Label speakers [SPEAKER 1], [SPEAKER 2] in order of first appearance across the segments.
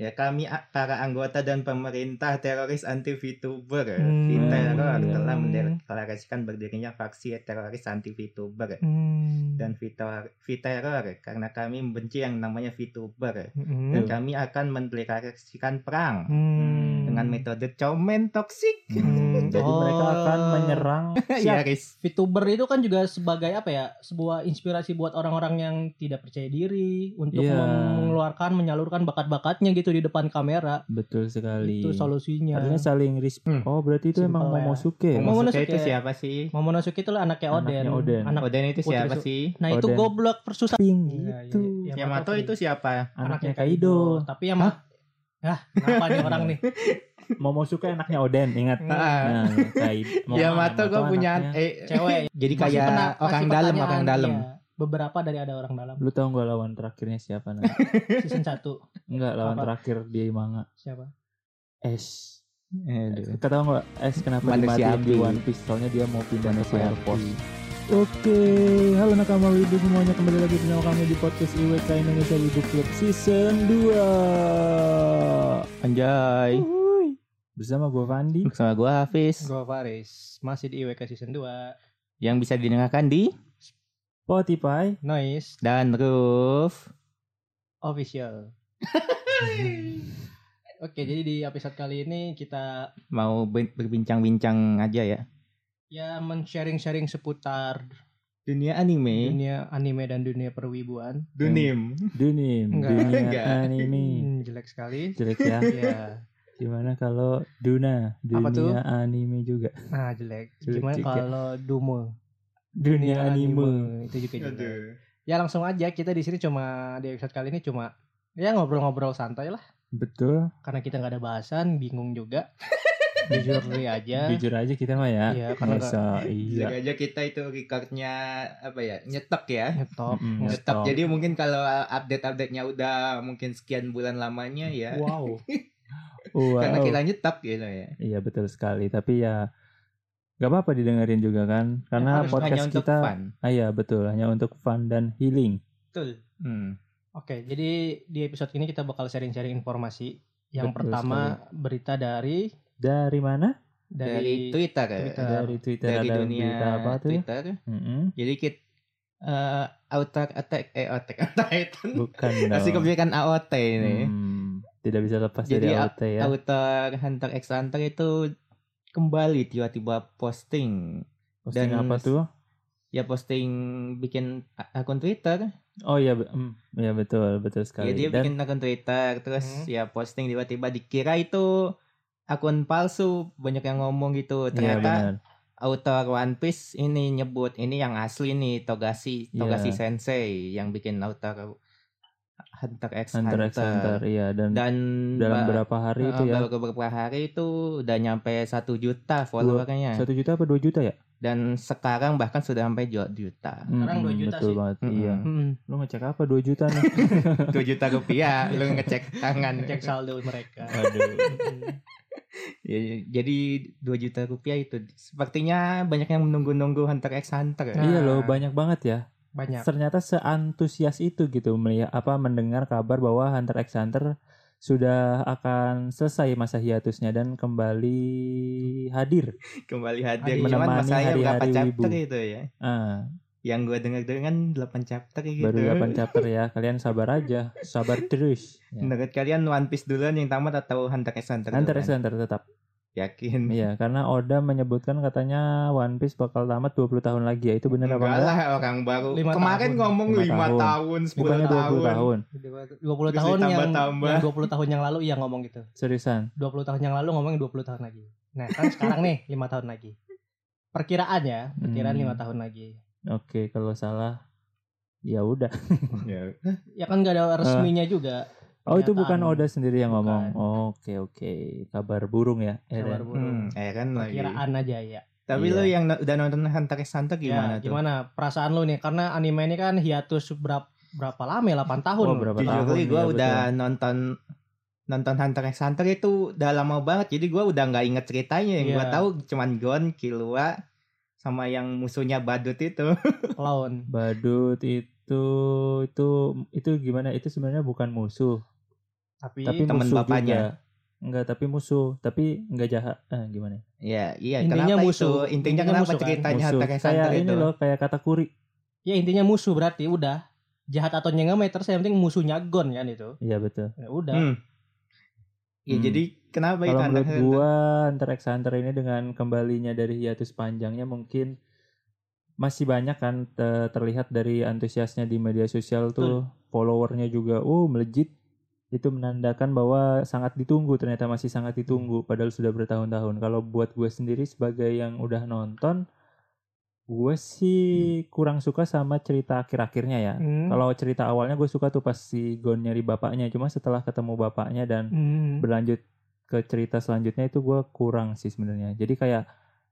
[SPEAKER 1] Ya kami a- para anggota dan pemerintah teroris anti VTuber
[SPEAKER 2] Hmm.
[SPEAKER 1] Viteror telah
[SPEAKER 2] Hmm.
[SPEAKER 1] mendeklarasikan berdirinya faksi teroris anti VTuber
[SPEAKER 2] Hmm.
[SPEAKER 1] dan Vitor- Viteror karena kami membenci yang namanya VTuber
[SPEAKER 2] Mm-mm.
[SPEAKER 1] dan kami akan mendeklarasikan perang
[SPEAKER 2] Hmm.
[SPEAKER 1] dengan metode comen toksik.
[SPEAKER 2] Hmm.
[SPEAKER 3] Jadi mereka akan
[SPEAKER 2] Oh.
[SPEAKER 3] menyerang
[SPEAKER 2] Ya,
[SPEAKER 1] Siaris.
[SPEAKER 2] VTuber itu kan juga sebagai apa ya sebuah inspirasi buat orang-orang yang tidak percaya diri untuk
[SPEAKER 3] Iya.
[SPEAKER 2] mengeluarkan menyalurkan bakat-bakatnya gitu di depan kamera
[SPEAKER 3] betul sekali.
[SPEAKER 2] itu solusinya.
[SPEAKER 3] Artinya saling
[SPEAKER 1] Hmm.
[SPEAKER 3] respect. Oh, berarti itu
[SPEAKER 2] Simpel
[SPEAKER 3] emang
[SPEAKER 2] ya.
[SPEAKER 3] Momosuke.
[SPEAKER 1] Momosuke
[SPEAKER 2] Mau menusuk
[SPEAKER 1] itu
[SPEAKER 2] ya?
[SPEAKER 1] siapa sih?
[SPEAKER 2] Momonosuke itu lah anaknya Oden.
[SPEAKER 3] Anaknya Oden.
[SPEAKER 2] Anak
[SPEAKER 1] Oden itu
[SPEAKER 2] Putri
[SPEAKER 1] siapa
[SPEAKER 2] Su-
[SPEAKER 1] sih?
[SPEAKER 2] Nah itu
[SPEAKER 3] Oden.
[SPEAKER 2] goblok persusah.
[SPEAKER 3] Ping
[SPEAKER 2] Iya,
[SPEAKER 3] gitu.
[SPEAKER 2] iya, iya.
[SPEAKER 1] Yamato itu siapa?
[SPEAKER 3] Anaknya Kaido.
[SPEAKER 2] Tapi yang Hah? kenapa nih orang nih?
[SPEAKER 3] Momosuke anaknya Oden, ingat.
[SPEAKER 1] Ah,
[SPEAKER 3] Nah, Kaido.
[SPEAKER 1] Yamato gue Iya, punya
[SPEAKER 3] anaknya.
[SPEAKER 1] eh
[SPEAKER 2] Cewek.
[SPEAKER 1] jadi
[SPEAKER 2] Masih
[SPEAKER 1] kayak
[SPEAKER 2] pena- masih
[SPEAKER 1] orang dalam
[SPEAKER 2] pertanyaan,
[SPEAKER 1] orang dalam.
[SPEAKER 2] iya. Beberapa dari ada orang dalam.
[SPEAKER 3] Lu tau gak lawan terakhirnya siapa nah?
[SPEAKER 2] Season 1
[SPEAKER 3] Enggak, lawan
[SPEAKER 2] Apa?
[SPEAKER 3] terakhir di manga.
[SPEAKER 2] siapa?
[SPEAKER 3] Ash.
[SPEAKER 2] Iya.
[SPEAKER 1] Aduh.
[SPEAKER 3] Kita tahu nggak Ash kenapa
[SPEAKER 1] Manusia
[SPEAKER 3] dimatiin di
[SPEAKER 1] api.
[SPEAKER 3] One Piece soalnya dia mau pindah ke
[SPEAKER 1] Manusia
[SPEAKER 3] Fire
[SPEAKER 1] api.
[SPEAKER 3] Force. Oke, halo nakama Wibu semuanya kembali lagi bersama kami di podcast IWK Indonesia Wibu Club Season 2.
[SPEAKER 1] Anjay.
[SPEAKER 3] Uhuy. Bersama gue Fandi.
[SPEAKER 1] Sama gue Hafiz.
[SPEAKER 2] Gue Faris Masih di IWK Season 2
[SPEAKER 1] yang bisa didengarkan di
[SPEAKER 3] Spotify.
[SPEAKER 2] Noise
[SPEAKER 1] dan roof
[SPEAKER 2] Official Oke jadi di episode kali ini kita
[SPEAKER 1] mau ben- berbincang-bincang aja ya
[SPEAKER 2] Ya men-sharing-sharing seputar
[SPEAKER 1] dunia
[SPEAKER 3] Hmm.
[SPEAKER 1] anime
[SPEAKER 2] Dunia anime dan dunia perwibuan
[SPEAKER 1] dunim
[SPEAKER 3] Dunim.
[SPEAKER 2] Enggak.
[SPEAKER 3] Dunia
[SPEAKER 1] Enggak.
[SPEAKER 3] anime.
[SPEAKER 2] hmm, Jelek sekali
[SPEAKER 3] Jelek ya.
[SPEAKER 2] Ya
[SPEAKER 3] Gimana kalau Duna? Dunia
[SPEAKER 2] Apa tuh?
[SPEAKER 3] anime juga.
[SPEAKER 2] Nah jelek
[SPEAKER 3] Jelek
[SPEAKER 2] Gimana
[SPEAKER 3] juga.
[SPEAKER 2] kalau Dumo
[SPEAKER 3] Dunia, anime.
[SPEAKER 2] Itu juga jelek Ya langsung aja kita di sini cuma Di episode kali ini cuma Ya ngobrol-ngobrol santai lah
[SPEAKER 3] Betul.
[SPEAKER 2] Karena kita nggak ada bahasan Bingung juga Jujur diri
[SPEAKER 1] Iya.
[SPEAKER 2] aja
[SPEAKER 3] Jujur aja kita mah ya.
[SPEAKER 2] Iya karena nggak-
[SPEAKER 3] Masa
[SPEAKER 1] Bisa
[SPEAKER 3] iya.
[SPEAKER 1] aja kita itu recordnya apa ya nyetok ya
[SPEAKER 2] Ngetop.
[SPEAKER 3] Mm,
[SPEAKER 1] nyetok
[SPEAKER 3] ngetop.
[SPEAKER 1] jadi mungkin kalau update update nya udah mungkin sekian bulan lamanya ya
[SPEAKER 2] Wow.
[SPEAKER 3] Wow.
[SPEAKER 1] karena kita nyetok gitu ya
[SPEAKER 3] Iya betul sekali. Tapi ya nggak apa-apa didengerin juga kan. Karena
[SPEAKER 1] Harus hanya
[SPEAKER 3] podcast
[SPEAKER 1] untuk
[SPEAKER 3] kita,
[SPEAKER 1] fun.
[SPEAKER 3] ah iya betul hanya untuk fun dan healing.
[SPEAKER 2] Betul.
[SPEAKER 1] Hmm.
[SPEAKER 2] Oke, jadi di episode ini kita bakal sharing-sharing informasi. Yang
[SPEAKER 3] Betul
[SPEAKER 2] pertama berita dari
[SPEAKER 3] Dari mana?
[SPEAKER 1] dari,
[SPEAKER 2] dari,
[SPEAKER 1] Twitter, ya.
[SPEAKER 2] Twitter.
[SPEAKER 3] Dari Twitter
[SPEAKER 1] dari
[SPEAKER 3] ada
[SPEAKER 1] dunia
[SPEAKER 3] berita apa tuh? ya?
[SPEAKER 1] Twitter
[SPEAKER 3] Mm-mm.
[SPEAKER 1] jadi kita eh Outer Attack eh Attack Titan
[SPEAKER 3] Bukan
[SPEAKER 1] Masih
[SPEAKER 3] dong.
[SPEAKER 1] kebanyakan AOT ini.
[SPEAKER 3] Hmm, tidak bisa lepas
[SPEAKER 1] Jadi
[SPEAKER 3] dari
[SPEAKER 1] a-
[SPEAKER 3] AOT ya.
[SPEAKER 1] Outer Hunter x Hunter itu kembali tiba-tiba posting.
[SPEAKER 3] Posting
[SPEAKER 1] dan-
[SPEAKER 3] apa tuh?
[SPEAKER 1] Ya posting bikin a- akun Twitter.
[SPEAKER 3] Oh iya, be- mm, iya betul betul
[SPEAKER 1] Ya
[SPEAKER 3] sekali.
[SPEAKER 1] dia
[SPEAKER 3] dan
[SPEAKER 1] bikin akun Twitter terus
[SPEAKER 2] Hmm.
[SPEAKER 1] ya posting tiba-tiba dikira itu akun palsu. Banyak yang ngomong gitu.
[SPEAKER 3] iya
[SPEAKER 1] Ternyata
[SPEAKER 3] benar.
[SPEAKER 1] author One Piece ini nyebut ini yang asli nih Togashi
[SPEAKER 3] Iya.
[SPEAKER 1] Togashi Sensei yang bikin author Hunter x Hunter.
[SPEAKER 3] Hunter x Hunter, iya dan,
[SPEAKER 1] Dan ba-
[SPEAKER 3] dalam
[SPEAKER 1] eh,
[SPEAKER 3] berapa hari itu ya?
[SPEAKER 1] Baru beberapa hari itu udah nyampe satu juta followernya
[SPEAKER 3] Satu juta apa dua juta ya?
[SPEAKER 1] dan sekarang bahkan sudah sampai dua juta
[SPEAKER 2] Sekarang dua
[SPEAKER 3] Mm-mm,
[SPEAKER 2] juta
[SPEAKER 3] betul
[SPEAKER 2] sih.
[SPEAKER 3] banget.
[SPEAKER 1] Mm-mm.
[SPEAKER 3] Iya.
[SPEAKER 2] Hmm,
[SPEAKER 3] Lu ngecek apa dua juta nih?
[SPEAKER 1] dua juta rupiah lu ngecek tangan
[SPEAKER 2] cek saldo mereka.
[SPEAKER 3] Aduh.
[SPEAKER 2] Hmm.
[SPEAKER 1] Ya, jadi dua juta rupiah itu sepertinya banyak yang menunggu-nunggu hunter x hunter Ah,
[SPEAKER 2] Nah.
[SPEAKER 3] Iya loh, banyak banget ya.
[SPEAKER 2] Banyak.
[SPEAKER 3] Ternyata seantusias itu gitu melihat apa mendengar kabar bahwa Hunter x Hunter sudah akan selesai masa hiatusnya dan kembali hadir.
[SPEAKER 1] kembali hadir
[SPEAKER 2] Hadir.
[SPEAKER 1] cuman
[SPEAKER 3] Menemani
[SPEAKER 1] masalahnya berapa
[SPEAKER 3] hari-hari
[SPEAKER 1] chapter
[SPEAKER 3] Wibu.
[SPEAKER 1] itu ya
[SPEAKER 3] Ah,
[SPEAKER 1] yang gue dengar dengar kan 8 chapter gitu
[SPEAKER 3] baru 8 chapter ya. Kalian sabar aja, sabar terus. Ya.
[SPEAKER 1] menurut kalian One Piece duluan yang tamat atau Hunter x Hunter
[SPEAKER 3] Hunter x
[SPEAKER 1] duluan?
[SPEAKER 3] Hunter tetap.
[SPEAKER 1] yakin
[SPEAKER 3] Iya, karena Oda menyebutkan katanya One Piece bakal tamat 20 tahun lagi ya. Itu benar apa
[SPEAKER 1] Enggak
[SPEAKER 3] enggak?
[SPEAKER 1] lah orang baru
[SPEAKER 2] Lima
[SPEAKER 1] kemarin
[SPEAKER 2] tahun.
[SPEAKER 1] ngomong
[SPEAKER 3] Lima
[SPEAKER 1] 5 tahun,
[SPEAKER 3] tahun.
[SPEAKER 1] 10
[SPEAKER 3] Bukannya 20
[SPEAKER 1] tahun
[SPEAKER 3] tahun.
[SPEAKER 2] 20
[SPEAKER 1] Terus
[SPEAKER 2] tahun yang,
[SPEAKER 1] ditambah-tambah.
[SPEAKER 2] yang 20 tahun yang lalu iya ngomong gitu.
[SPEAKER 3] Seriusan.
[SPEAKER 2] 20 tahun yang lalu ngomong 20 tahun lagi. Nah, kan sekarang nih 5 tahun lagi. perkiraan ya, perkiraan
[SPEAKER 3] Hmm.
[SPEAKER 2] lima tahun lagi.
[SPEAKER 3] Oke, kalau salah ya udah.
[SPEAKER 1] Ya.
[SPEAKER 2] Ya kan nggak ada resminya juga.
[SPEAKER 3] Eh. Oh, itu
[SPEAKER 2] Pernyataan.
[SPEAKER 3] bukan Oda sendiri yang ngomong.
[SPEAKER 2] Bukan.
[SPEAKER 3] Oke, oke. Kabar burung ya.
[SPEAKER 2] Kabar
[SPEAKER 3] Eren.
[SPEAKER 2] burung.
[SPEAKER 1] Hmm, ya kan lagi.
[SPEAKER 2] Perkiraan aja ya.
[SPEAKER 1] Tapi
[SPEAKER 3] Iya.
[SPEAKER 1] lu yang no- udah nonton Hunter x Hunter gimana
[SPEAKER 2] Gimana, ya,
[SPEAKER 1] tuh?
[SPEAKER 2] gimana perasaan lu nih? Karena anime ini kan hiatus berapa berapa lama? ya? 8 tahun.
[SPEAKER 3] Oh, berapa
[SPEAKER 1] Jujur
[SPEAKER 3] tahun?
[SPEAKER 1] gue
[SPEAKER 3] ya, betul.
[SPEAKER 1] udah nonton nonton Hunter x Hunter itu udah lama banget jadi gue udah nggak inget ceritanya yang gue
[SPEAKER 2] Iya.
[SPEAKER 1] tahu cuman Gon, Killua sama yang musuhnya badut itu
[SPEAKER 2] Lawan.
[SPEAKER 3] Badut itu itu itu gimana? Itu sebenarnya bukan musuh,
[SPEAKER 2] Tapi,
[SPEAKER 3] tapi
[SPEAKER 1] teman
[SPEAKER 3] musuh
[SPEAKER 1] bapaknya.
[SPEAKER 3] juga. Enggak, tapi musuh, tapi enggak jahat. Eh, gimana?
[SPEAKER 1] ya iya
[SPEAKER 2] Intinya
[SPEAKER 1] kenapa
[SPEAKER 2] musuh.
[SPEAKER 1] itu intinya
[SPEAKER 2] Intinya
[SPEAKER 1] kenapa
[SPEAKER 2] musuh kan?
[SPEAKER 1] ceritanya
[SPEAKER 3] musuh.
[SPEAKER 1] Hunter x
[SPEAKER 3] Kayak
[SPEAKER 1] Hunter
[SPEAKER 3] ini
[SPEAKER 1] itu
[SPEAKER 3] loh, kayak kata kuri.
[SPEAKER 2] ya intinya musuh berarti udah jahat atau nyenggak meter saya penting musuhnya Gon kan itu.
[SPEAKER 3] Iya, betul.
[SPEAKER 2] Ya udah.
[SPEAKER 1] Hmm. ya
[SPEAKER 3] Hmm.
[SPEAKER 1] jadi kenapa itu
[SPEAKER 3] Kalau
[SPEAKER 1] Hunter
[SPEAKER 3] menurut
[SPEAKER 1] x Hunter?
[SPEAKER 3] gua Hunter x Hunter ini dengan kembalinya dari hiatus panjangnya mungkin masih banyak kan te- terlihat dari antusiasnya di media sosial tuh followernya juga uh melejit itu menandakan bahwa sangat ditunggu ternyata masih sangat ditunggu padahal sudah bertahun-tahun kalau buat gue sendiri sebagai yang udah nonton gue sih kurang suka sama cerita akhir-akhirnya ya
[SPEAKER 2] Hmm.
[SPEAKER 3] kalau cerita awalnya gue suka tuh pas si Gon nyari bapaknya cuma setelah ketemu bapaknya dan
[SPEAKER 2] Hmm.
[SPEAKER 3] berlanjut ke cerita selanjutnya itu gue kurang sih sebenarnya. Jadi kayak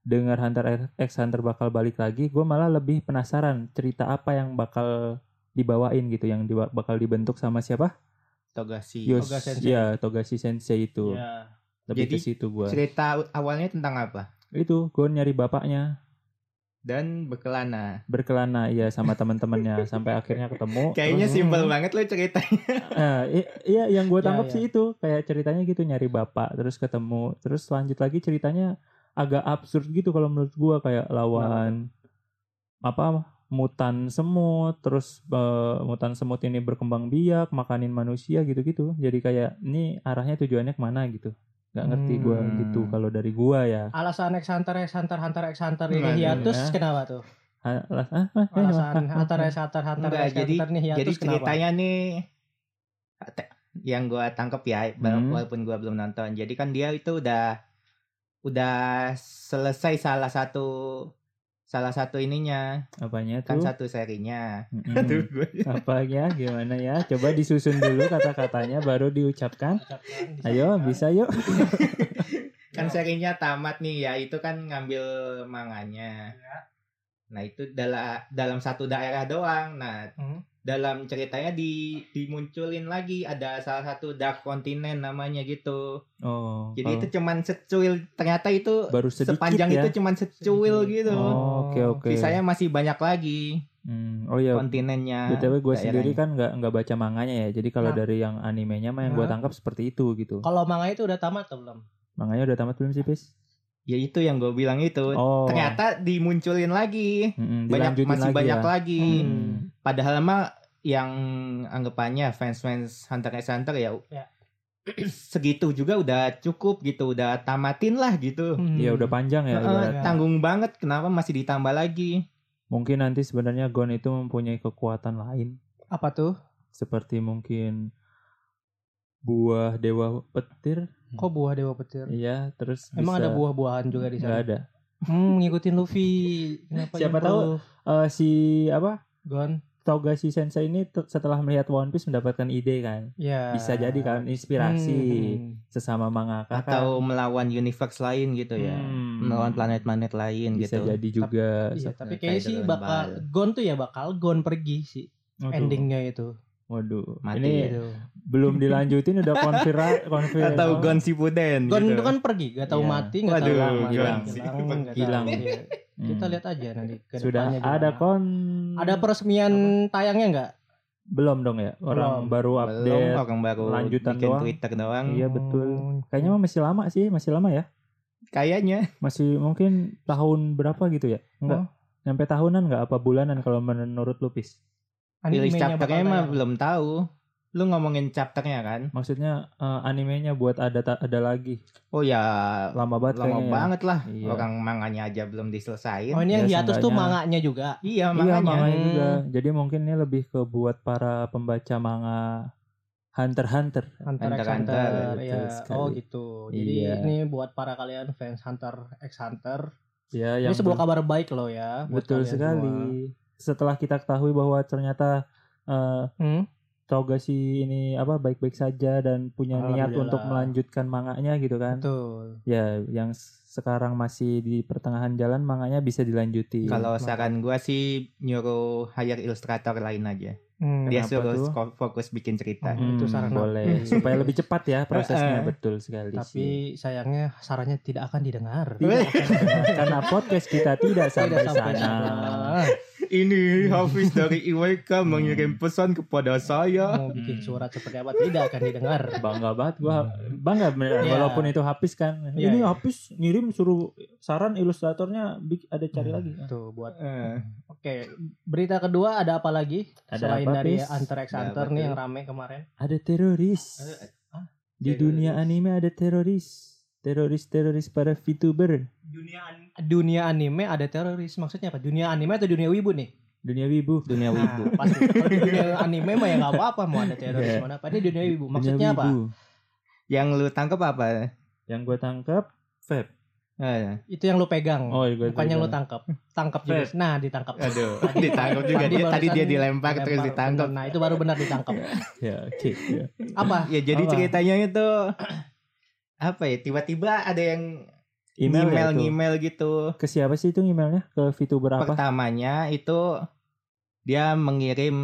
[SPEAKER 3] dengar Hunter X Hunter bakal balik lagi, gue malah lebih penasaran cerita apa yang bakal dibawain gitu, yang diba- bakal dibentuk sama siapa?
[SPEAKER 1] Togashi Iya.
[SPEAKER 3] Yos,
[SPEAKER 2] Toga Sensei.
[SPEAKER 3] ya Togashi Sensei itu.
[SPEAKER 2] Ya.
[SPEAKER 3] Lebih
[SPEAKER 1] Jadi,
[SPEAKER 3] ke situ gue.
[SPEAKER 1] cerita awalnya tentang apa
[SPEAKER 3] Itu gue nyari bapaknya
[SPEAKER 1] dan berkelana
[SPEAKER 3] berkelana ya sama teman-temannya sampai akhirnya ketemu.
[SPEAKER 1] kayaknya
[SPEAKER 3] Terus-
[SPEAKER 1] simpel banget lo cerita
[SPEAKER 3] Nah, i- iya yang gue
[SPEAKER 2] Ya,
[SPEAKER 3] tangkap
[SPEAKER 2] ya.
[SPEAKER 3] sih itu kayak ceritanya gitu nyari bapak terus ketemu terus lanjut lagi ceritanya agak absurd gitu kalau menurut gue kayak lawan apa mutan semut terus eh, mutan semut ini berkembang biak makanin manusia gitu-gitu jadi kayak ini arahnya tujuannya kemana gitu nggak ngerti gua
[SPEAKER 1] Hmm.
[SPEAKER 3] gitu kalau dari gua ya
[SPEAKER 2] Alasan X Hunter X Hunter Hunter X Hunter ini
[SPEAKER 1] Nggak ada,
[SPEAKER 2] hiatus
[SPEAKER 3] ya.
[SPEAKER 2] kenapa tuh?
[SPEAKER 3] Ah, lah, ah, ah, eh,
[SPEAKER 2] Alasan
[SPEAKER 3] ah, ah,
[SPEAKER 2] Hunter
[SPEAKER 3] ah.
[SPEAKER 2] X Hunter Hunter
[SPEAKER 1] Nggak,
[SPEAKER 2] X Hunter
[SPEAKER 3] Ya,
[SPEAKER 2] nih hiatus
[SPEAKER 1] Jadi
[SPEAKER 2] kenapa?
[SPEAKER 1] ceritanya nih te- yang gua tangkep ya wala-
[SPEAKER 3] Hmm.
[SPEAKER 1] walaupun gua belum nonton. Jadi kan dia itu udah udah selesai salah satu salah satu ininya
[SPEAKER 3] apanya
[SPEAKER 1] kan
[SPEAKER 3] tuh Hmm.
[SPEAKER 1] satu serinya.
[SPEAKER 3] Mm-mm.
[SPEAKER 1] Aduh, gua-
[SPEAKER 3] apanya gimana ya coba disusun dulu kata-katanya baru diucapkan
[SPEAKER 2] Ucapkan,
[SPEAKER 3] Ayo
[SPEAKER 2] disampaikan.
[SPEAKER 3] bisa ya. yuk.
[SPEAKER 1] kan serinya tamat nih ya itu kan ngambil manganya. Nah itu dalam dalam satu daerah doang. Nah
[SPEAKER 2] Hmm.
[SPEAKER 1] dalam ceritanya di dimunculin lagi ada salah satu dark continent namanya gitu.
[SPEAKER 3] Oh.
[SPEAKER 1] Jadi itu cuman secuil ternyata itu
[SPEAKER 3] baru sedikit
[SPEAKER 1] sepanjang
[SPEAKER 3] ya.
[SPEAKER 1] itu cuman secuil
[SPEAKER 2] Sedikit.
[SPEAKER 1] gitu.
[SPEAKER 3] Oh, oke oke.
[SPEAKER 1] Sisanya masih banyak lagi
[SPEAKER 3] Hmm, oh ya.
[SPEAKER 1] kontinennya.
[SPEAKER 3] BTW gue
[SPEAKER 1] daerahnya.
[SPEAKER 3] sendiri kan nggak nggak baca manganya ya. Jadi kalau
[SPEAKER 2] Nah.
[SPEAKER 3] dari yang animenya mah yang gue
[SPEAKER 2] Nah.
[SPEAKER 3] tangkap seperti itu gitu.
[SPEAKER 1] Oh.
[SPEAKER 2] Kalau manga itu udah tamat atau belum?
[SPEAKER 3] Manganya udah tamat belum sih, Pis?
[SPEAKER 1] Ya itu yang gue bilang itu.
[SPEAKER 3] Oh.
[SPEAKER 1] Ternyata dimunculin lagi.
[SPEAKER 3] Mm-mm,
[SPEAKER 1] Banyak
[SPEAKER 3] dilanjutin
[SPEAKER 1] masih
[SPEAKER 3] lagi
[SPEAKER 1] banyak
[SPEAKER 3] ya.
[SPEAKER 1] lagi.
[SPEAKER 3] Hmm.
[SPEAKER 1] Padahal mah yang anggapannya fans-fans Hunter x Hunter ya,
[SPEAKER 2] Ya.
[SPEAKER 1] segitu juga udah cukup gitu, udah tamatin lah gitu.
[SPEAKER 2] Hmm.
[SPEAKER 3] Ya udah panjang
[SPEAKER 1] Eh,
[SPEAKER 3] ya. ibarat.
[SPEAKER 2] ya.
[SPEAKER 1] tanggung banget kenapa masih ditambah lagi.
[SPEAKER 3] Mungkin nanti sebenarnya Gon itu mempunyai kekuatan lain
[SPEAKER 2] Apa tuh?
[SPEAKER 3] seperti mungkin buah dewa petir.
[SPEAKER 2] Kok buah dewa petir?
[SPEAKER 3] Iya, terus
[SPEAKER 2] Emang
[SPEAKER 3] bisa-
[SPEAKER 2] ada buah-buahan juga di
[SPEAKER 3] Nggak
[SPEAKER 2] sana.
[SPEAKER 3] ada.
[SPEAKER 2] Hmm, ngikutin Luffy. Kenapa
[SPEAKER 3] Siapa
[SPEAKER 2] nyemprot?
[SPEAKER 3] Eh, si apa?
[SPEAKER 2] Gon.
[SPEAKER 3] Togashi Sensei ini te- setelah melihat One Piece mendapatkan ide kan
[SPEAKER 2] Ya.
[SPEAKER 3] bisa jadi kan
[SPEAKER 1] hmm, Iya.
[SPEAKER 3] inspirasi sesama mangaka kan.
[SPEAKER 1] Atau melawan universe lain gitu ya.
[SPEAKER 3] Hmm.
[SPEAKER 1] melawan planet-planet lain
[SPEAKER 3] bisa
[SPEAKER 1] gitu.
[SPEAKER 3] jadi juga
[SPEAKER 2] Iya,
[SPEAKER 3] se-
[SPEAKER 2] tapi
[SPEAKER 1] Kayak
[SPEAKER 2] kayaknya sih
[SPEAKER 1] Dragon
[SPEAKER 2] bakal
[SPEAKER 1] Ball.
[SPEAKER 2] Gon tuh ya bakal Gon pergi sih
[SPEAKER 3] Waduh,
[SPEAKER 2] endingnya itu.
[SPEAKER 3] waduh
[SPEAKER 1] Mati
[SPEAKER 3] ini Iya,
[SPEAKER 1] Iya. ya.
[SPEAKER 2] iya, Gitu.
[SPEAKER 3] belum dilanjutin udah konfirmasi konfirmasi
[SPEAKER 1] Atau Gon Shippuden
[SPEAKER 2] Gon
[SPEAKER 1] gitu.
[SPEAKER 2] itu kan pergi, gak tahu
[SPEAKER 3] Iya.
[SPEAKER 2] mati, gak tahu
[SPEAKER 1] Waduh,
[SPEAKER 2] hilang,
[SPEAKER 3] Gon
[SPEAKER 2] hilang,
[SPEAKER 1] sih.
[SPEAKER 2] hilang, nggak tahu.
[SPEAKER 3] Hilang. Hmm.
[SPEAKER 2] Iya. Kita lihat aja nanti. ke
[SPEAKER 3] sudah
[SPEAKER 2] depannya
[SPEAKER 3] ada
[SPEAKER 2] gimana.
[SPEAKER 3] kon
[SPEAKER 2] Ada peresmian tayangnya nggak?
[SPEAKER 3] belum dong ya
[SPEAKER 2] Belum.
[SPEAKER 3] orang baru
[SPEAKER 1] Belum
[SPEAKER 3] update
[SPEAKER 1] orang baru
[SPEAKER 3] lanjutan
[SPEAKER 1] bikin
[SPEAKER 3] doang.
[SPEAKER 1] Twitter doang.
[SPEAKER 3] Iya, betul. kayaknya mah masih lama sih masih lama ya
[SPEAKER 1] Kayaknya
[SPEAKER 3] masih mungkin tahun berapa gitu ya enggak nyampe tahunan nggak apa bulanan kalau menurut Lupis
[SPEAKER 1] rilis
[SPEAKER 2] Animenya bakal
[SPEAKER 1] chapternya mah
[SPEAKER 2] tayang.
[SPEAKER 1] belum tahu. Lu ngomongin chapternya kan?
[SPEAKER 3] maksudnya eh, animenya buat ada ta- ada lagi
[SPEAKER 1] Oh ya
[SPEAKER 3] lama banget
[SPEAKER 1] lama
[SPEAKER 3] kayaknya ya.
[SPEAKER 1] banget lah.
[SPEAKER 3] Iya.
[SPEAKER 1] Orang manganya aja belum diselesain.
[SPEAKER 2] Oh ini yang
[SPEAKER 3] Ya,
[SPEAKER 2] hiatus tuh
[SPEAKER 3] seenggaknya.
[SPEAKER 2] manganya juga.
[SPEAKER 1] Iya
[SPEAKER 3] Iya
[SPEAKER 1] manganya.
[SPEAKER 3] manganya
[SPEAKER 1] Hmm.
[SPEAKER 3] juga. Jadi mungkin ini lebih ke buat para pembaca manga Hunter x Hunter.
[SPEAKER 2] Hunter x
[SPEAKER 1] Hunter x
[SPEAKER 2] Hunter,
[SPEAKER 1] Hunter,
[SPEAKER 3] betul
[SPEAKER 2] ya.
[SPEAKER 3] sekali.
[SPEAKER 2] Oh gitu. Jadi
[SPEAKER 3] Iya.
[SPEAKER 2] ini buat para kalian fans Hunter x Hunter
[SPEAKER 3] Ya, yang
[SPEAKER 2] Ini sebuah
[SPEAKER 3] ber-
[SPEAKER 2] kabar baik loh ya. buat
[SPEAKER 3] betul
[SPEAKER 2] kalian semua.
[SPEAKER 3] sekali. Setelah kita ketahui bahwa ternyata eh,
[SPEAKER 2] Hmm?
[SPEAKER 3] Togasi ini apa baik-baik saja dan punya
[SPEAKER 2] Ah,
[SPEAKER 3] niat
[SPEAKER 2] Alhamdulillah.
[SPEAKER 3] untuk melanjutkan manganya gitu kan.
[SPEAKER 2] Betul.
[SPEAKER 3] Ya, yang s- sekarang masih di pertengahan jalan manganya bisa dilanjuti.
[SPEAKER 1] Kalau
[SPEAKER 2] Makanya.
[SPEAKER 1] saran gua sih nyuruh hire ilustrator lain aja.
[SPEAKER 2] Hmm.
[SPEAKER 1] Dia
[SPEAKER 3] Kenapa
[SPEAKER 1] suruh
[SPEAKER 3] tuh?
[SPEAKER 1] sko- fokus bikin cerita.
[SPEAKER 2] Hmm. itu saran aku.
[SPEAKER 3] boleh supaya lebih cepat ya prosesnya
[SPEAKER 1] Eh, eh.
[SPEAKER 3] betul sekali iya sih.
[SPEAKER 2] Tapi sayangnya sarannya tidak akan didengar.
[SPEAKER 3] Tidak akan- Nah, karena podcast kita tidak sampai, sana.
[SPEAKER 1] Ini Hafiz dari IWK mengirim
[SPEAKER 3] Hmm.
[SPEAKER 1] pesan kepada saya.
[SPEAKER 2] Mau bikin
[SPEAKER 1] Hmm.
[SPEAKER 2] surat seperti apa tidak akan didengar.
[SPEAKER 3] bangga banget gua bangga beneran
[SPEAKER 2] Iya.
[SPEAKER 3] walaupun itu habis kan
[SPEAKER 2] Iya,
[SPEAKER 3] ini
[SPEAKER 2] iya.
[SPEAKER 3] habis ngirim suruh saran ilustratornya bik- ada cari lagi
[SPEAKER 2] Hmm, Tuh buat.
[SPEAKER 1] Eh,
[SPEAKER 2] Oke, berita kedua ada apa lagi?
[SPEAKER 3] Ada
[SPEAKER 2] Selain
[SPEAKER 3] apa,
[SPEAKER 2] dari
[SPEAKER 3] Pis?
[SPEAKER 2] Hunter x
[SPEAKER 1] Ada
[SPEAKER 2] Hunter
[SPEAKER 1] apa
[SPEAKER 2] nih
[SPEAKER 1] tuh?
[SPEAKER 2] yang rame kemarin.
[SPEAKER 3] ada teroris
[SPEAKER 2] eh, ah,
[SPEAKER 3] di
[SPEAKER 1] teroris.
[SPEAKER 3] dunia anime ada teroris teroris teroris para VTuber
[SPEAKER 2] Dunia an- dunia anime ada teroris. Maksudnya apa? Dunia anime atau dunia wibu nih?
[SPEAKER 3] dunia wibu dunia
[SPEAKER 1] Gitu.
[SPEAKER 2] Nah, pasti. Kalau di dunia anime mah ya nggak apa-apa mau ada teroris
[SPEAKER 3] Iya.
[SPEAKER 2] mana apa. Ini dunia wibu. Maksudnya apa?
[SPEAKER 3] wibu.
[SPEAKER 1] Yang lu tangkap apa?
[SPEAKER 3] yang gue tangkap vape
[SPEAKER 1] Eh,
[SPEAKER 2] Itu yang lu pegang.
[SPEAKER 3] oh gue
[SPEAKER 2] Bukan yang lu tangkap. Tangkap juga. Nah, ditangkap.
[SPEAKER 1] aduh, Iya. ditangkap juga.
[SPEAKER 2] Tadi
[SPEAKER 1] Dia, tadi dia
[SPEAKER 2] barusan
[SPEAKER 1] dilempar, terus
[SPEAKER 2] Lempar,
[SPEAKER 1] ditangkap.
[SPEAKER 2] bener. Nah, itu baru benar ditangkap.
[SPEAKER 3] ya oke ya.
[SPEAKER 2] Apa?
[SPEAKER 1] Ya jadi
[SPEAKER 3] Apa?
[SPEAKER 1] ceritanya itu apa ya? Tiba-tiba ada yang
[SPEAKER 3] email ya
[SPEAKER 1] email
[SPEAKER 3] itu.
[SPEAKER 1] email gitu.
[SPEAKER 3] ke siapa sih itu emailnya ke VTuber apa
[SPEAKER 1] Pertamanya itu dia mengirim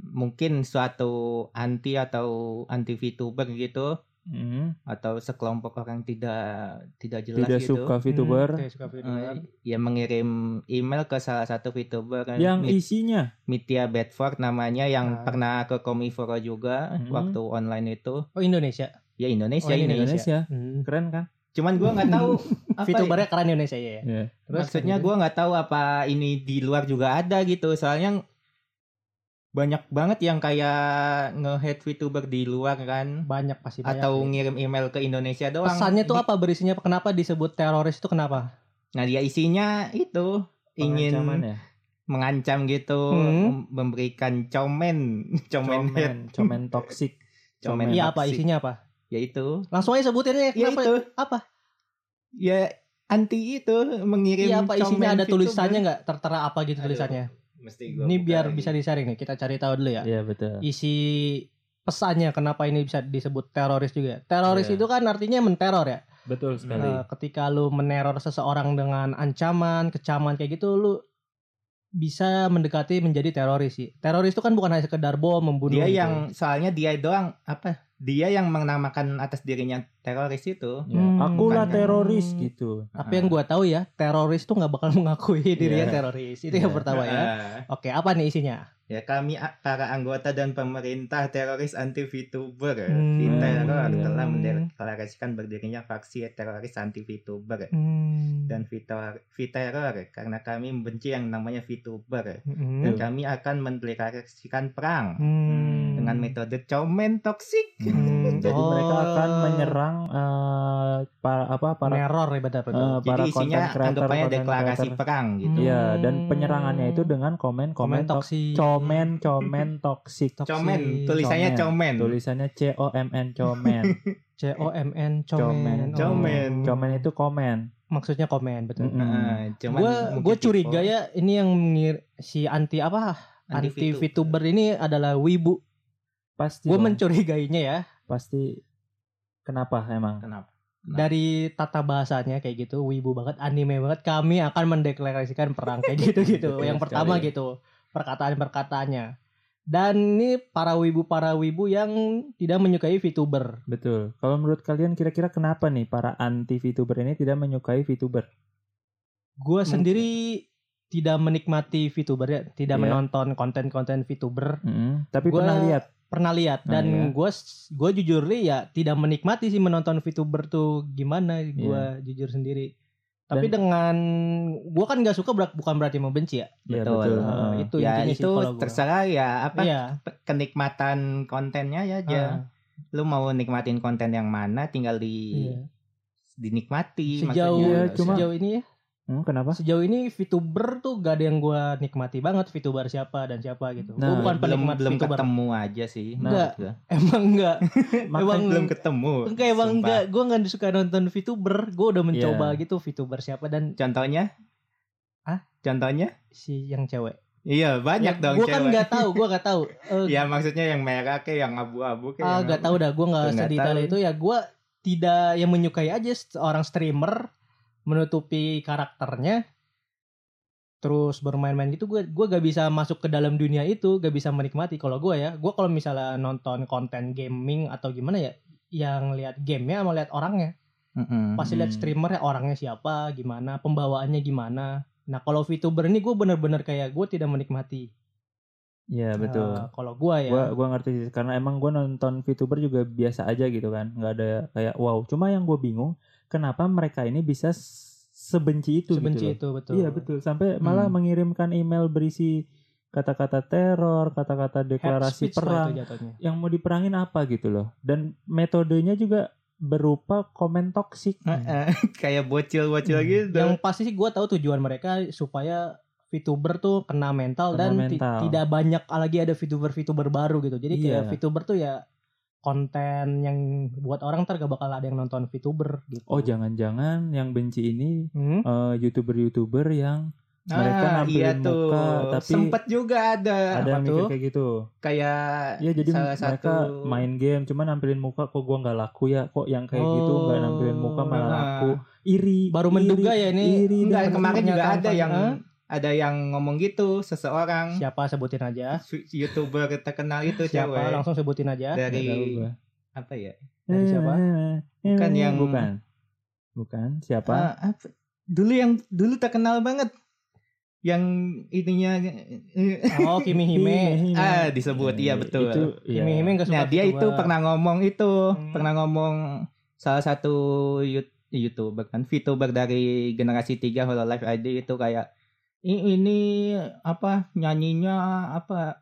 [SPEAKER 1] mungkin suatu anti atau anti VTuber gitu
[SPEAKER 3] Hmm,
[SPEAKER 1] atau sekelompok orang tidak tidak jelas
[SPEAKER 3] tidak
[SPEAKER 1] gitu.
[SPEAKER 3] suka VTuber
[SPEAKER 2] Hmm, tidak suka VTuber.
[SPEAKER 1] Eh, ya mengirim email ke salah satu VTuber eh,
[SPEAKER 3] yang
[SPEAKER 1] Mi-
[SPEAKER 3] isinya
[SPEAKER 1] Mitya Bedford namanya yang
[SPEAKER 2] Ah.
[SPEAKER 1] pernah ke Komiforo juga
[SPEAKER 3] Hmm.
[SPEAKER 1] waktu online itu
[SPEAKER 2] Oh, Indonesia.
[SPEAKER 1] ya Indonesia
[SPEAKER 2] Oh, ini
[SPEAKER 1] ini
[SPEAKER 3] Indonesia
[SPEAKER 2] Hmm.
[SPEAKER 3] keren kan
[SPEAKER 1] cuman gua nggak tahu apa ya.
[SPEAKER 2] VTubernya keren Indonesia ya. ya.
[SPEAKER 3] Iya.
[SPEAKER 2] Terus
[SPEAKER 1] Maksudnya
[SPEAKER 2] lanjut.
[SPEAKER 1] gue nggak tahu apa ini di luar juga ada gitu. Soalnya banyak banget yang kayak nge-head VTuber di luar kan.
[SPEAKER 2] banyak pasti banyak.
[SPEAKER 1] Atau
[SPEAKER 2] nih.
[SPEAKER 1] ngirim email ke Indonesia doang.
[SPEAKER 2] pesannya tuh apa berisinya? Kenapa disebut teroris itu kenapa?
[SPEAKER 1] Nah dia isinya itu ingin
[SPEAKER 3] Pengancaman ya
[SPEAKER 1] mengancam gitu.
[SPEAKER 2] Hmm.
[SPEAKER 1] mem- Memberikan comen. Comen, head.
[SPEAKER 3] Comen, comen toksik.
[SPEAKER 1] Comen
[SPEAKER 3] Comen.
[SPEAKER 1] Iya.
[SPEAKER 2] Iya apa
[SPEAKER 1] toxic.
[SPEAKER 2] isinya apa?
[SPEAKER 1] Ya itu.
[SPEAKER 2] Langsung aja sebutin
[SPEAKER 1] Ya
[SPEAKER 2] aja kenapa?
[SPEAKER 1] itu.
[SPEAKER 2] Apa?
[SPEAKER 1] Ya anti itu mengirim
[SPEAKER 2] Iya apa
[SPEAKER 1] comen
[SPEAKER 2] isinya ada
[SPEAKER 1] VTuber.
[SPEAKER 2] tulisannya nggak? Tertera apa gitu
[SPEAKER 1] Aduh,
[SPEAKER 2] tulisannya?
[SPEAKER 1] Mesti gua
[SPEAKER 2] Ini
[SPEAKER 1] buka
[SPEAKER 2] biar
[SPEAKER 1] lagi.
[SPEAKER 2] bisa disaring nih. Kita cari tahu dulu ya.
[SPEAKER 3] Gitu, Iya betul.
[SPEAKER 2] Isi pesannya kenapa ini bisa disebut teroris juga? Teroris
[SPEAKER 3] Iya.
[SPEAKER 2] itu kan artinya menteror ya.
[SPEAKER 3] Betul sekali.
[SPEAKER 2] Eh, ketika lu meneror seseorang dengan ancaman, kecaman kayak gitu, lu bisa mendekati menjadi teroris sih. Teroris itu kan bukan hanya sekedar bom membunuh.
[SPEAKER 1] Dia
[SPEAKER 2] gitu.
[SPEAKER 1] yang soalnya dia doang apa? Dia yang menamakan atas dirinya teroris itu.
[SPEAKER 3] Ya,
[SPEAKER 2] Hmm.
[SPEAKER 3] Akulah
[SPEAKER 1] Bukan.
[SPEAKER 3] teroris gitu.
[SPEAKER 2] Tapi yang gua tahu ya, teroris tuh nggak bakal mengakui dirinya
[SPEAKER 3] Iya.
[SPEAKER 2] teroris. Itu yang
[SPEAKER 3] Iya.
[SPEAKER 2] pertama ya.
[SPEAKER 1] Ah.
[SPEAKER 2] Oke, apa nih isinya?
[SPEAKER 1] Ya kami a- para anggota dan pemerintah teroris anti VTuber
[SPEAKER 2] Hmm.
[SPEAKER 1] Viteror
[SPEAKER 3] Iya.
[SPEAKER 1] telah mendeklarasikan berdirinya faksi teroris anti VTuber dan Vitor- Viteror karena kami membenci yang namanya VTuber
[SPEAKER 2] Iya.
[SPEAKER 1] dan
[SPEAKER 3] Hmm.
[SPEAKER 1] kami akan mendeklarasikan perang
[SPEAKER 2] Hmm.
[SPEAKER 1] dengan metode comen toksik
[SPEAKER 3] Hmm, Jadi
[SPEAKER 2] Oh.
[SPEAKER 3] mereka akan menyerang eh, para apa para
[SPEAKER 2] Neror ya betul betul.
[SPEAKER 3] eh, para
[SPEAKER 1] jadi isinya
[SPEAKER 3] content creator,
[SPEAKER 1] anggapannya
[SPEAKER 3] content
[SPEAKER 1] deklarasi
[SPEAKER 3] creator.
[SPEAKER 1] perang gitu
[SPEAKER 3] Iya, dan
[SPEAKER 2] Hmm.
[SPEAKER 3] penyerangannya itu dengan komen komen toksik.
[SPEAKER 2] toksi.
[SPEAKER 3] Comen comen toksik.
[SPEAKER 2] Toksik.
[SPEAKER 1] comen tulisannya comen,
[SPEAKER 3] Tulisannya C O M N comen.
[SPEAKER 2] C O M N
[SPEAKER 3] Comen.
[SPEAKER 2] comen. Oh.
[SPEAKER 1] Comen.
[SPEAKER 3] Comen itu komen.
[SPEAKER 2] Maksudnya komen betul.
[SPEAKER 3] Mm-mm.
[SPEAKER 1] Heeh, cuman
[SPEAKER 2] Gue
[SPEAKER 1] mungkin
[SPEAKER 2] gue curiga
[SPEAKER 1] tipe
[SPEAKER 2] ya ini yang ngir- si anti apa anti
[SPEAKER 1] Iya,
[SPEAKER 2] VTuber ini adalah wibu.
[SPEAKER 3] Pasti.
[SPEAKER 2] Gue
[SPEAKER 3] dong,
[SPEAKER 2] mencurigainya
[SPEAKER 3] Nah.
[SPEAKER 2] ya
[SPEAKER 3] pasti. Kenapa emang?
[SPEAKER 1] Kenapa?
[SPEAKER 2] dari tata bahasanya kayak gitu wibu banget anime banget kami akan mendeklarasikan perang kayak gitu gitu.
[SPEAKER 3] Betul
[SPEAKER 2] yang
[SPEAKER 3] Iya, sekali.
[SPEAKER 2] pertama gitu perkataan perkataannya. Dan ini para wibu para wibu yang tidak menyukai VTuber.
[SPEAKER 3] Betul. Kalau menurut kalian kira-kira kenapa nih para anti VTuber ini tidak menyukai VTuber?
[SPEAKER 2] Gue
[SPEAKER 1] Mungkin.
[SPEAKER 2] sendiri tidak menikmati VTuber ya, tidak
[SPEAKER 3] Iya.
[SPEAKER 2] menonton konten-konten VTuber.
[SPEAKER 3] Mm-mm. Hmm, Tapi
[SPEAKER 2] Gua-
[SPEAKER 3] pernah lihat.
[SPEAKER 2] pernah lihat
[SPEAKER 3] Nah, iya.
[SPEAKER 2] dan gue gue jujur li ya tidak menikmati sih menonton VTuber tuh gimana gue jujur sendiri tapi
[SPEAKER 3] Dan-
[SPEAKER 2] dengan gue kan nggak suka ber- bukan berarti membenci ya
[SPEAKER 3] Iya,
[SPEAKER 1] Betul.
[SPEAKER 3] Heeh.
[SPEAKER 2] itu
[SPEAKER 1] ya
[SPEAKER 2] intinya sih
[SPEAKER 1] itu
[SPEAKER 2] kalau gua.
[SPEAKER 1] terserah ya apa
[SPEAKER 2] iya
[SPEAKER 1] pe- kenikmatan kontennya ya aja.
[SPEAKER 2] ah,
[SPEAKER 1] Lu mau nikmatin konten yang mana tinggal di
[SPEAKER 2] iya.
[SPEAKER 1] dinikmati
[SPEAKER 2] sejauh
[SPEAKER 3] Iya,
[SPEAKER 1] maksudnya.
[SPEAKER 3] cuma-
[SPEAKER 2] sejauh ini ya
[SPEAKER 3] Hmm, kenapa?
[SPEAKER 2] Sejauh ini VTuber tuh gak ada yang gue nikmati banget VTuber siapa dan siapa gitu. Gua
[SPEAKER 3] Nah,
[SPEAKER 2] bukan
[SPEAKER 1] belum
[SPEAKER 2] penikmat
[SPEAKER 1] belum
[SPEAKER 2] VTuber.
[SPEAKER 1] ketemu aja sih.
[SPEAKER 3] Nah.
[SPEAKER 1] menurut gua.
[SPEAKER 2] Emang enggak.
[SPEAKER 3] Makanya-
[SPEAKER 1] belum ketemu.
[SPEAKER 2] Enggak emang
[SPEAKER 1] sumpah.
[SPEAKER 2] enggak. Gue nggak suka nonton VTuber. Gue udah mencoba gitu VTuber siapa dan
[SPEAKER 1] Contohnya?
[SPEAKER 2] Hah?
[SPEAKER 1] Contohnya?
[SPEAKER 2] si yang cewek.
[SPEAKER 1] Iya banyak dong
[SPEAKER 2] Gue
[SPEAKER 1] cewek.
[SPEAKER 2] kan nggak tahu. Gue nggak tahu. Eh,
[SPEAKER 1] Ya maksudnya yang merah kayak yang abu-abu kayak.
[SPEAKER 2] Ah,
[SPEAKER 1] yang
[SPEAKER 2] gak
[SPEAKER 1] apa.
[SPEAKER 2] tahu dah, gue nggak
[SPEAKER 1] Nggak
[SPEAKER 2] sedetail
[SPEAKER 1] tahu.
[SPEAKER 2] itu ya. Gue tidak yang menyukai aja seorang streamer menutupi karakternya, terus bermain-main gitu. Gue gua gak bisa masuk ke dalam dunia itu, gak bisa menikmati. Kalau gue ya, gue kalau misalnya nonton konten gaming atau gimana ya, yang lihat gamenya sama lihat orangnya.
[SPEAKER 1] Mm-mm.
[SPEAKER 2] Pasti lihat
[SPEAKER 3] Hmm.
[SPEAKER 2] streamer ya, orangnya siapa, gimana, pembawaannya gimana. Nah kalau VTuber ini gue bener-bener kayak gue tidak menikmati.
[SPEAKER 3] Iya betul.
[SPEAKER 2] Eh, kalau gue ya.
[SPEAKER 3] Gua gua ngerti sih karena emang gua nonton VTuber juga biasa aja gitu kan. nggak ada kayak wow. Cuma yang gue bingung kenapa mereka ini bisa s- sebenci itu
[SPEAKER 2] Sebenci
[SPEAKER 3] gitu.
[SPEAKER 2] itu
[SPEAKER 3] loh.
[SPEAKER 2] betul.
[SPEAKER 3] Iya betul. Sampai malah
[SPEAKER 1] Hmm.
[SPEAKER 3] mengirimkan email berisi kata-kata teror, kata-kata
[SPEAKER 2] Hate
[SPEAKER 3] deklarasi
[SPEAKER 2] speech lah
[SPEAKER 3] perang.
[SPEAKER 2] itu ya. jatuhnya.
[SPEAKER 3] Yang mau diperangin apa gitu loh. Dan metodenya juga berupa komen toksik.
[SPEAKER 1] Heeh, Eh, kayak bocil-bocil
[SPEAKER 3] Hmm.
[SPEAKER 1] gitu.
[SPEAKER 2] yang pasti sih gue tahu tujuan mereka supaya VTuber tuh kena mental
[SPEAKER 3] Kena
[SPEAKER 2] dan ti-
[SPEAKER 3] mental.
[SPEAKER 2] tidak banyak lagi ada VTuber VTuber baru gitu. Jadi kayak
[SPEAKER 3] Iya.
[SPEAKER 2] VTuber tuh ya konten yang buat orang ntar gak bakal ada yang nonton VTuber gitu.
[SPEAKER 3] Oh jangan-jangan yang benci ini
[SPEAKER 2] Hmm?
[SPEAKER 3] eh, youtuber-youtuber yang
[SPEAKER 1] Ah,
[SPEAKER 3] mereka nampilin
[SPEAKER 1] iya tuh.
[SPEAKER 3] muka, tapi
[SPEAKER 1] sempet juga ada,
[SPEAKER 3] ada yang
[SPEAKER 2] Apa
[SPEAKER 3] mikir
[SPEAKER 2] tuh?
[SPEAKER 3] kayak gitu.
[SPEAKER 1] kayak
[SPEAKER 3] Iya jadi
[SPEAKER 1] salah
[SPEAKER 3] mereka
[SPEAKER 1] satu
[SPEAKER 3] main game cuma nampilin muka kok gua nggak laku ya kok yang kayak gitu
[SPEAKER 2] Oh.
[SPEAKER 3] nggak nampilin muka malah
[SPEAKER 1] Ah.
[SPEAKER 3] laku iri
[SPEAKER 2] Baru
[SPEAKER 3] iri,
[SPEAKER 2] menduga ya ini
[SPEAKER 3] iri
[SPEAKER 1] Enggak,
[SPEAKER 3] dengan-
[SPEAKER 1] kemarin juga
[SPEAKER 2] pernyataan
[SPEAKER 1] ada
[SPEAKER 2] Fanny,
[SPEAKER 1] yang
[SPEAKER 2] ah?
[SPEAKER 1] ada yang ngomong gitu seseorang
[SPEAKER 2] siapa sebutin aja.
[SPEAKER 1] su- youtuber terkenal itu
[SPEAKER 2] Siapa
[SPEAKER 1] cewek
[SPEAKER 2] langsung sebutin aja.
[SPEAKER 3] Nggak tahu
[SPEAKER 1] dari
[SPEAKER 3] gua. Eh,
[SPEAKER 1] apa ya?
[SPEAKER 2] Dari siapa?
[SPEAKER 1] Bukan yang-
[SPEAKER 3] bukan bukan siapa
[SPEAKER 1] Ah, apa? Dulu yang dulu terkenal banget yang ininya eh,
[SPEAKER 2] Oh Kimi Hime.
[SPEAKER 1] ah disebut iya betul.
[SPEAKER 3] itu iya.
[SPEAKER 2] Kimi Hime gak suka
[SPEAKER 1] Nah, dia itu
[SPEAKER 2] VTuber.
[SPEAKER 1] pernah ngomong itu,
[SPEAKER 2] Hmm.
[SPEAKER 1] pernah ngomong salah satu you- YouTuber kan, VTuber dari generasi 3 Hololive ID itu kayak "I- ini apa nyanyinya apa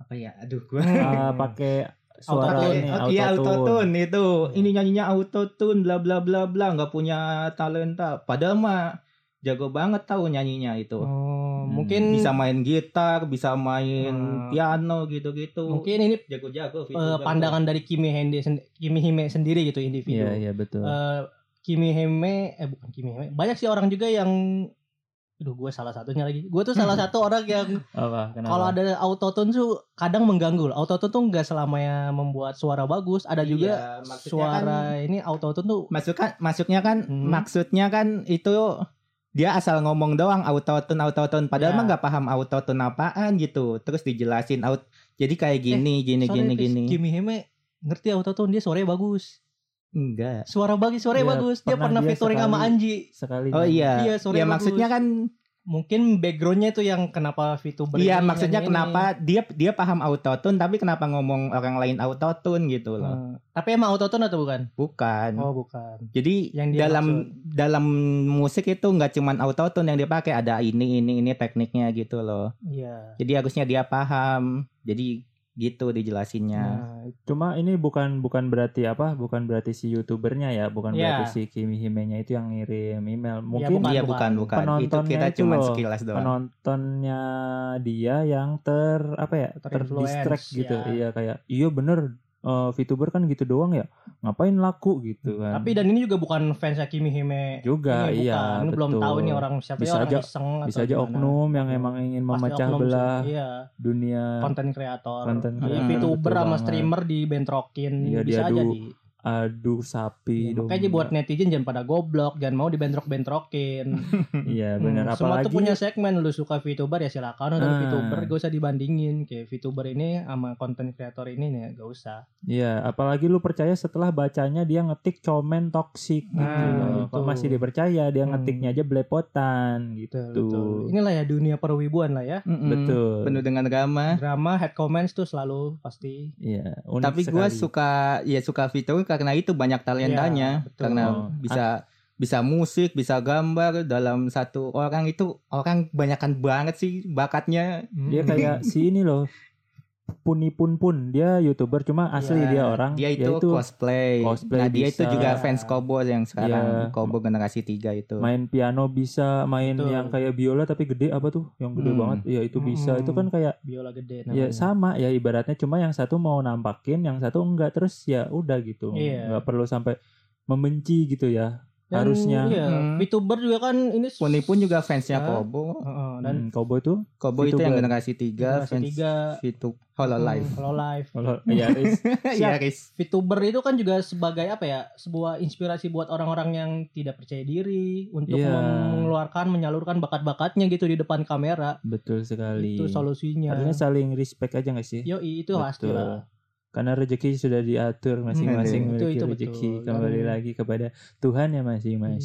[SPEAKER 1] apa ya aduh gua
[SPEAKER 3] Ah, pakai suara
[SPEAKER 2] Autotune.
[SPEAKER 3] ini
[SPEAKER 1] Oh, iya
[SPEAKER 3] autotune. Hmm.
[SPEAKER 1] autotune itu ini nyanyinya autotune bla bla bla bla nggak punya talenta padahal mah jago banget tahu nyanyinya itu
[SPEAKER 2] Oh,
[SPEAKER 3] Hmm,
[SPEAKER 2] mungkin
[SPEAKER 1] bisa main gitar bisa main
[SPEAKER 2] Hmm.
[SPEAKER 1] piano gitu gitu
[SPEAKER 2] mungkin ini
[SPEAKER 1] jago-jago
[SPEAKER 2] eh,
[SPEAKER 1] VTuber.
[SPEAKER 2] pandangan dari Kimi Hende sen- Kimi Hime sendiri gitu individu.
[SPEAKER 3] iya iya betul
[SPEAKER 1] Ah.
[SPEAKER 2] eh Kimi Heme eh bukan Kimi Heme banyak sih orang juga yang aduh gue salah satunya lagi gue tuh
[SPEAKER 1] Hmm.
[SPEAKER 2] salah satu orang yang
[SPEAKER 3] apa kenapa
[SPEAKER 2] kalau ada autotune tuh kadang mengganggu loh. autotune tuh nggak selamanya membuat suara bagus ada juga
[SPEAKER 1] Iya, maksudnya kan-
[SPEAKER 2] suara ini autotune tuh
[SPEAKER 1] Masukkan, masuknya kan,
[SPEAKER 2] Hmm.
[SPEAKER 1] maksudnya kan itu dia asal ngomong doang autotune autotune padahal
[SPEAKER 2] Ya.
[SPEAKER 1] mah nggak paham autotune apaan gitu. Terus dijelasin out jadi kayak gini gini
[SPEAKER 2] Eh, sorry,
[SPEAKER 1] gini
[SPEAKER 2] please,
[SPEAKER 1] gini.
[SPEAKER 2] Kimi Heme ngerti autotune dia suaranya bagus
[SPEAKER 1] Enggak.
[SPEAKER 2] suara bagus suaranya
[SPEAKER 3] Iya,
[SPEAKER 2] bagus dia
[SPEAKER 3] pernah
[SPEAKER 2] pernah
[SPEAKER 3] dia
[SPEAKER 2] featuring sama
[SPEAKER 3] sekali-
[SPEAKER 2] Anji
[SPEAKER 3] sekali
[SPEAKER 1] Oh iya.
[SPEAKER 2] Iya, sorry,
[SPEAKER 1] ya
[SPEAKER 2] bagus.
[SPEAKER 1] maksudnya kan
[SPEAKER 2] mungkin backgroundnya itu yang kenapa VTuber
[SPEAKER 1] iya
[SPEAKER 2] ini,
[SPEAKER 1] maksudnya
[SPEAKER 2] yang ini.
[SPEAKER 1] kenapa dia dia paham autotune tapi kenapa ngomong orang lain autotune gitu loh.
[SPEAKER 2] Hmm. tapi emang autotune atau bukan
[SPEAKER 1] Bukan.
[SPEAKER 2] oh bukan
[SPEAKER 1] Jadi
[SPEAKER 2] Yang dia
[SPEAKER 1] dalam dalam musik itu nggak cuman autotune yang dipakai, ada ini ini ini tekniknya gitu loh.
[SPEAKER 2] iya
[SPEAKER 1] Jadi harusnya dia paham. Jadi gitu dijelasinnya.
[SPEAKER 2] Nah,
[SPEAKER 3] Cuma ini bukan bukan berarti apa? Bukan berarti si youtubernya ya, bukan
[SPEAKER 2] Iya.
[SPEAKER 3] berarti si Kimi Himenya itu yang ngirim
[SPEAKER 2] Iya,
[SPEAKER 3] email. Mungkin
[SPEAKER 2] bukan,
[SPEAKER 1] Iya bukan bukan. Itu
[SPEAKER 3] Penontonnya
[SPEAKER 1] kita
[SPEAKER 3] itu
[SPEAKER 1] cuman
[SPEAKER 3] loh.
[SPEAKER 1] sekilas doang.
[SPEAKER 3] penontonnya dia yang ter apa ya?
[SPEAKER 2] Terinfluence,
[SPEAKER 3] terdistract gitu.
[SPEAKER 2] ya.
[SPEAKER 3] Iya kayak, iya bener eh, VTuber kan gitu doang ya. Ngapain laku gitu kan.
[SPEAKER 2] Tapi dan ini juga bukan fansnya Kimi Hime
[SPEAKER 3] juga
[SPEAKER 2] ini
[SPEAKER 3] iya.
[SPEAKER 2] bukan. Ini belum
[SPEAKER 3] betul.
[SPEAKER 2] tahu nih orang siapa
[SPEAKER 3] Bisa
[SPEAKER 2] ya, orang
[SPEAKER 3] aja-
[SPEAKER 2] iseng atau
[SPEAKER 3] bisa aja
[SPEAKER 2] gimana.
[SPEAKER 3] oknum yang emang ingin
[SPEAKER 2] Pasti
[SPEAKER 3] memecah
[SPEAKER 2] oknum sih.
[SPEAKER 3] belah
[SPEAKER 2] Iya,
[SPEAKER 3] dunia
[SPEAKER 2] konten kreator.
[SPEAKER 3] konten
[SPEAKER 2] Iya,
[SPEAKER 1] kreator,
[SPEAKER 2] VTuber
[SPEAKER 3] betul
[SPEAKER 2] sama
[SPEAKER 3] banget.
[SPEAKER 2] streamer dibentrokin
[SPEAKER 3] Iya,
[SPEAKER 2] bisa
[SPEAKER 3] diadu
[SPEAKER 2] aja di. iya,
[SPEAKER 3] adu sapi
[SPEAKER 2] Makanya aja
[SPEAKER 3] domba.
[SPEAKER 2] buat netizen jangan pada goblok, jangan mau dibentrok-bentrokin.
[SPEAKER 3] Iya
[SPEAKER 2] Hmm,
[SPEAKER 3] benar
[SPEAKER 2] Semua
[SPEAKER 3] apalagi
[SPEAKER 2] tuh punya segmen lu suka VTuber ya silakan nonton
[SPEAKER 3] Ah.
[SPEAKER 2] VTuber, gak usah dibandingin kayak VTuber ini sama konten kreator ini nih gak usah.
[SPEAKER 3] Iya, apalagi lu percaya setelah bacanya dia ngetik komen toksik gitu
[SPEAKER 2] Nah,
[SPEAKER 3] loh. Kok
[SPEAKER 2] betul.
[SPEAKER 3] masih dipercaya dia
[SPEAKER 2] Hmm.
[SPEAKER 3] ngetiknya aja belepotan gitu.
[SPEAKER 2] Betul, betul. Inilah ya dunia perwibuan lah ya.
[SPEAKER 1] Mm-mm.
[SPEAKER 3] Betul.
[SPEAKER 1] Penuh dengan drama.
[SPEAKER 2] Drama head comments tuh selalu pasti
[SPEAKER 3] Iya, unik
[SPEAKER 1] Tapi
[SPEAKER 3] sekali.
[SPEAKER 1] gue suka ya suka fitur karena itu banyak
[SPEAKER 2] Iya,
[SPEAKER 1] talentanya
[SPEAKER 2] betul.
[SPEAKER 1] karena
[SPEAKER 3] Oh.
[SPEAKER 1] bisa bisa musik, bisa gambar dalam satu
[SPEAKER 3] Iya,
[SPEAKER 2] Hmm.
[SPEAKER 1] orang itu orang banyakan banget sih bakatnya.
[SPEAKER 3] dia kayak si ini loh. Puni Pun Pun dia youtuber cuma asli
[SPEAKER 2] Iya,
[SPEAKER 1] Ya,
[SPEAKER 3] dia orang
[SPEAKER 1] Dia itu cosplay.
[SPEAKER 3] cosplay
[SPEAKER 1] Nah, dia itu
[SPEAKER 3] bisa.
[SPEAKER 1] juga fans Kobo yang sekarang
[SPEAKER 3] Iya.
[SPEAKER 1] Kobo generasi 3 itu.
[SPEAKER 3] main piano bisa main
[SPEAKER 2] Betul.
[SPEAKER 3] yang kayak biola tapi gede apa tuh yang gede
[SPEAKER 1] Hmm.
[SPEAKER 3] banget ya itu bisa
[SPEAKER 2] Hmm.
[SPEAKER 3] itu kan kayak
[SPEAKER 2] biola gede
[SPEAKER 3] ya
[SPEAKER 2] namanya.
[SPEAKER 3] sama ya ibaratnya cuma yang satu mau nampakin yang satu enggak terus ya udah gitu
[SPEAKER 2] Iya.
[SPEAKER 3] nggak perlu sampai membenci gitu ya
[SPEAKER 2] Dan,
[SPEAKER 3] harusnya.
[SPEAKER 2] iya,
[SPEAKER 1] Mm.
[SPEAKER 2] VTuber juga kan ini s-
[SPEAKER 1] Puni pun juga fansnya
[SPEAKER 2] Ya.
[SPEAKER 1] Kobo.
[SPEAKER 2] Heeh, dan
[SPEAKER 3] dan Kobo itu
[SPEAKER 1] Kobo itu
[SPEAKER 3] VTuber.
[SPEAKER 1] yang generasi 3
[SPEAKER 2] generasi
[SPEAKER 1] fans
[SPEAKER 2] tiga Hmm.
[SPEAKER 1] Vitu Hololive.
[SPEAKER 2] Kalau live.
[SPEAKER 3] kalau ya Riz,
[SPEAKER 1] Iya, guys.
[SPEAKER 2] VTuber itu kan juga sebagai apa ya sebuah inspirasi buat orang-orang yang tidak percaya diri untuk
[SPEAKER 3] Iya.
[SPEAKER 2] mengeluarkan menyalurkan bakat-bakatnya gitu di depan kamera
[SPEAKER 3] betul sekali.
[SPEAKER 2] itu solusinya. Iya.
[SPEAKER 3] Harusnya saling respect aja gak sih?
[SPEAKER 2] Yo itu pasti lah.
[SPEAKER 3] Karena rezeki sudah diatur
[SPEAKER 1] Hmm,
[SPEAKER 3] masing-masing
[SPEAKER 2] itu-
[SPEAKER 3] memiliki
[SPEAKER 2] itu
[SPEAKER 3] rezeki
[SPEAKER 2] betul. iya.
[SPEAKER 3] kembali
[SPEAKER 2] Dan-
[SPEAKER 3] lagi kepada Tuhan ya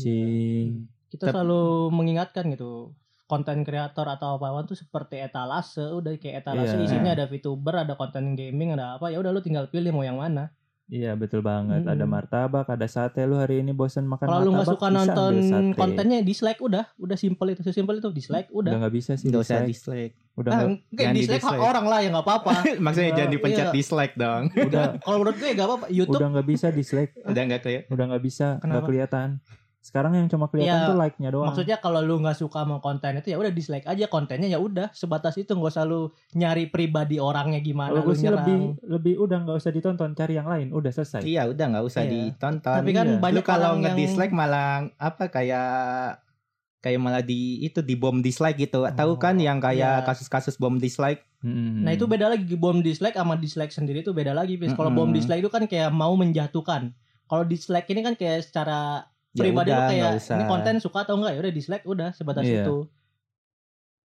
[SPEAKER 3] masing-masing.
[SPEAKER 2] Kita
[SPEAKER 1] Tep-
[SPEAKER 2] selalu mengingatkan gitu konten kreator atau apa-apa tuh seperti etalase udah kayak etalase
[SPEAKER 3] Iya.
[SPEAKER 2] isinya ada VTuber ada konten gaming ada apa ya udah lu tinggal pilih mau yang mana.
[SPEAKER 3] Iya betul banget.
[SPEAKER 2] Mm-mm.
[SPEAKER 3] Ada martabak, ada sate. Lu hari ini bosan makan
[SPEAKER 2] Hmm. Kalau lu
[SPEAKER 3] martabak?
[SPEAKER 2] nggak suka
[SPEAKER 3] bisa
[SPEAKER 2] nonton
[SPEAKER 3] ambil sate.
[SPEAKER 2] kontennya dislike udah udah simple itu sesimpel itu dislike
[SPEAKER 3] udah
[SPEAKER 2] udah.
[SPEAKER 3] nggak bisa sih.
[SPEAKER 1] Nggak usah
[SPEAKER 3] dislike.
[SPEAKER 1] dislike.
[SPEAKER 3] Udah
[SPEAKER 2] Ah,
[SPEAKER 3] nggak-
[SPEAKER 2] nggak,
[SPEAKER 1] jangan
[SPEAKER 2] dislike hak
[SPEAKER 1] di-dislike.
[SPEAKER 2] orang lah ya nggak apa-apa.
[SPEAKER 1] Maksudnya
[SPEAKER 2] Iya,
[SPEAKER 1] jangan dipencet
[SPEAKER 2] iya.
[SPEAKER 1] dislike dong.
[SPEAKER 3] udah
[SPEAKER 2] Kalau menurut gue nggak apa-apa. YouTube
[SPEAKER 3] udah nggak bisa dislike.
[SPEAKER 1] Udah enggak kayak
[SPEAKER 3] Udah nggak bisa. Nggak
[SPEAKER 2] Kenapa?
[SPEAKER 3] kelihatan. Sekarang yang cuma kelihatan
[SPEAKER 2] Iya,
[SPEAKER 3] tuh like-nya doang.
[SPEAKER 2] maksudnya kalau lu nggak suka sama konten itu ya udah dislike aja kontennya ya udah sebatas itu nggak usah lu nyari pribadi orangnya gimana lu
[SPEAKER 3] Kalau gue sih
[SPEAKER 2] nyerang.
[SPEAKER 3] lebih lebih udah nggak usah ditonton, cari yang lain. Udah selesai.
[SPEAKER 1] Iya, udah nggak usah
[SPEAKER 2] Iya.
[SPEAKER 1] ditonton.
[SPEAKER 2] Tapi kan
[SPEAKER 3] Iya.
[SPEAKER 1] Lu
[SPEAKER 2] banyak
[SPEAKER 1] kalau
[SPEAKER 2] orang yang
[SPEAKER 1] nge-dislike malah apa kayak kayak malah di itu di bom dislike gitu. Tahu kan yang kayak
[SPEAKER 2] Oh, iya.
[SPEAKER 1] kasus-kasus bom dislike?
[SPEAKER 3] Mm-mm.
[SPEAKER 2] Nah itu beda lagi bom dislike sama dislike sendiri itu beda lagi. Fis. Kalau bom
[SPEAKER 1] Mm-mm.
[SPEAKER 2] dislike itu kan kayak mau menjatuhkan. Kalau dislike ini kan kayak secara
[SPEAKER 1] Ya
[SPEAKER 2] pribadi lu
[SPEAKER 1] udah,
[SPEAKER 2] kayak
[SPEAKER 1] nggak usah.
[SPEAKER 2] ini konten suka atau enggak ya udah dislike udah sebatas
[SPEAKER 3] Iya.
[SPEAKER 2] itu.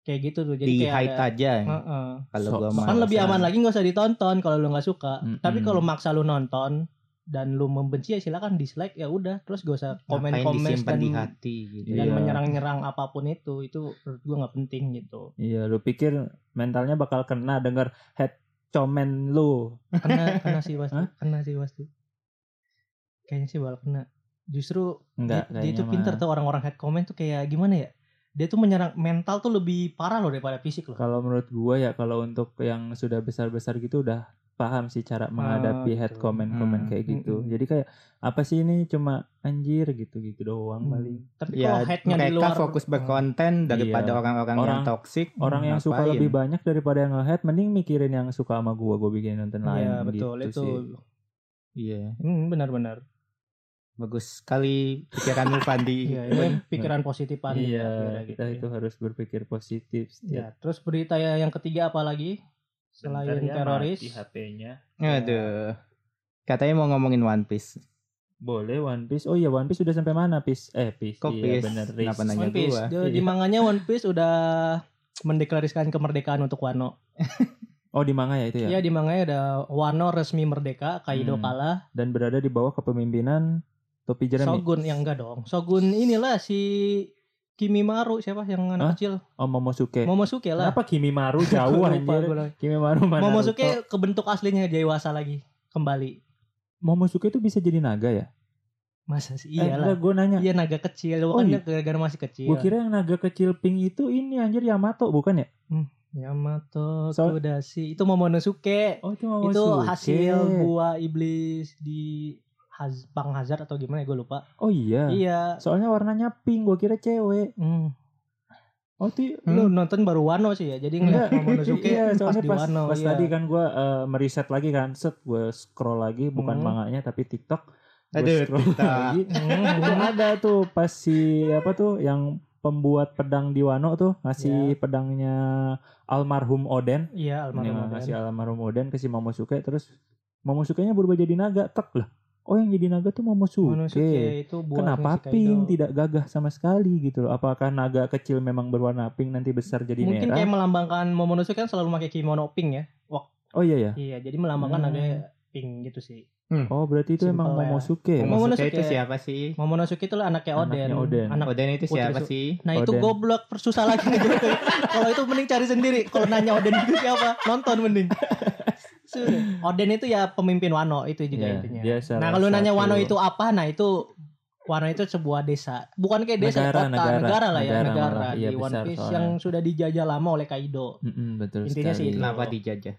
[SPEAKER 2] Kayak gitu tuh. Jadi
[SPEAKER 1] di
[SPEAKER 2] kayak
[SPEAKER 1] hide
[SPEAKER 2] ada-
[SPEAKER 1] aja.
[SPEAKER 2] Heeh.
[SPEAKER 1] Kalau
[SPEAKER 3] Sok-
[SPEAKER 1] gua
[SPEAKER 3] sokan
[SPEAKER 1] mah.
[SPEAKER 2] Bahkan lebih aman lagi nggak usah ditonton kalau lu nggak suka.
[SPEAKER 3] Mm-mm.
[SPEAKER 2] Tapi kalau maksa lu nonton dan lu membenci ya silakan dislike ya udah terus gak usah
[SPEAKER 1] Ngapain
[SPEAKER 2] komen-komen
[SPEAKER 1] disimpan
[SPEAKER 2] dan,
[SPEAKER 1] di hati gitu.
[SPEAKER 2] dan
[SPEAKER 3] Iya.
[SPEAKER 2] menyerang-nyerang apapun itu itu menurut gua nggak penting gitu.
[SPEAKER 3] Iya, lu pikir mentalnya bakal kena denger head comment lu.
[SPEAKER 2] Kena kena sih pasti,
[SPEAKER 3] Hah?
[SPEAKER 2] kena sih pasti. Kayaknya sih bakal kena. Justru dia,
[SPEAKER 3] Enggak,
[SPEAKER 2] dia
[SPEAKER 3] kayaknya
[SPEAKER 2] itu
[SPEAKER 3] mah.
[SPEAKER 2] pinter tuh orang-orang head comment tuh kayak gimana ya? Dia tuh menyerang mental tuh lebih parah loh daripada fisik loh.
[SPEAKER 3] Kalau menurut gua ya kalau untuk yang sudah besar-besar gitu udah paham
[SPEAKER 2] Ah,
[SPEAKER 3] sih cara menghadapi head
[SPEAKER 2] gitu.
[SPEAKER 3] comment-comment
[SPEAKER 1] Hmm.
[SPEAKER 3] kayak gitu.
[SPEAKER 2] Mm-mm.
[SPEAKER 3] Jadi kayak apa sih ini cuma anjir gitu-gitu doang
[SPEAKER 2] Hmm.
[SPEAKER 3] paling.
[SPEAKER 2] Tapi
[SPEAKER 1] Ya,
[SPEAKER 2] kalau headnya di
[SPEAKER 1] mereka
[SPEAKER 2] luar Hmm.
[SPEAKER 1] fokus berkonten daripada
[SPEAKER 3] Iya.
[SPEAKER 1] orang-orang yang
[SPEAKER 3] Orang-
[SPEAKER 1] toksik.
[SPEAKER 3] Orang yang suka
[SPEAKER 1] ngapain?
[SPEAKER 3] lebih banyak daripada yang nge-head mending mikirin yang suka sama gua, gua bikin nonton lain.
[SPEAKER 2] Iya betul
[SPEAKER 3] gitu
[SPEAKER 2] itu.
[SPEAKER 3] sih.
[SPEAKER 1] Iya,
[SPEAKER 2] Hmm, benar-benar.
[SPEAKER 1] bagus sekali pikiranmu Fandi.
[SPEAKER 2] Iya, itu pikiran positif aja.
[SPEAKER 3] Iya,
[SPEAKER 2] Kira-kira
[SPEAKER 3] kita
[SPEAKER 2] gitu
[SPEAKER 3] itu harus berpikir positif.
[SPEAKER 2] Ya,
[SPEAKER 3] setiap-
[SPEAKER 2] terus berita ya- yang ketiga apa lagi? Selain
[SPEAKER 3] Bentar ya,
[SPEAKER 2] teroris.
[SPEAKER 3] mati HP-nya.
[SPEAKER 1] Aduh. Katanya mau ngomongin One Piece.
[SPEAKER 3] Boleh One Piece. Oh iya One Piece sudah sampai mana, Piece? Eh, Piece.
[SPEAKER 1] Kok
[SPEAKER 3] iya,
[SPEAKER 1] Piece?
[SPEAKER 3] bener,
[SPEAKER 1] Kenapa
[SPEAKER 3] Riz.
[SPEAKER 1] nanya?
[SPEAKER 2] One Piece.
[SPEAKER 1] gua.
[SPEAKER 2] Dia- Di
[SPEAKER 3] Iya.
[SPEAKER 2] manganya One Piece udah mendeklarasikan kemerdekaan untuk Wano.
[SPEAKER 3] Oh, di manga ya itu
[SPEAKER 2] Iya,
[SPEAKER 3] ya?
[SPEAKER 2] di manganya ada Wano resmi merdeka, Kaido
[SPEAKER 3] Hmm.
[SPEAKER 2] kalah,
[SPEAKER 3] dan berada di bawah kepemimpinan Topi Jeremy.
[SPEAKER 2] Shogun yang enggak dong. Shogun inilah si Kimimaru siapa yang anak
[SPEAKER 3] Hah?
[SPEAKER 2] kecil?
[SPEAKER 3] Oh Momosuke.
[SPEAKER 2] Momosuke lah.
[SPEAKER 3] Kenapa Kimimaru
[SPEAKER 2] Gua
[SPEAKER 3] jauh
[SPEAKER 2] lupa,
[SPEAKER 3] anjir?
[SPEAKER 2] gua lupa.
[SPEAKER 3] Kimimaru mana?
[SPEAKER 2] Momosuke ke bentuk aslinya dewasa lagi kembali.
[SPEAKER 3] Momosuke itu bisa jadi naga ya?
[SPEAKER 2] Masa sih
[SPEAKER 3] Eh,
[SPEAKER 2] iyalah.
[SPEAKER 3] enggak, gua nanya.
[SPEAKER 2] Iya naga kecil,
[SPEAKER 3] Oh,
[SPEAKER 2] bukan
[SPEAKER 3] iya.
[SPEAKER 2] gara-gara masih kecil.
[SPEAKER 3] Gua kira yang naga kecil pink itu ini anjir Yamato bukan ya?
[SPEAKER 2] Yamato
[SPEAKER 3] So-
[SPEAKER 2] Kudashi itu Momonosuke.
[SPEAKER 3] Oh itu
[SPEAKER 2] itu hasil buah iblis di Haz Bang Hazard atau gimana ya gue lupa.
[SPEAKER 3] Oh iya.
[SPEAKER 2] Iya.
[SPEAKER 3] Soalnya warnanya pink, gua kira cewek.
[SPEAKER 2] Hmm.
[SPEAKER 3] Oh itu
[SPEAKER 2] Lu nonton baru Wano sih ya. Jadi ngeliat Momonosuke
[SPEAKER 3] iya,
[SPEAKER 2] pas
[SPEAKER 3] soalnya
[SPEAKER 2] di
[SPEAKER 3] pas,
[SPEAKER 2] Wano.
[SPEAKER 3] pas
[SPEAKER 2] iya.
[SPEAKER 3] tadi kan gua eh, meriset lagi kan, set gua scroll lagi bukan
[SPEAKER 2] Hmm.
[SPEAKER 3] manganya tapi TikTok. Gua
[SPEAKER 1] Aduh,
[SPEAKER 3] scroll
[SPEAKER 1] TikTok.
[SPEAKER 3] lagi. itu
[SPEAKER 2] Hmm.
[SPEAKER 3] ada tuh pas si apa tuh yang pembuat pedang di Wano tuh ngasih pedangnya almarhum Oden
[SPEAKER 2] Iya, almarhum.
[SPEAKER 3] Nah,
[SPEAKER 2] Oden.
[SPEAKER 3] ngasih almarhum Oden ke si Momosuke terus Momosukenya berubah jadi naga tek lah oh yang jadi naga tuh Momosuke,
[SPEAKER 2] Momonosuke itu buahnya
[SPEAKER 3] kenapa
[SPEAKER 2] si Kaido.
[SPEAKER 3] pink tidak gagah sama sekali gitu loh apakah naga kecil memang berwarna pink nanti besar jadi
[SPEAKER 2] Mungkin
[SPEAKER 3] merah
[SPEAKER 2] kayak melambangkan Momonosuke kan selalu pakai kimono pink ya.
[SPEAKER 3] oh iya ya
[SPEAKER 2] Iya, jadi melambangkan
[SPEAKER 3] Hmm.
[SPEAKER 2] naga pink gitu sih.
[SPEAKER 3] oh berarti itu emang
[SPEAKER 2] Simple ya.
[SPEAKER 3] Momosuke ya?
[SPEAKER 2] Momo-
[SPEAKER 1] Momonosuke Iya, itu
[SPEAKER 2] Momonosuke.
[SPEAKER 1] siapa sih?
[SPEAKER 2] Momonosuke itu lah anaknya Oden.
[SPEAKER 3] Anaknya Oden.
[SPEAKER 2] Anak
[SPEAKER 1] Oden itu
[SPEAKER 2] Putri
[SPEAKER 1] siapa
[SPEAKER 2] Su-
[SPEAKER 1] sih?
[SPEAKER 2] Nah itu
[SPEAKER 3] Oden.
[SPEAKER 2] goblok persusah lagi ngejawabnya. Kalau itu mending cari sendiri. Kalau nanya Oden itu siapa, nonton mending. Sudah. Oden itu ya pemimpin Wano itu juga
[SPEAKER 3] Iya,
[SPEAKER 2] intinya.
[SPEAKER 3] dia salah
[SPEAKER 2] Nah kalau nanya
[SPEAKER 3] satu-
[SPEAKER 2] Wano itu apa, nah itu Wano itu sebuah desa, bukan kayak desa,
[SPEAKER 3] Negara,
[SPEAKER 2] kota,
[SPEAKER 3] negara.
[SPEAKER 2] negara, lah ya,
[SPEAKER 3] Negara
[SPEAKER 2] negara,
[SPEAKER 3] malah, iya,
[SPEAKER 2] di One
[SPEAKER 3] besar
[SPEAKER 2] Piece
[SPEAKER 3] soalnya.
[SPEAKER 2] yang sudah dijajah lama oleh Kaido.
[SPEAKER 3] Mm-mm, betul
[SPEAKER 2] Intinya sih
[SPEAKER 3] sekali.
[SPEAKER 2] itu.
[SPEAKER 1] Kenapa dijajah?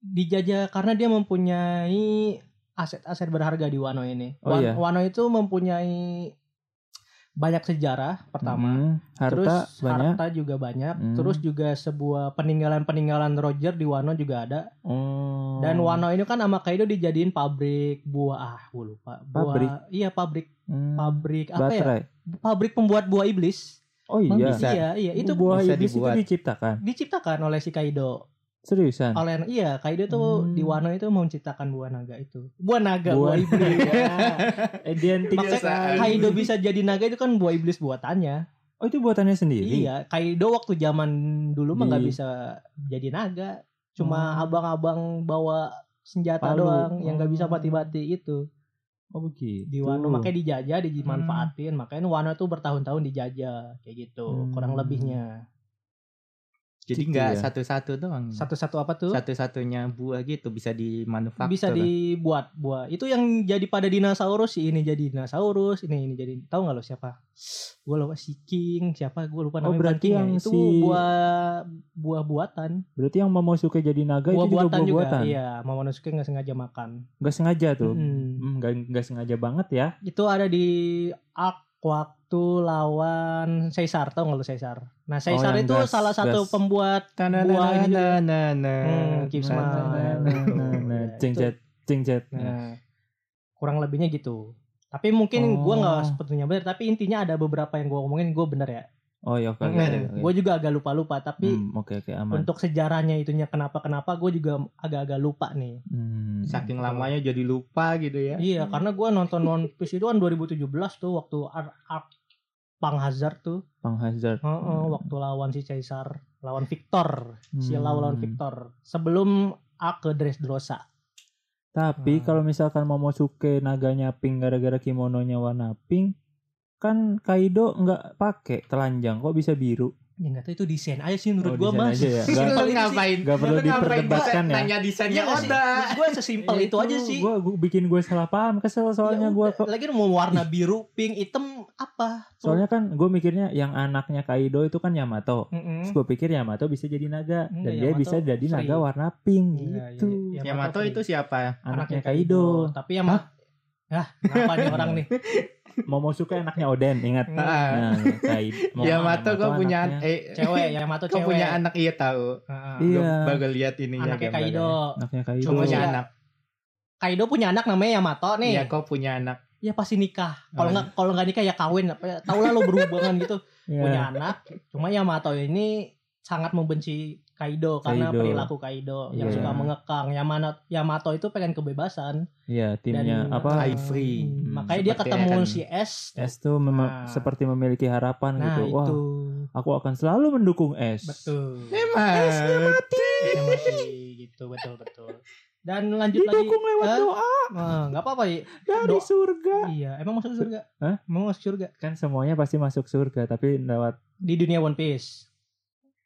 [SPEAKER 2] dijajah karena dia mempunyai aset-aset berharga di Wano ini.
[SPEAKER 3] Oh,
[SPEAKER 2] Wan-
[SPEAKER 3] iya.
[SPEAKER 2] Wano itu mempunyai banyak sejarah pertama.
[SPEAKER 3] Mm, harta
[SPEAKER 2] terus
[SPEAKER 3] banyak.
[SPEAKER 2] harta juga banyak.
[SPEAKER 3] Hmm.
[SPEAKER 2] Terus juga sebuah peninggalan-peninggalan Roger di Wano juga ada.
[SPEAKER 3] Oh.
[SPEAKER 2] Dan Wano ini kan sama Kaido dijadiin pabrik buah ah, gue lupa. Buah,
[SPEAKER 3] Pabrik?
[SPEAKER 2] Iya pabrik,
[SPEAKER 3] Mm,
[SPEAKER 2] pabrik apa ya?
[SPEAKER 3] baterai.
[SPEAKER 2] Pabrik pembuat buah iblis.
[SPEAKER 3] Oh
[SPEAKER 1] Emang
[SPEAKER 3] iya.
[SPEAKER 1] bisa?
[SPEAKER 2] Iya, iya itu
[SPEAKER 3] buah
[SPEAKER 1] bisa
[SPEAKER 3] iblis
[SPEAKER 1] dibuat.
[SPEAKER 3] itu diciptakan.
[SPEAKER 2] diciptakan oleh si Kaido.
[SPEAKER 3] Seriusan.
[SPEAKER 2] Oleh iya Kaido tuh
[SPEAKER 3] Hmm.
[SPEAKER 2] di Wano itu mau menciptakan buah naga itu. Buah naga, buah,
[SPEAKER 3] Buah
[SPEAKER 2] iblis. Iya.
[SPEAKER 3] Identik
[SPEAKER 2] Makanya Kaido bisa jadi naga itu kan buah iblis buatannya.
[SPEAKER 3] Oh itu buatannya sendiri.
[SPEAKER 2] Iya, Kaido waktu zaman dulu mah nggak
[SPEAKER 3] Di-
[SPEAKER 2] bisa jadi naga. Cuma
[SPEAKER 3] Oh.
[SPEAKER 2] abang-abang bawa senjata
[SPEAKER 3] Palu.
[SPEAKER 2] doang yang nggak bisa
[SPEAKER 3] Oh.
[SPEAKER 2] mati-mati itu.
[SPEAKER 3] Oh begitu.
[SPEAKER 2] Di Wano makanya dijajah,
[SPEAKER 3] Hmm.
[SPEAKER 2] dimanfaatin. Makanya Wano tuh bertahun-tahun dijajah kayak gitu,
[SPEAKER 3] Hmm.
[SPEAKER 2] kurang lebihnya.
[SPEAKER 1] Jadi
[SPEAKER 3] Gitu
[SPEAKER 1] nggak
[SPEAKER 3] ya.
[SPEAKER 1] satu-satu doang.
[SPEAKER 2] Satu-satu apa tuh?
[SPEAKER 1] Satu-satunya buah gitu bisa dimanufaktur.
[SPEAKER 2] bisa dibuat buah itu yang jadi pada dinosaurus si ini jadi dinosaurus ini ini jadi tahu nggak lo siapa gue lupa si king siapa gue lupa
[SPEAKER 3] Oh,
[SPEAKER 2] namanya
[SPEAKER 3] berarti
[SPEAKER 2] bukan King ya.
[SPEAKER 3] yang
[SPEAKER 2] itu
[SPEAKER 3] si-
[SPEAKER 2] buah buah buatan
[SPEAKER 3] Berarti yang Momosuke jadi naga
[SPEAKER 2] buah
[SPEAKER 3] itu juga
[SPEAKER 2] buatan
[SPEAKER 3] buah
[SPEAKER 2] juga
[SPEAKER 3] buatan.
[SPEAKER 2] iya Momonosuke nggak sengaja makan
[SPEAKER 3] Nggak sengaja tuh.
[SPEAKER 2] Mm-mm.
[SPEAKER 3] Hmm, nggak nggak sengaja banget ya.
[SPEAKER 2] itu ada di arc waktu lawan Caesar tau nggak lo Caesar nah Caesar
[SPEAKER 3] Oh, yang
[SPEAKER 2] itu
[SPEAKER 3] gas-
[SPEAKER 2] salah satu
[SPEAKER 3] gas.
[SPEAKER 2] pembuat buah
[SPEAKER 1] gitu
[SPEAKER 2] ini juga.
[SPEAKER 1] ya?
[SPEAKER 2] Hmm, keep
[SPEAKER 3] Nah, nah,
[SPEAKER 2] smile.
[SPEAKER 3] nah, nah, nah.
[SPEAKER 2] Iya,
[SPEAKER 3] Ceng
[SPEAKER 2] itu-
[SPEAKER 3] cet, ceng cet.
[SPEAKER 2] Nah, kurang lebihnya gitu. Tapi mungkin gua nggak
[SPEAKER 3] Oh.
[SPEAKER 2] sepenuhnya benar, tapi intinya ada beberapa yang gua ngomongin gua benar ya.
[SPEAKER 3] Oh iya oke. oke,
[SPEAKER 2] Nah,
[SPEAKER 3] oke, oke.
[SPEAKER 2] Gua juga agak lupa-lupa, tapi
[SPEAKER 3] Hmm, oke oke aman.
[SPEAKER 2] untuk sejarahnya itunya kenapa-kenapa gua juga agak-agak lupa nih.
[SPEAKER 3] Hmm.
[SPEAKER 1] Saking lamanya jadi lupa gitu ya.
[SPEAKER 2] Iya, karena gua nonton One Piece itu kan 2017 tuh waktu arc arc Pang Hazard tuh.
[SPEAKER 3] Pang Hazard.
[SPEAKER 2] Heeh, waktu lawan si Caesar, lawan Victor, si Lau lawan
[SPEAKER 3] Hmm. Hmm.
[SPEAKER 2] Victor. Sebelum arc ke Dressrosa.
[SPEAKER 3] Tapi
[SPEAKER 2] Nah.
[SPEAKER 3] kalau misalkan Momosuke naganya pink gara-gara kimononya warna pink, kan Kaido nggak pakai telanjang kok bisa biru.
[SPEAKER 2] Ya enggak tahu itu desain aja sih menurut
[SPEAKER 3] Oh,
[SPEAKER 2] gua,
[SPEAKER 3] desain
[SPEAKER 2] Mas.
[SPEAKER 3] aja ya. Nggak-
[SPEAKER 2] Simpel itu sih.
[SPEAKER 3] nggak perlu
[SPEAKER 1] Lu ngapain
[SPEAKER 3] diperdebatkan
[SPEAKER 1] gua
[SPEAKER 3] ya.
[SPEAKER 1] Nanya desainnya
[SPEAKER 2] Iya nggak sih?
[SPEAKER 1] Oda.
[SPEAKER 2] gue sesimpel
[SPEAKER 3] Ya
[SPEAKER 2] itu, Ya aja sih.
[SPEAKER 3] Gua, gua bikin gue salah paham, kesel soalnya gua kok.
[SPEAKER 2] lagi mau warna biru, pink, hitam apa?
[SPEAKER 3] Soalnya kan gue mikirnya yang anaknya Kaido itu kan Yamato. Terus gue pikir Yamato bisa jadi naga
[SPEAKER 2] Enggak, Hmm.
[SPEAKER 3] dan dia
[SPEAKER 2] iya, Yamato
[SPEAKER 3] bisa
[SPEAKER 2] free.
[SPEAKER 3] jadi
[SPEAKER 2] Iya,
[SPEAKER 3] naga warna pink gitu.
[SPEAKER 1] Yamato itu siapa?
[SPEAKER 3] Anaknya Kaido,
[SPEAKER 2] Tapi yang Hah, kenapa nih orang nih?
[SPEAKER 3] Momosuke anaknya Oden, ingat.
[SPEAKER 1] Ah,
[SPEAKER 3] Nah, Kaido.
[SPEAKER 2] Ya,
[SPEAKER 1] Yamato gue punya
[SPEAKER 3] anaknya.
[SPEAKER 1] eh
[SPEAKER 2] Cewek, Yamato
[SPEAKER 1] Gue
[SPEAKER 2] cewek.
[SPEAKER 1] punya anak iya tahu.
[SPEAKER 2] Heeh.
[SPEAKER 1] Gue
[SPEAKER 3] Iya.
[SPEAKER 1] baru lihat ininya
[SPEAKER 2] Anaknya
[SPEAKER 1] gambarnya.
[SPEAKER 2] Kaido.
[SPEAKER 3] Anaknya Kaido.
[SPEAKER 1] Gua punya
[SPEAKER 2] Iya.
[SPEAKER 1] anak.
[SPEAKER 2] Kaido punya anak namanya Yamato nih.
[SPEAKER 1] Iya, kau punya anak.
[SPEAKER 2] Ya pasti nikah. Kalau
[SPEAKER 1] Oh,
[SPEAKER 2] nggak kalau nggak nikah ya kawin apa ya. Tau lah lo berhubungan gitu.
[SPEAKER 3] Iya.
[SPEAKER 2] Punya anak. Cuma Yamato ini sangat membenci Kaido karena
[SPEAKER 3] Kaido.
[SPEAKER 2] perilaku Kaido yang
[SPEAKER 3] Iya.
[SPEAKER 2] suka mengekang. Yamato Yamato itu pengen kebebasan.
[SPEAKER 3] Iya, timnya
[SPEAKER 2] Dan,
[SPEAKER 3] apa?
[SPEAKER 2] uh,
[SPEAKER 1] High free.
[SPEAKER 2] hmm,
[SPEAKER 3] Hmm,
[SPEAKER 2] makanya dia
[SPEAKER 1] seperti
[SPEAKER 2] ketemu
[SPEAKER 1] akan-
[SPEAKER 2] si S
[SPEAKER 3] S tuh
[SPEAKER 2] Nah.
[SPEAKER 3] memang seperti memiliki harapan
[SPEAKER 2] nah
[SPEAKER 3] gitu. Wah,
[SPEAKER 2] itu
[SPEAKER 3] aku akan selalu mendukung S.
[SPEAKER 2] betul
[SPEAKER 1] Memang.
[SPEAKER 2] Dia mati, Iya, gitu betul betul dan lanjut
[SPEAKER 3] Didukung
[SPEAKER 2] lagi
[SPEAKER 3] lewat
[SPEAKER 2] Hah?
[SPEAKER 3] doa
[SPEAKER 2] Ah, nggak apa-apa I.
[SPEAKER 3] dari
[SPEAKER 2] Doa.
[SPEAKER 3] surga.
[SPEAKER 2] iya emang masuk surga
[SPEAKER 3] Hah?
[SPEAKER 2] mau masuk surga
[SPEAKER 3] Kan semuanya pasti masuk surga, tapi lewat
[SPEAKER 2] di dunia One Piece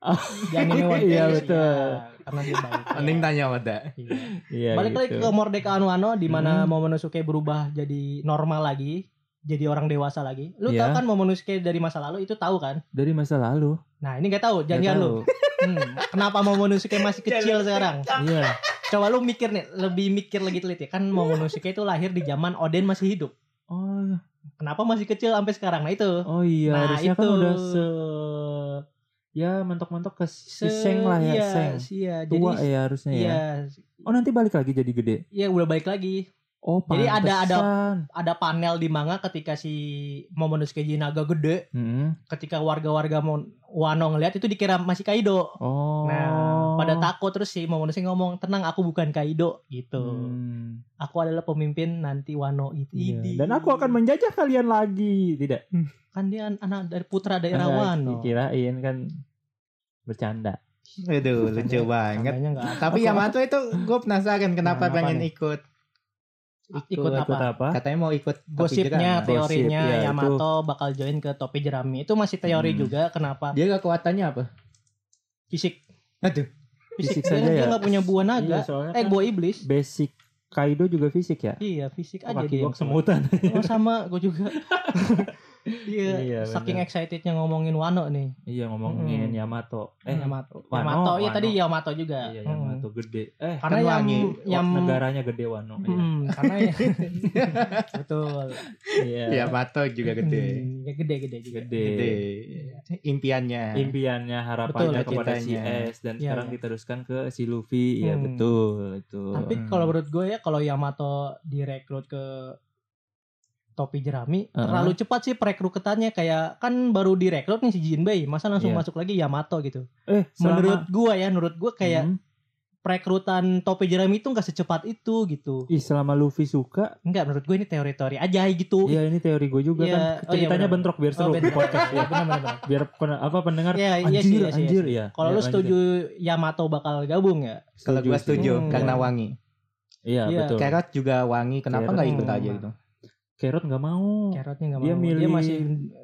[SPEAKER 3] Ah.
[SPEAKER 2] di anime One Piece
[SPEAKER 3] Iya, betul.
[SPEAKER 2] iya, karena dia baik
[SPEAKER 1] Mending
[SPEAKER 2] iya.
[SPEAKER 1] tanya Oda.
[SPEAKER 2] Iya.
[SPEAKER 3] Iya,
[SPEAKER 2] balik lagi
[SPEAKER 3] gitu.
[SPEAKER 2] ke Mordekaan Wano di mana
[SPEAKER 3] Hmm.
[SPEAKER 2] Momonosuke berubah jadi normal lagi jadi orang dewasa lagi lu
[SPEAKER 3] Iya.
[SPEAKER 2] tau kan Momonosuke dari masa lalu itu tahu kan
[SPEAKER 3] dari masa lalu.
[SPEAKER 2] nah ini nggak tahu
[SPEAKER 3] Nggak
[SPEAKER 2] jangan lu
[SPEAKER 3] tahu.
[SPEAKER 2] Hmm, kenapa Momonosuke masih kecil sekarang?
[SPEAKER 3] Iya.
[SPEAKER 2] Coba lu mikir nih, lebih mikir lagi teliti. Kan Momonosuke itu lahir di zaman Oden masih hidup.
[SPEAKER 3] Oh,
[SPEAKER 2] Kenapa masih kecil sampai sekarang? Nah itu.
[SPEAKER 3] oh iya,
[SPEAKER 2] Nah,
[SPEAKER 3] harusnya kan
[SPEAKER 2] itu.
[SPEAKER 3] udah se ya mentok-mentok ke si seng lah ya,
[SPEAKER 2] iya,
[SPEAKER 3] seng.
[SPEAKER 2] Iya, jadi
[SPEAKER 3] Tua ya harusnya
[SPEAKER 2] iya,
[SPEAKER 3] ya. Oh, nanti balik lagi jadi gede.
[SPEAKER 2] iya udah balik lagi.
[SPEAKER 3] Oh,
[SPEAKER 2] Jadi ada- ada-
[SPEAKER 3] pantesan.
[SPEAKER 2] Ada panel di manga ketika si Momonosuke Jinaga gede,
[SPEAKER 3] Mm-mm.
[SPEAKER 2] ketika warga-warga Mon- Wano ngelihat itu dikira masih Kaido.
[SPEAKER 3] Oh.
[SPEAKER 2] Nah, pada takut terus si Momonosuke ngomong, "Tenang, aku bukan Kaido." gitu.
[SPEAKER 3] Hmm.
[SPEAKER 2] Aku adalah pemimpin nanti Wano itu.
[SPEAKER 3] Iya. Dan aku akan menjajah kalian lagi. Tidak.
[SPEAKER 2] kan dia an- anak dari putra
[SPEAKER 3] Karena
[SPEAKER 2] daerah Wano.
[SPEAKER 3] Kirain kan bercanda.
[SPEAKER 1] Aduh, lucu
[SPEAKER 3] Nah,
[SPEAKER 1] banget.
[SPEAKER 2] Tandanya nggak
[SPEAKER 1] Tapi Yamato itu gue penasaran kenapa
[SPEAKER 2] Kenapa
[SPEAKER 1] pengen
[SPEAKER 2] nih?
[SPEAKER 1] ikut.
[SPEAKER 2] ikut
[SPEAKER 3] Ikut
[SPEAKER 2] apa?
[SPEAKER 3] apa?
[SPEAKER 1] Katanya mau ikut topi jerami.
[SPEAKER 2] Gosipnya,
[SPEAKER 3] Teo.
[SPEAKER 2] teorinya
[SPEAKER 3] nah, Gosip, ya,
[SPEAKER 2] Yamato bakal join ke topi jerami. Itu masih teori
[SPEAKER 3] Hmm.
[SPEAKER 2] juga. Kenapa?
[SPEAKER 1] Dia kekuatannya apa?
[SPEAKER 2] Fisik.
[SPEAKER 1] Aduh.
[SPEAKER 2] Fisik,
[SPEAKER 3] Fisik saja
[SPEAKER 2] dia, dia
[SPEAKER 3] ya?
[SPEAKER 2] nggak punya buah
[SPEAKER 3] Iya,
[SPEAKER 2] naga.
[SPEAKER 3] soalnya
[SPEAKER 2] eh,
[SPEAKER 3] kan
[SPEAKER 2] buah iblis.
[SPEAKER 3] basic Kaido juga fisik ya.
[SPEAKER 2] Iya, fisik
[SPEAKER 3] Oh,
[SPEAKER 2] aja
[SPEAKER 3] kaki
[SPEAKER 2] dia.
[SPEAKER 3] gua kesemutan.
[SPEAKER 2] Oh, sama gue juga. Iya,
[SPEAKER 3] Iya,
[SPEAKER 2] saking excitednya ngomongin Wano nih.
[SPEAKER 3] Iya ngomongin
[SPEAKER 2] Mm-mm.
[SPEAKER 3] Yamato. Eh
[SPEAKER 2] Yamato.
[SPEAKER 3] Wano,
[SPEAKER 2] Yamato, iya
[SPEAKER 3] Wano.
[SPEAKER 2] tadi Yamato juga.
[SPEAKER 3] Iya
[SPEAKER 2] Hmm.
[SPEAKER 3] Yamato gede. Eh
[SPEAKER 2] Karena
[SPEAKER 3] kan
[SPEAKER 2] yang-
[SPEAKER 3] wangi.
[SPEAKER 2] yang-
[SPEAKER 3] negaranya gede Wano. Iya.
[SPEAKER 2] Hmm, karena ya, betul.
[SPEAKER 3] Iya.
[SPEAKER 4] Iya, Mato juga gede.
[SPEAKER 2] Hmm, ya gede gede juga.
[SPEAKER 3] Gede.
[SPEAKER 4] Gede. Impiannya.
[SPEAKER 3] Impiannya harapannya
[SPEAKER 4] Betul,
[SPEAKER 3] kepada si
[SPEAKER 4] cita-citanya.
[SPEAKER 3] S dan
[SPEAKER 2] Iya,
[SPEAKER 3] sekarang
[SPEAKER 2] iya.
[SPEAKER 3] diteruskan ke si Luffy. Iya
[SPEAKER 2] Hmm.
[SPEAKER 3] betul itu.
[SPEAKER 2] Tapi
[SPEAKER 4] Hmm.
[SPEAKER 2] kalau menurut gue ya kalau Yamato direkrut ke topi jerami
[SPEAKER 3] Uh-uh.
[SPEAKER 2] terlalu cepat sih perekrutannya kayak kan baru direkrut nih si Jinbei masa langsung
[SPEAKER 3] Iya.
[SPEAKER 2] masuk lagi Yamato gitu.
[SPEAKER 3] Eh selama-
[SPEAKER 2] Menurut gue ya, menurut gue kayak
[SPEAKER 3] Hmm.
[SPEAKER 2] perekrutan topi jerami itu nggak secepat itu gitu.
[SPEAKER 3] Ih selama Luffy suka,
[SPEAKER 2] Enggak menurut gue ini teori-teori aja gitu.
[SPEAKER 3] iya ini teori gue juga
[SPEAKER 2] Iya.
[SPEAKER 3] kan.
[SPEAKER 2] Oh, iya,
[SPEAKER 3] Ceritanya
[SPEAKER 2] benar.
[SPEAKER 3] bentrok biar
[SPEAKER 2] Oh,
[SPEAKER 3] seru di
[SPEAKER 2] benar.
[SPEAKER 3] podcast ya.
[SPEAKER 2] Iya, benar, benar, benar.
[SPEAKER 3] Biar pen- apa pendengar
[SPEAKER 2] Iya, iya sih,
[SPEAKER 3] anjir
[SPEAKER 2] iya sih, iya
[SPEAKER 3] anjir
[SPEAKER 2] sih.
[SPEAKER 3] ya.
[SPEAKER 2] Kalau
[SPEAKER 3] Iya,
[SPEAKER 2] lu
[SPEAKER 3] lanjut.
[SPEAKER 2] setuju Yamato bakal gabung ya?
[SPEAKER 4] Kalau gua setuju,
[SPEAKER 2] Hmm.
[SPEAKER 4] karena wangi.
[SPEAKER 3] Iya
[SPEAKER 2] Iya.
[SPEAKER 3] betul.
[SPEAKER 4] Carrot juga wangi, kenapa
[SPEAKER 3] Carrot
[SPEAKER 4] nggak ikut
[SPEAKER 2] juga
[SPEAKER 4] aja
[SPEAKER 2] wangi.
[SPEAKER 4] gitu?
[SPEAKER 3] Carrot nggak mau.
[SPEAKER 2] Carrotnya nggak mau.
[SPEAKER 3] Oh. Dia milih-
[SPEAKER 2] Dia masih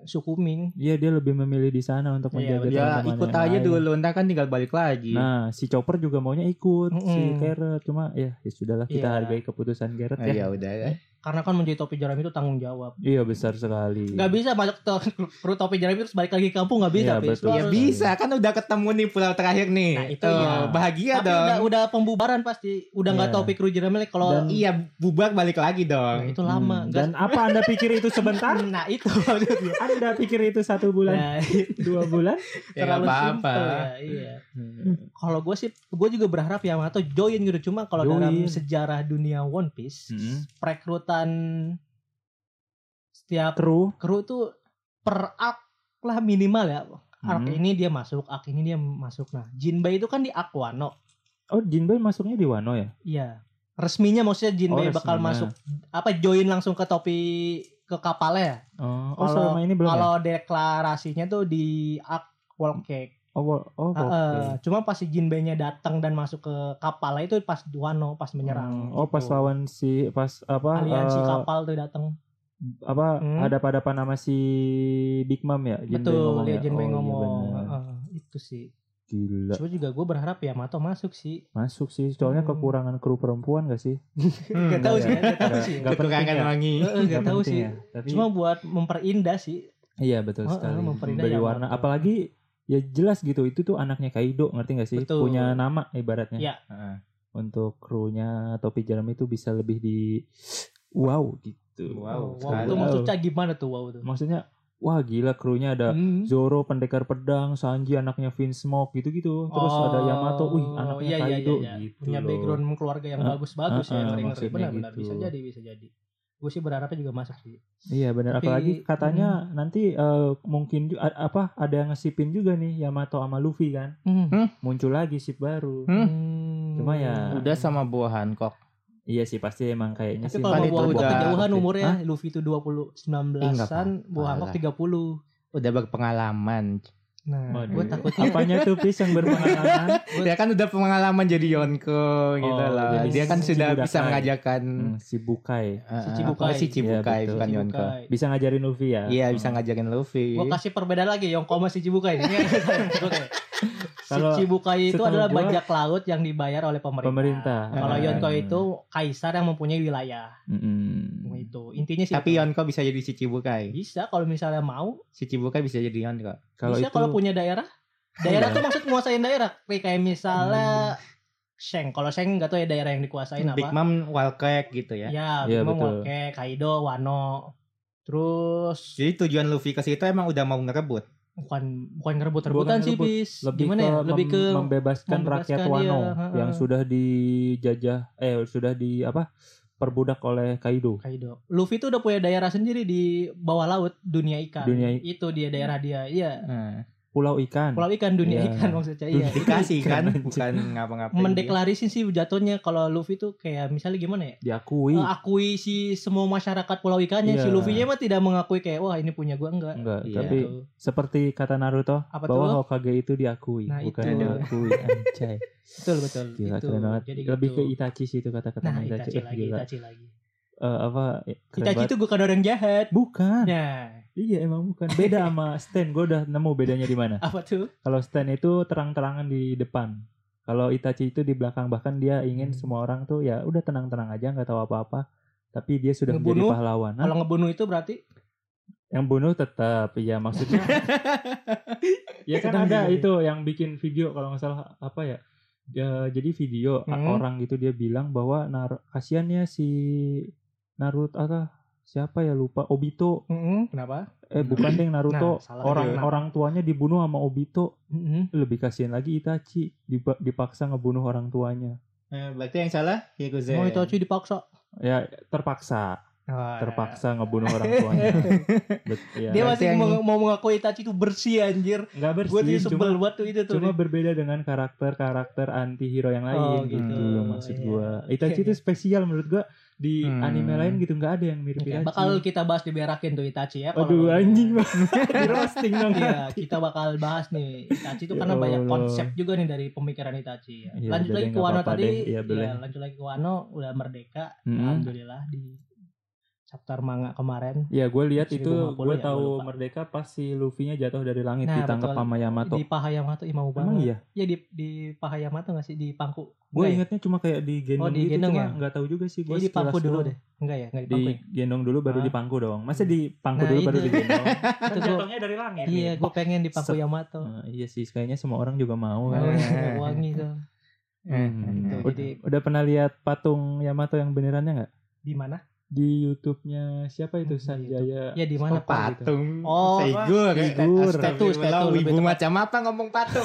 [SPEAKER 2] sukuming.
[SPEAKER 3] Iya dia lebih memilih di sana untuk
[SPEAKER 2] Iya,
[SPEAKER 3] menjaga
[SPEAKER 4] Ya
[SPEAKER 3] teman-teman
[SPEAKER 4] ikut
[SPEAKER 3] yang
[SPEAKER 4] aja
[SPEAKER 3] lain.
[SPEAKER 4] dulu, ntar kan tinggal balik lagi.
[SPEAKER 3] Nah, si Chopper juga maunya ikut, si
[SPEAKER 2] Mm-mm.
[SPEAKER 3] Carrot cuma ya, ya sudahlah kita
[SPEAKER 2] Iya.
[SPEAKER 3] hargai keputusan Carrot
[SPEAKER 4] Nah,
[SPEAKER 3] ya.
[SPEAKER 4] ya udah ya.
[SPEAKER 2] Karena kan menjadi topi jerami itu tanggung jawab.
[SPEAKER 3] Iya besar sekali.
[SPEAKER 2] Gak bisa masuk to- kru topi jerami terus balik lagi ke kampung gak bisa.
[SPEAKER 3] Iya,
[SPEAKER 2] Bis.
[SPEAKER 3] betul.
[SPEAKER 2] Lu
[SPEAKER 4] Ya
[SPEAKER 2] harus-
[SPEAKER 4] bisa, kan udah ketemu nih pulau terakhir nih.
[SPEAKER 2] Nah, itu
[SPEAKER 4] Tuh,
[SPEAKER 2] iya.
[SPEAKER 4] Bahagia
[SPEAKER 2] Tapi
[SPEAKER 4] dong.
[SPEAKER 2] udah, udah pembubaran pasti. Udah nggak
[SPEAKER 3] Iya.
[SPEAKER 2] topi kru jerami lagi kalau
[SPEAKER 3] Dan-
[SPEAKER 4] Iya, bubar balik lagi
[SPEAKER 2] Nah,
[SPEAKER 4] dong.
[SPEAKER 2] itu lama.
[SPEAKER 3] Hmm,
[SPEAKER 2] Nggak-
[SPEAKER 3] Dan apa Anda pikir itu sebentar?
[SPEAKER 2] nah itu maksudnya.
[SPEAKER 3] Anda pikir itu satu bulan,
[SPEAKER 2] Nah,
[SPEAKER 3] dua bulan?
[SPEAKER 4] ya nggak
[SPEAKER 2] terlalu
[SPEAKER 4] apa-apa. Hmm.
[SPEAKER 2] simple ya, iya. Kalau gue sih, gue juga berharap Yamato join gitu. Cuma kalau
[SPEAKER 3] Join. Hmm.
[SPEAKER 2] dalam sejarah dunia One Piece,
[SPEAKER 3] Mm-mm.
[SPEAKER 2] perekrutan setiap
[SPEAKER 3] Kru,
[SPEAKER 2] kru tuh per arc lah minimal ya. Arc
[SPEAKER 3] Hmm.
[SPEAKER 2] ini dia masuk, arc ini dia masuk. Nah, Jinbei itu kan di Aquano.
[SPEAKER 3] oh Jinbei masuknya di Wano ya?
[SPEAKER 2] Iya. Resminya maksudnya Jinbei
[SPEAKER 3] Oh,
[SPEAKER 2] bakal masuk
[SPEAKER 3] resminya.
[SPEAKER 2] apa join langsung ke topi ke kapalnya ya.
[SPEAKER 3] Oh, oh
[SPEAKER 2] Kalau-
[SPEAKER 3] selama ini belum. ya?
[SPEAKER 2] Kalau deklarasinya tuh di arc World Cake.
[SPEAKER 3] Oh, wo- oh,
[SPEAKER 2] Ah,
[SPEAKER 3] oke.
[SPEAKER 2] eh, cuma pas si Jinbei-nya datang dan masuk ke kapalnya itu pas Duano pas menyerang.
[SPEAKER 3] Oh, pas
[SPEAKER 2] gitu.
[SPEAKER 3] lawan si pas apa?
[SPEAKER 2] aliansi
[SPEAKER 3] eh,
[SPEAKER 2] kapal tuh datang.
[SPEAKER 3] apa
[SPEAKER 2] Hmm.
[SPEAKER 3] ada pada apa nama si Big Mom ya? Jinbei
[SPEAKER 2] Betul,
[SPEAKER 3] ngomong
[SPEAKER 2] dia
[SPEAKER 3] ya?
[SPEAKER 2] Jinbei
[SPEAKER 3] Oh, iya
[SPEAKER 2] ngomong.
[SPEAKER 3] benar.
[SPEAKER 2] Ah, ah, itu sih.
[SPEAKER 3] Gila.
[SPEAKER 2] Cuma juga gue berharap Yamato masuk sih.
[SPEAKER 3] Masuk sih, soalnya
[SPEAKER 2] Hmm.
[SPEAKER 3] kekurangan kru perempuan gak sih?
[SPEAKER 4] Hmm,
[SPEAKER 2] Gak tahu sih,
[SPEAKER 3] iya.
[SPEAKER 2] gak tahu
[SPEAKER 3] Nggak-
[SPEAKER 2] sih.
[SPEAKER 3] nggak
[SPEAKER 4] Kekurangan
[SPEAKER 3] penting ya.
[SPEAKER 4] wangi.
[SPEAKER 2] Eh, Gak tahu
[SPEAKER 3] penting
[SPEAKER 2] sih.
[SPEAKER 3] ya. Tapi,
[SPEAKER 2] Cuma buat memperindah sih.
[SPEAKER 3] iya betul
[SPEAKER 2] Heeh,
[SPEAKER 3] sekali.
[SPEAKER 2] memperindah
[SPEAKER 3] Memberi
[SPEAKER 2] yang
[SPEAKER 3] warna.
[SPEAKER 2] mata.
[SPEAKER 3] Apalagi ya jelas gitu, itu tuh anaknya Kaido, ngerti gak sih?
[SPEAKER 2] Betul.
[SPEAKER 3] Punya nama ibaratnya.
[SPEAKER 2] Iya.
[SPEAKER 3] Heeh. Untuk krunya topi jerami itu bisa lebih di wow gitu.
[SPEAKER 4] Wow,
[SPEAKER 2] wow
[SPEAKER 4] sekali.
[SPEAKER 2] itu maksudnya gimana tuh wow tuh?
[SPEAKER 3] Maksudnya wah gila krunya ada
[SPEAKER 2] Hmm.
[SPEAKER 3] Zoro pendekar pedang, Sanji anaknya Vince Smoke gitu-gitu. Terus ada Yamato, wih anaknya
[SPEAKER 2] Oh, iya, iya,
[SPEAKER 3] Kaido
[SPEAKER 2] iya, iya.
[SPEAKER 3] gitu.
[SPEAKER 2] Punya
[SPEAKER 3] loh.
[SPEAKER 2] background keluarga yang
[SPEAKER 3] Ah,
[SPEAKER 2] bagus-bagus
[SPEAKER 3] ah,
[SPEAKER 2] ya,
[SPEAKER 3] ah,
[SPEAKER 2] ngeri-ngeri.
[SPEAKER 3] maksudnya
[SPEAKER 2] Benar-benar
[SPEAKER 3] gitu.
[SPEAKER 2] bisa jadi, bisa jadi. Gue sih berharapnya juga masuk sih.
[SPEAKER 3] Iya benar.
[SPEAKER 2] Tapi- hmm.
[SPEAKER 3] Apalagi katanya nanti eh, mungkin ju- a- apa ada yang ngesipin juga nih Yamato sama Luffy kan. Muncul lagi sip baru.
[SPEAKER 4] Hmm.
[SPEAKER 3] Cuma ya-
[SPEAKER 4] Udah sama buah Hancock.
[SPEAKER 3] Iya sih pasti emang kayaknya
[SPEAKER 2] Tapi
[SPEAKER 3] sih.
[SPEAKER 2] kalau
[SPEAKER 4] Kan
[SPEAKER 2] mau
[SPEAKER 4] itu
[SPEAKER 2] buah Hancock
[SPEAKER 4] udah-
[SPEAKER 2] kejauhan umurnya,
[SPEAKER 3] Hah?
[SPEAKER 2] Luffy itu 20
[SPEAKER 4] Ih, nggak
[SPEAKER 2] 19-an, buah Hancock
[SPEAKER 4] apa-apa
[SPEAKER 2] 30.
[SPEAKER 4] Udah berpengalaman.
[SPEAKER 2] Nah,
[SPEAKER 3] Waduh.
[SPEAKER 2] gue takutnya
[SPEAKER 3] Apanya tuh Pis yang berpengalaman?
[SPEAKER 4] Dia kan udah pengalaman jadi Yonko gitu
[SPEAKER 3] Oh,
[SPEAKER 4] loh.
[SPEAKER 3] jadi
[SPEAKER 4] Dia kan
[SPEAKER 3] si
[SPEAKER 4] sudah
[SPEAKER 3] Budakai.
[SPEAKER 4] bisa mengajarkan
[SPEAKER 3] Hmm, si Bukai.
[SPEAKER 4] eh,
[SPEAKER 2] Si
[SPEAKER 4] eh,
[SPEAKER 2] Cibukai.
[SPEAKER 4] apa sih Cibukai
[SPEAKER 3] Iya, betul.
[SPEAKER 4] bukan Yonko.
[SPEAKER 2] Cibukai.
[SPEAKER 3] Bisa ngajarin Luffy ya?
[SPEAKER 4] Iya, bisa
[SPEAKER 3] Hmm.
[SPEAKER 4] ngajakin Luffy.
[SPEAKER 2] Gue kasih perbedaan lagi Yonko sama si Cibukai ini. si
[SPEAKER 3] Kalau
[SPEAKER 2] Cibukai itu
[SPEAKER 3] setahu
[SPEAKER 2] adalah
[SPEAKER 3] gua-
[SPEAKER 2] bajak laut yang dibayar oleh pemerintah.
[SPEAKER 3] Pemerintah.
[SPEAKER 2] Nah, Kalau
[SPEAKER 3] Ah.
[SPEAKER 2] Yonko itu kaisar yang mempunyai wilayah.
[SPEAKER 3] Mm-mm.
[SPEAKER 2] Itu intinya sih.
[SPEAKER 4] Tapi
[SPEAKER 2] itu.
[SPEAKER 4] Yonko bisa jadi si Cibukai.
[SPEAKER 2] bisa kalau misalnya mau,
[SPEAKER 4] Si Cibukai bisa jadi Yonko.
[SPEAKER 3] Kalau
[SPEAKER 2] bisa
[SPEAKER 3] itu Iya.
[SPEAKER 2] kalau punya daerah. Daerah tuh maksud nguasain daerah. Kayak misalnya Sheng. Kalau Sheng nggak tahu ya daerah yang dikuasain apa.
[SPEAKER 4] Big Mom Walcrack gitu ya.
[SPEAKER 2] Ya,
[SPEAKER 3] Iya,
[SPEAKER 2] Bimo
[SPEAKER 3] betul.
[SPEAKER 2] Wake, Kaido, Wano. Terus
[SPEAKER 4] Jadi tujuan Luffy ke situ emang udah mau ngerebut.
[SPEAKER 2] bukan bukan ngerebut-rebutan
[SPEAKER 3] Bukan
[SPEAKER 2] sih,
[SPEAKER 3] ngerebut.
[SPEAKER 2] Bis.
[SPEAKER 3] lebih
[SPEAKER 2] Gimana
[SPEAKER 3] ke,
[SPEAKER 2] ya? Lebih
[SPEAKER 3] mem-
[SPEAKER 2] ke
[SPEAKER 3] membebaskan, rakyat
[SPEAKER 2] membebaskan dia,
[SPEAKER 3] Wano
[SPEAKER 2] heeh.
[SPEAKER 3] yang sudah dijajah eh sudah di apa perbudak oleh Kaido.
[SPEAKER 2] Kaido. Luffy tuh udah punya daerah sendiri di bawah laut dunia ikan.
[SPEAKER 3] Dunia i-
[SPEAKER 2] Itu dia daerah dia. Iya.
[SPEAKER 4] Nah,
[SPEAKER 3] Pulau ikan.
[SPEAKER 2] Pulau ikan dunia
[SPEAKER 3] Iya.
[SPEAKER 2] ikan maksudnya. Iya.
[SPEAKER 4] dikasih kan
[SPEAKER 3] Keren,
[SPEAKER 4] bukan ngapa-ngapain.
[SPEAKER 2] Mendeklarisin sih jatuhnya kalau Luffy tuh kayak misalnya gimana ya?
[SPEAKER 3] diakui.
[SPEAKER 2] Eh, akui si semua masyarakat Pulau Ikannya.
[SPEAKER 3] Iya.
[SPEAKER 2] Si Luffy-nya mah tidak mengakui kayak wah ini punya gua enggak.
[SPEAKER 3] Enggak,
[SPEAKER 4] Iya.
[SPEAKER 3] tapi
[SPEAKER 2] Gitu.
[SPEAKER 3] seperti kata Naruto
[SPEAKER 2] Apa
[SPEAKER 3] bahwa
[SPEAKER 2] tuh?
[SPEAKER 3] Hokage itu diakui,
[SPEAKER 2] Nah,
[SPEAKER 3] bukan
[SPEAKER 2] itu.
[SPEAKER 3] diakui. Anjay.
[SPEAKER 2] Betul betul.
[SPEAKER 3] Gila,
[SPEAKER 2] Itu.
[SPEAKER 3] keren banget.
[SPEAKER 2] Gitu. Jadi
[SPEAKER 3] Lebih
[SPEAKER 2] gitu.
[SPEAKER 3] ke Itachi sih itu kata-kata
[SPEAKER 2] Nah,
[SPEAKER 3] Itachi.
[SPEAKER 2] Itachi
[SPEAKER 3] Eh,
[SPEAKER 2] lagi,
[SPEAKER 3] gila.
[SPEAKER 2] Itachi lagi.
[SPEAKER 3] Eh, apa? eh, keren
[SPEAKER 2] Itachi
[SPEAKER 3] banget.
[SPEAKER 2] itu bukan orang jahat.
[SPEAKER 3] bukan.
[SPEAKER 2] Nah,
[SPEAKER 3] Iya, emang bukan. Beda sama Stan. Gue udah nemu bedanya di mana.
[SPEAKER 2] apa tuh?
[SPEAKER 3] Kalau Stan itu terang-terangan di depan. Kalau Itachi itu di belakang bahkan dia
[SPEAKER 2] Hmm.
[SPEAKER 3] ingin semua orang tuh ya udah tenang-tenang aja nggak tahu apa-apa. Tapi dia sudah
[SPEAKER 2] Ngebunuh?
[SPEAKER 3] menjadi pahlawan. Hah?
[SPEAKER 2] Kalau ngebunuh itu berarti
[SPEAKER 3] Yang bunuh tetap, ya maksudnya. ya kan
[SPEAKER 2] Kenapa
[SPEAKER 3] ada
[SPEAKER 2] jadi?
[SPEAKER 3] itu yang bikin video kalau nggak salah apa ya? Ya, jadi video a-
[SPEAKER 2] Hmm.
[SPEAKER 3] orang gitu dia bilang bahwa nar kasiannya si Naruto apa siapa ya lupa Obito
[SPEAKER 2] Mm-mm, Kenapa?
[SPEAKER 3] eh bukan deh
[SPEAKER 2] Nah,
[SPEAKER 3] Naruto
[SPEAKER 2] salah.
[SPEAKER 3] orang
[SPEAKER 2] Kenapa?
[SPEAKER 3] orang tuanya dibunuh sama Obito
[SPEAKER 2] Mm-mm.
[SPEAKER 3] lebih kasihan lagi Itachi dipa- dipaksa ngebunuh orang tuanya
[SPEAKER 4] Eh, berarti yang salah
[SPEAKER 3] Iya,
[SPEAKER 4] Yakuza.
[SPEAKER 2] Mau itu cuy dipaksa.
[SPEAKER 3] ya terpaksa terpaksa ngebunuh orang tuanya Bet, ya.
[SPEAKER 2] Dia
[SPEAKER 4] Berarti
[SPEAKER 2] masih
[SPEAKER 4] yang-
[SPEAKER 2] mau, mau mengakui Itachi itu bersih anjir.
[SPEAKER 3] nggak bersih
[SPEAKER 2] Gue tuh
[SPEAKER 3] cuma
[SPEAKER 2] sebel banget tuh itu tuh.
[SPEAKER 3] cuma berbeda dengan karakter-karakter anti hero yang lain
[SPEAKER 2] Oh,
[SPEAKER 3] gitu,
[SPEAKER 2] gitu.
[SPEAKER 3] loh maksud
[SPEAKER 2] Iya.
[SPEAKER 3] gua Itachi itu spesial menurut gua di
[SPEAKER 4] Hmm.
[SPEAKER 3] anime lain gitu nggak ada yang mirip
[SPEAKER 2] Oke,
[SPEAKER 3] Itachi
[SPEAKER 2] bakal kita bahas di berakin tuh Itachi ya. kalau-
[SPEAKER 3] aduh anjing banget di roasting dong
[SPEAKER 2] Iya, kita bakal bahas nih Itachi itu
[SPEAKER 3] Ya
[SPEAKER 2] karena banyak
[SPEAKER 3] Allah.
[SPEAKER 2] konsep juga nih dari pemikiran Itachi. Ya.
[SPEAKER 3] Iya,
[SPEAKER 2] lanjut
[SPEAKER 3] udah
[SPEAKER 2] lagi
[SPEAKER 3] deh,
[SPEAKER 2] ke
[SPEAKER 3] nggak
[SPEAKER 2] Wano
[SPEAKER 3] apa-apa
[SPEAKER 2] tadi,
[SPEAKER 3] deh. Iya, boleh.
[SPEAKER 2] ya, lanjut lagi ke Wano udah merdeka,
[SPEAKER 3] Mm-mm.
[SPEAKER 2] alhamdulillah di chapter manga kemarin.
[SPEAKER 3] ya gue lihat itu
[SPEAKER 2] 1050
[SPEAKER 3] gue
[SPEAKER 2] ya,
[SPEAKER 3] tahu
[SPEAKER 2] gua lupa.
[SPEAKER 3] merdeka pas si Luffy-nya jatuh dari langit
[SPEAKER 2] Nah,
[SPEAKER 3] ditangkap
[SPEAKER 2] betul.
[SPEAKER 3] sama Yamato
[SPEAKER 2] Di paha Yamato ih, mau
[SPEAKER 3] emang
[SPEAKER 2] banget.
[SPEAKER 3] iya
[SPEAKER 2] Ya di di paha Yamato nggak sih di pangku?
[SPEAKER 3] gue
[SPEAKER 2] Nggak ya?
[SPEAKER 3] ingatnya cuma kayak di gendong
[SPEAKER 2] Oh, di
[SPEAKER 3] gitu
[SPEAKER 2] gendong
[SPEAKER 3] cuma
[SPEAKER 2] ya?
[SPEAKER 3] nggak tahu juga sih gue
[SPEAKER 2] Kayaknya di pangku dulu deh. Enggak ya, enggak di pangku. ya?
[SPEAKER 3] digendong dulu baru
[SPEAKER 2] Hah?
[SPEAKER 3] dipangku dong masa dipangku
[SPEAKER 2] Nah,
[SPEAKER 3] dulu baru
[SPEAKER 2] itu.
[SPEAKER 3] digendong kan
[SPEAKER 2] Itu gua-
[SPEAKER 3] jatuhnya dari langit
[SPEAKER 2] Iya,
[SPEAKER 3] nih.
[SPEAKER 2] gue pengen di pangku
[SPEAKER 3] Set.
[SPEAKER 2] Yamato.
[SPEAKER 3] Nah, iya sih kayaknya semua orang juga mau kan.
[SPEAKER 2] Oh, iya, wangi tuh.
[SPEAKER 3] Hmm.
[SPEAKER 4] Nah,
[SPEAKER 2] Gitu,
[SPEAKER 3] Ud-
[SPEAKER 2] jadi
[SPEAKER 3] Udah pernah lihat patung Yamato yang benerannya nggak?
[SPEAKER 2] di mana?
[SPEAKER 3] Di YouTube-nya siapa itu
[SPEAKER 2] Di
[SPEAKER 3] Sanjaya?
[SPEAKER 2] Ya di mana?
[SPEAKER 4] Oh, patung.
[SPEAKER 2] Oh,
[SPEAKER 4] figur.
[SPEAKER 3] figur.
[SPEAKER 4] Statu,
[SPEAKER 2] Statu, statu, lebih
[SPEAKER 4] Ibu
[SPEAKER 2] tepat.
[SPEAKER 4] macam apa ngomong patung?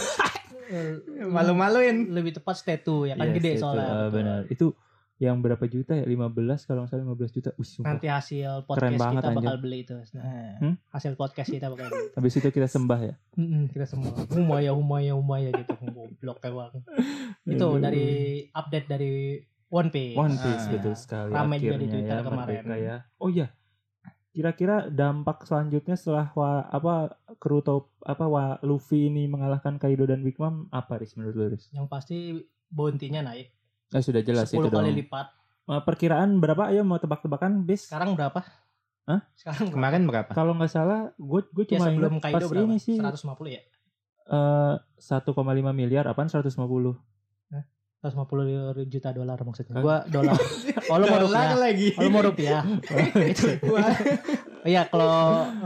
[SPEAKER 4] Hmm.
[SPEAKER 2] Eh,
[SPEAKER 4] Malu-maluin.
[SPEAKER 2] lebih tepat statu ya kan
[SPEAKER 3] Yes,
[SPEAKER 2] gede
[SPEAKER 3] itu.
[SPEAKER 2] soalnya.
[SPEAKER 3] Ah, benar. Itu yang berapa juta ya? 15 kalau nggak salah 15 juta. Wih, sumpah.
[SPEAKER 2] Nanti hasil podcast
[SPEAKER 3] Keren banget,
[SPEAKER 2] kita bakal
[SPEAKER 3] anjir.
[SPEAKER 2] beli itu. Nah,
[SPEAKER 3] Hmm?
[SPEAKER 2] hasil podcast kita bakal beli.
[SPEAKER 3] Habis itu kita sembah ya.
[SPEAKER 2] Mm-mm, kita semua humaya humaya humaya gitu goblok emang. Itu
[SPEAKER 3] Aduh.
[SPEAKER 2] dari update dari One Piece. Nah,
[SPEAKER 3] One Piece
[SPEAKER 4] Ah.
[SPEAKER 3] betul sekali
[SPEAKER 2] Ramai juga
[SPEAKER 3] akhirnya
[SPEAKER 2] di Twitter
[SPEAKER 3] ya,
[SPEAKER 2] kemarin.
[SPEAKER 3] Merdeka ya. Oh iya. Kira-kira dampak selanjutnya setelah wa- apa Kruto apa wa- Luffy ini mengalahkan Kaido dan Big Mom apa Riz menurut lu Riz?
[SPEAKER 2] Yang pasti bounty-nya naik
[SPEAKER 3] Eh, sudah jelas
[SPEAKER 2] 10
[SPEAKER 3] itu
[SPEAKER 2] Ya, kali
[SPEAKER 3] dong.
[SPEAKER 2] lipat.
[SPEAKER 3] Eh, Perkiraan berapa? Ayo mau tebak-tebakan, Bis.
[SPEAKER 2] Sekarang berapa?
[SPEAKER 3] Hah?
[SPEAKER 2] Sekarang berapa?
[SPEAKER 4] Kemarin berapa?
[SPEAKER 3] Kalau nggak salah, gue gue
[SPEAKER 2] Ya,
[SPEAKER 3] cuma
[SPEAKER 2] sebelum
[SPEAKER 3] ingat
[SPEAKER 2] Kaido
[SPEAKER 3] pas
[SPEAKER 2] berapa?
[SPEAKER 3] ini sih
[SPEAKER 2] 150 ya?
[SPEAKER 3] eh, 1,5 miliar, apaan 150?
[SPEAKER 2] 150 juta dolar maksudnya.
[SPEAKER 3] Hah?
[SPEAKER 2] Gua dolar. Oh, lu mau rupiah.
[SPEAKER 4] Dolar lagi.
[SPEAKER 2] Kalau mau rupiah. itu. Iya, kalau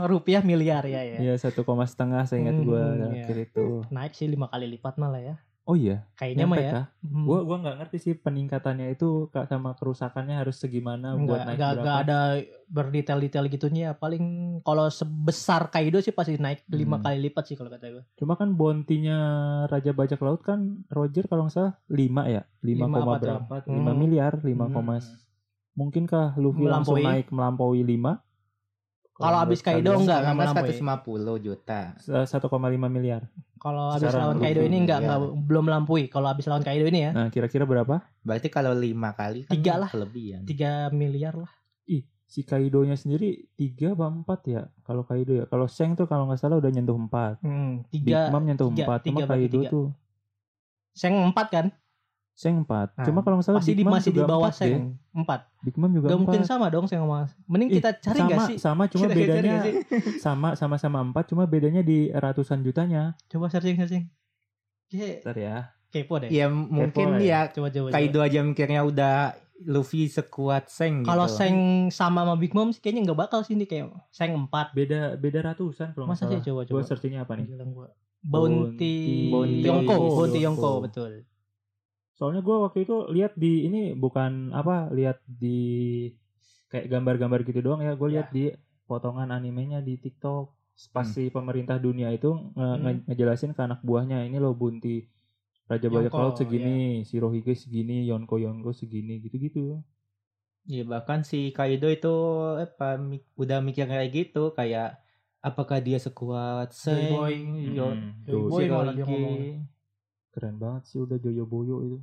[SPEAKER 2] rupiah miliar ya ya.
[SPEAKER 3] Iya satu koma setengah, saya ingat
[SPEAKER 2] Hmm,
[SPEAKER 3] gue
[SPEAKER 2] iya.
[SPEAKER 3] terakhir itu.
[SPEAKER 2] Naik sih lima kali lipat malah ya.
[SPEAKER 3] Oh iya,
[SPEAKER 2] Kayaknya mah ya. Hmm.
[SPEAKER 3] Gue gua nggak ngerti sih peningkatannya itu Kak, sama kerusakannya harus segimana
[SPEAKER 2] nggak
[SPEAKER 3] buat naik
[SPEAKER 2] nggak-
[SPEAKER 3] berapa.
[SPEAKER 2] nggak ada berdetail-detail gitunya ya. paling kalau sebesar Kaido sih pasti naik lima
[SPEAKER 3] Hmm.
[SPEAKER 2] kali lipat sih kalau kata gue
[SPEAKER 3] Cuma kan bontinya Raja Bajak Laut kan Roger kalau nggak salah 5 ya,
[SPEAKER 2] Lima
[SPEAKER 3] 5, koma
[SPEAKER 2] apa tuh?
[SPEAKER 3] berapa? 5
[SPEAKER 2] Hmm.
[SPEAKER 3] miliar, 5, koma
[SPEAKER 4] Hmm.
[SPEAKER 3] mungkinkah Luffy langsung
[SPEAKER 2] Melampaui.
[SPEAKER 3] naik melampaui 5?
[SPEAKER 2] Kalau abis Kaido
[SPEAKER 3] enggak
[SPEAKER 2] nggak, ya.
[SPEAKER 4] Sekarang
[SPEAKER 2] nggak melampaui.
[SPEAKER 4] 150 juta.
[SPEAKER 3] 1,5 miliar.
[SPEAKER 2] kalau habis
[SPEAKER 3] Secara
[SPEAKER 2] lawan
[SPEAKER 3] rupiah,
[SPEAKER 2] Kaido ini nggak
[SPEAKER 4] iya.
[SPEAKER 2] nggak belum lampui kalau habis lawan Kaido ini ya
[SPEAKER 3] Nah, kira-kira berapa?
[SPEAKER 4] Berarti kalau 5 kali kan
[SPEAKER 2] Tiga lah.
[SPEAKER 4] kelebihan.
[SPEAKER 2] 3 miliar lah
[SPEAKER 3] Ih, si Kaidonya sendiri 3 apa 4 ya? Kalau Kaido ya. Kalau Shang tuh kalau nggak salah udah nyentuh 4. Big
[SPEAKER 2] Hmm, tiga
[SPEAKER 3] Mom nyentuh
[SPEAKER 2] tiga-
[SPEAKER 3] 4,
[SPEAKER 2] tiga
[SPEAKER 3] cuma
[SPEAKER 2] bagi
[SPEAKER 3] Kaido
[SPEAKER 2] tiga.
[SPEAKER 3] tuh
[SPEAKER 2] Seng empat kan
[SPEAKER 3] Shang 4.
[SPEAKER 2] Nah,
[SPEAKER 3] cuma kalau nggak salah
[SPEAKER 2] pasti di,
[SPEAKER 3] Big Mom
[SPEAKER 2] masih di
[SPEAKER 3] juga
[SPEAKER 2] bawah
[SPEAKER 3] 4 deh.
[SPEAKER 2] Seng empat
[SPEAKER 3] Big Mom juga
[SPEAKER 2] gak mungkin
[SPEAKER 3] 4.
[SPEAKER 2] sama dong Seng sama
[SPEAKER 3] Ih,
[SPEAKER 2] mending kita cari
[SPEAKER 3] sama,
[SPEAKER 2] nggak sih
[SPEAKER 3] sama cuma
[SPEAKER 2] Kita cari
[SPEAKER 3] bedanya
[SPEAKER 2] nggak sih?
[SPEAKER 3] sama sama sama 4 cuma bedanya di ratusan jutanya.
[SPEAKER 2] coba searching searching Kayak
[SPEAKER 3] Bentar ya.
[SPEAKER 2] kepo deh
[SPEAKER 4] Ya m- mungkin
[SPEAKER 3] lah ya.
[SPEAKER 4] dia
[SPEAKER 2] coba coba, coba.
[SPEAKER 4] Kaido aja mikirnya udah Luffy sekuat Seng gitu.
[SPEAKER 2] kalau Seng sama sama Big Mom sih kayaknya nggak bakal sih ini kayak Seng empat
[SPEAKER 3] Beda beda ratusan kalau nggak
[SPEAKER 2] Masa sih
[SPEAKER 3] salah.
[SPEAKER 2] coba
[SPEAKER 3] Gue
[SPEAKER 2] coba.
[SPEAKER 3] searchingnya apa nih?
[SPEAKER 2] Bilang gua. Bounty,
[SPEAKER 3] Bounty
[SPEAKER 2] Yonko,
[SPEAKER 3] Yonko.
[SPEAKER 2] Bounty Yonko
[SPEAKER 3] Yonko.
[SPEAKER 2] betul.
[SPEAKER 3] Soalnya gue waktu itu lihat di ini bukan apa lihat di kayak gambar-gambar gitu doang ya. Gue lihat di potongan animenya di TikTok. Pas
[SPEAKER 4] Hmm.
[SPEAKER 3] si pemerintah dunia itu nge- nge-
[SPEAKER 2] Hmm.
[SPEAKER 3] ngejelasin ke anak buahnya ini loh bunti Raja Bajak
[SPEAKER 2] Yonko,
[SPEAKER 3] Laut
[SPEAKER 2] iya.
[SPEAKER 3] segini, si Rohige segini, Yonko Yonko segini gitu-gitu.
[SPEAKER 4] Ya bahkan si Kaido itu apa mi- udah mikir kayak gitu kayak apakah dia sekuat Seng?
[SPEAKER 2] Boy.
[SPEAKER 4] Yo-
[SPEAKER 3] Hmm,
[SPEAKER 4] Yo-
[SPEAKER 3] tuh,
[SPEAKER 2] Boy
[SPEAKER 4] si
[SPEAKER 2] malah
[SPEAKER 4] Rohige.
[SPEAKER 2] dia ngomong.
[SPEAKER 3] keren banget sih udah Joyo Boyo itu.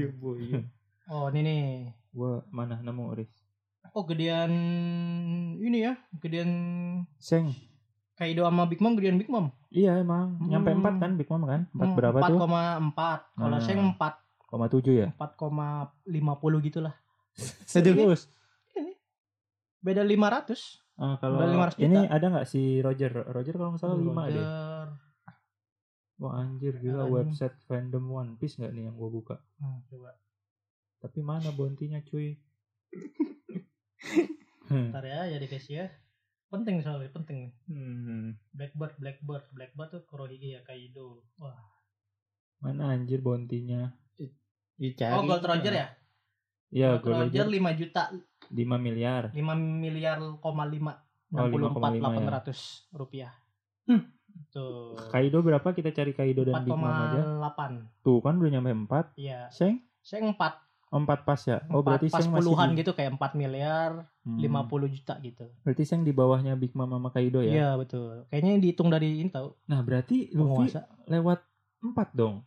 [SPEAKER 4] Yo, boy.
[SPEAKER 2] Oh, ini nih.
[SPEAKER 3] Gua mana nemu Riz?
[SPEAKER 2] Oh, gedean ini ya, gedean
[SPEAKER 3] Seng.
[SPEAKER 2] Kaido sama Big Mom, gedean Big Mom.
[SPEAKER 3] Iya emang, nyampe
[SPEAKER 2] Hmm.
[SPEAKER 3] 4 kan Big Mom kan? 4
[SPEAKER 2] Hmm,
[SPEAKER 3] berapa tuh?
[SPEAKER 2] 4,4. Kalau
[SPEAKER 3] Nah.
[SPEAKER 2] Seng 4,
[SPEAKER 3] 4,7 ya?
[SPEAKER 2] 4,50 gitu lah.
[SPEAKER 3] Serius?
[SPEAKER 2] Beda 500.
[SPEAKER 3] Ah, kalau
[SPEAKER 2] Udah 500
[SPEAKER 3] ini ada nggak si Roger? Roger kalau nggak salah 5 deh.
[SPEAKER 2] Roger.
[SPEAKER 3] Wah anjir gila
[SPEAKER 2] Anjing.
[SPEAKER 3] website fandom One Piece nggak nih yang gua buka?
[SPEAKER 2] Nah, coba
[SPEAKER 3] Tapi mana bontinya cuy? Hmm,
[SPEAKER 2] ntar ya, jadi guys ya. penting soalnya penting nih.
[SPEAKER 1] Hmm.
[SPEAKER 2] Blackbird, Blackbird, Blackbird tuh Kurohige ya Kaido. Wah.
[SPEAKER 3] Mana anjir bontinya?
[SPEAKER 1] Dicari.
[SPEAKER 2] Oh, Gold Roger ya?
[SPEAKER 3] Ya,
[SPEAKER 2] Gold Roger
[SPEAKER 3] Gold Roger
[SPEAKER 2] 5 juta
[SPEAKER 3] 5 miliar.
[SPEAKER 2] 5 miliar koma lima
[SPEAKER 3] Oh,
[SPEAKER 2] enam puluh
[SPEAKER 3] 5,5
[SPEAKER 2] empat
[SPEAKER 3] ya.
[SPEAKER 2] delapan ratus rupiah.
[SPEAKER 1] Hmm.
[SPEAKER 2] Tuh.
[SPEAKER 3] Kaido berapa kita cari Kaido dan Big Mom aja?
[SPEAKER 2] 4,8.
[SPEAKER 3] Tuh kan udah nyampe 4.
[SPEAKER 2] Iya.
[SPEAKER 3] Seng?
[SPEAKER 2] Saya 4.
[SPEAKER 3] 4 pas ya? Oh,
[SPEAKER 2] empat
[SPEAKER 3] berarti
[SPEAKER 2] pas
[SPEAKER 3] Seng masih
[SPEAKER 2] puluhan
[SPEAKER 3] di-
[SPEAKER 2] gitu kayak 4 miliar
[SPEAKER 3] Hmm.
[SPEAKER 2] 50 juta gitu.
[SPEAKER 3] Berarti Seng di bawahnya Big Mom sama Kaido
[SPEAKER 2] Iya,
[SPEAKER 3] ya?
[SPEAKER 2] betul. Kayaknya yang dihitung dari ini tahu
[SPEAKER 3] Nah, berarti Luffy
[SPEAKER 2] penguasa.
[SPEAKER 3] lewat 4 dong.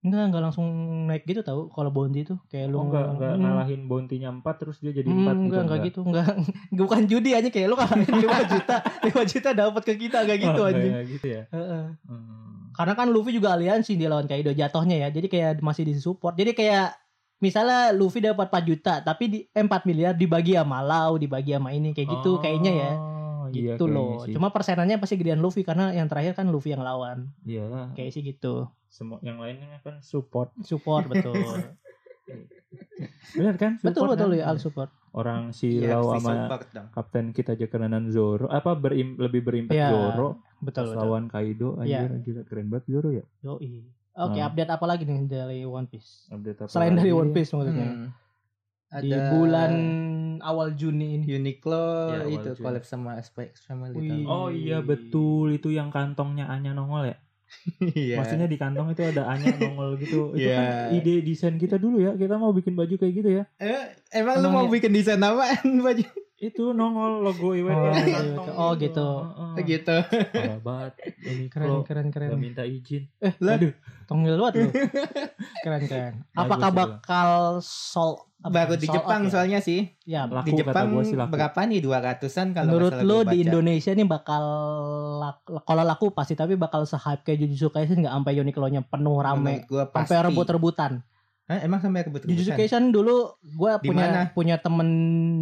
[SPEAKER 2] Enggak, enggak langsung naik gitu tahu kalau bounty tuh kayak lu
[SPEAKER 3] Lu Oh, enggak enggak Nah,
[SPEAKER 2] Hmm.
[SPEAKER 3] ngalahin bounty-nya 4 terus dia jadi
[SPEAKER 2] Hmm,
[SPEAKER 3] 4 gitu.
[SPEAKER 2] enggak, enggak gitu, enggak. Bukan judi aja kayak lu kan 5 juta, 5 juta dapat ke kita enggak gitu
[SPEAKER 3] Oh, enggak
[SPEAKER 2] anjing.
[SPEAKER 3] ya, gitu ya.
[SPEAKER 2] Heeh.
[SPEAKER 3] Hmm.
[SPEAKER 2] Karena kan Luffy juga aliansi dia lawan Kaido jatuhnya ya. Jadi kayak masih di support. Jadi kayak misalnya Luffy dapat 4 juta tapi di eh, 4 miliar dibagi sama Lau, dibagi sama ini kayak gitu kayaknya ya.
[SPEAKER 3] Oh, iya,
[SPEAKER 2] Gitu
[SPEAKER 3] kayaknya
[SPEAKER 2] loh.
[SPEAKER 3] sih.
[SPEAKER 2] Cuma persenannya pasti gedean Luffy karena yang terakhir kan Luffy yang lawan.
[SPEAKER 3] Iya lah.
[SPEAKER 2] Kayak sih gitu.
[SPEAKER 3] Semua yang lainnya kan support.
[SPEAKER 2] Support betul.
[SPEAKER 3] Benar kan?
[SPEAKER 2] betul
[SPEAKER 3] Support
[SPEAKER 2] betul
[SPEAKER 3] kan?
[SPEAKER 2] ya al support.
[SPEAKER 3] Orang si
[SPEAKER 1] Iya,
[SPEAKER 3] Lau
[SPEAKER 1] si
[SPEAKER 3] sama
[SPEAKER 1] Sopak dong.
[SPEAKER 3] kapten kita aja kerenan Zoro apa berim, lebih berimpak
[SPEAKER 2] Iya,
[SPEAKER 3] Zoro
[SPEAKER 2] Betul Iya. betul.
[SPEAKER 3] lawan Kaido anjir gila keren banget Zoro ya
[SPEAKER 2] Yoi. Oke,
[SPEAKER 3] Hmm.
[SPEAKER 2] update apa lagi nih dari One Piece?
[SPEAKER 3] update apa
[SPEAKER 2] Selain dari
[SPEAKER 3] lagi?
[SPEAKER 2] One Piece maksudnya.
[SPEAKER 1] Hmm. Ada Iya,
[SPEAKER 2] Di bulan awal Juni ini.
[SPEAKER 1] Uniqlo
[SPEAKER 3] Ya, awal
[SPEAKER 1] itu
[SPEAKER 3] Juni.
[SPEAKER 1] collab sama SPX Family.
[SPEAKER 2] Wih.
[SPEAKER 1] tau.
[SPEAKER 3] oh iya betul itu yang kantongnya Anya nongol ya
[SPEAKER 1] Iya.
[SPEAKER 3] maksudnya di kantong itu ada Anya nongol gitu itu
[SPEAKER 1] Iya.
[SPEAKER 3] kan ide desain kita dulu ya kita mau bikin baju kayak gitu ya
[SPEAKER 1] Eh, emang lu
[SPEAKER 3] Emang
[SPEAKER 1] mau
[SPEAKER 3] ya?
[SPEAKER 1] bikin desain apaan baju
[SPEAKER 3] itu nongol logo IWK
[SPEAKER 2] Oh,
[SPEAKER 3] di
[SPEAKER 2] gitu.
[SPEAKER 3] kantong
[SPEAKER 2] Oh, gitu.
[SPEAKER 3] Heeh.
[SPEAKER 1] gitu?
[SPEAKER 3] parah banget ini
[SPEAKER 2] Keren keren keren. Eh,
[SPEAKER 3] Gak minta izin
[SPEAKER 2] Tongil banget lu. Keren keren. Apakah
[SPEAKER 3] itu.
[SPEAKER 2] bakal sol apa,
[SPEAKER 1] Baru di
[SPEAKER 2] sold out
[SPEAKER 1] Jepang
[SPEAKER 2] ya?
[SPEAKER 1] soalnya sih.
[SPEAKER 2] Ya,
[SPEAKER 3] Laku
[SPEAKER 1] di
[SPEAKER 3] kata
[SPEAKER 1] Jepang
[SPEAKER 3] gua sih laku.
[SPEAKER 1] berapa nih 200-an kalau
[SPEAKER 2] menurut
[SPEAKER 1] nggak salah
[SPEAKER 2] lu
[SPEAKER 1] gua
[SPEAKER 2] di
[SPEAKER 1] baca.
[SPEAKER 2] Indonesia nih bakal laku, kalau laku pasti tapi bakal se-hype kayak Jujutsu Kaisen nggak sampai Uniqlo-nya penuh rame
[SPEAKER 1] Menurut gua
[SPEAKER 2] sampai
[SPEAKER 1] pasti.
[SPEAKER 2] rebut-rebutan.
[SPEAKER 1] Hah, emang sampai rebut
[SPEAKER 2] Jujutsu Kaisen dulu gua
[SPEAKER 1] Di
[SPEAKER 2] punya
[SPEAKER 1] mana?
[SPEAKER 2] punya temen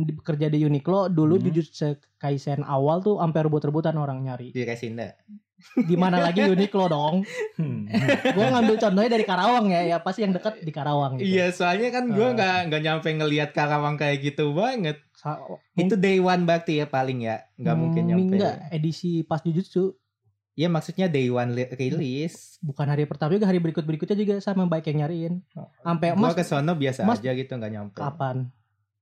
[SPEAKER 2] di- kerja di Uniqlo dulu
[SPEAKER 3] Hmm.
[SPEAKER 2] Jujutsu Kaisen awal tuh sampai rebut-rebutan orang nyari.
[SPEAKER 1] di Resinda.
[SPEAKER 2] Di mana lagi Uniqlo dong?
[SPEAKER 3] Hmm.
[SPEAKER 2] Gua ngambil contohnya dari Karawang ya, ya pasti yang dekat di Karawang gitu.
[SPEAKER 1] Iya, soalnya kan gua
[SPEAKER 2] Eh.
[SPEAKER 1] nggak nggak nyampe ngelihat Karawang kayak gitu banget.
[SPEAKER 2] Sa-
[SPEAKER 1] Itu day one berarti ya paling ya. Nggak mungkin
[SPEAKER 2] Hmm,
[SPEAKER 1] nyampe.
[SPEAKER 2] Enggak, edisi pas Jujutsu
[SPEAKER 1] Ya maksudnya day one li- rilis.
[SPEAKER 2] bukan hari pertama juga hari berikut berikutnya juga sama baik yang nyariin sampai
[SPEAKER 1] gua
[SPEAKER 2] mas
[SPEAKER 1] ke sono biasa
[SPEAKER 2] Mas-
[SPEAKER 1] aja gitu nggak nyampe.
[SPEAKER 2] kapan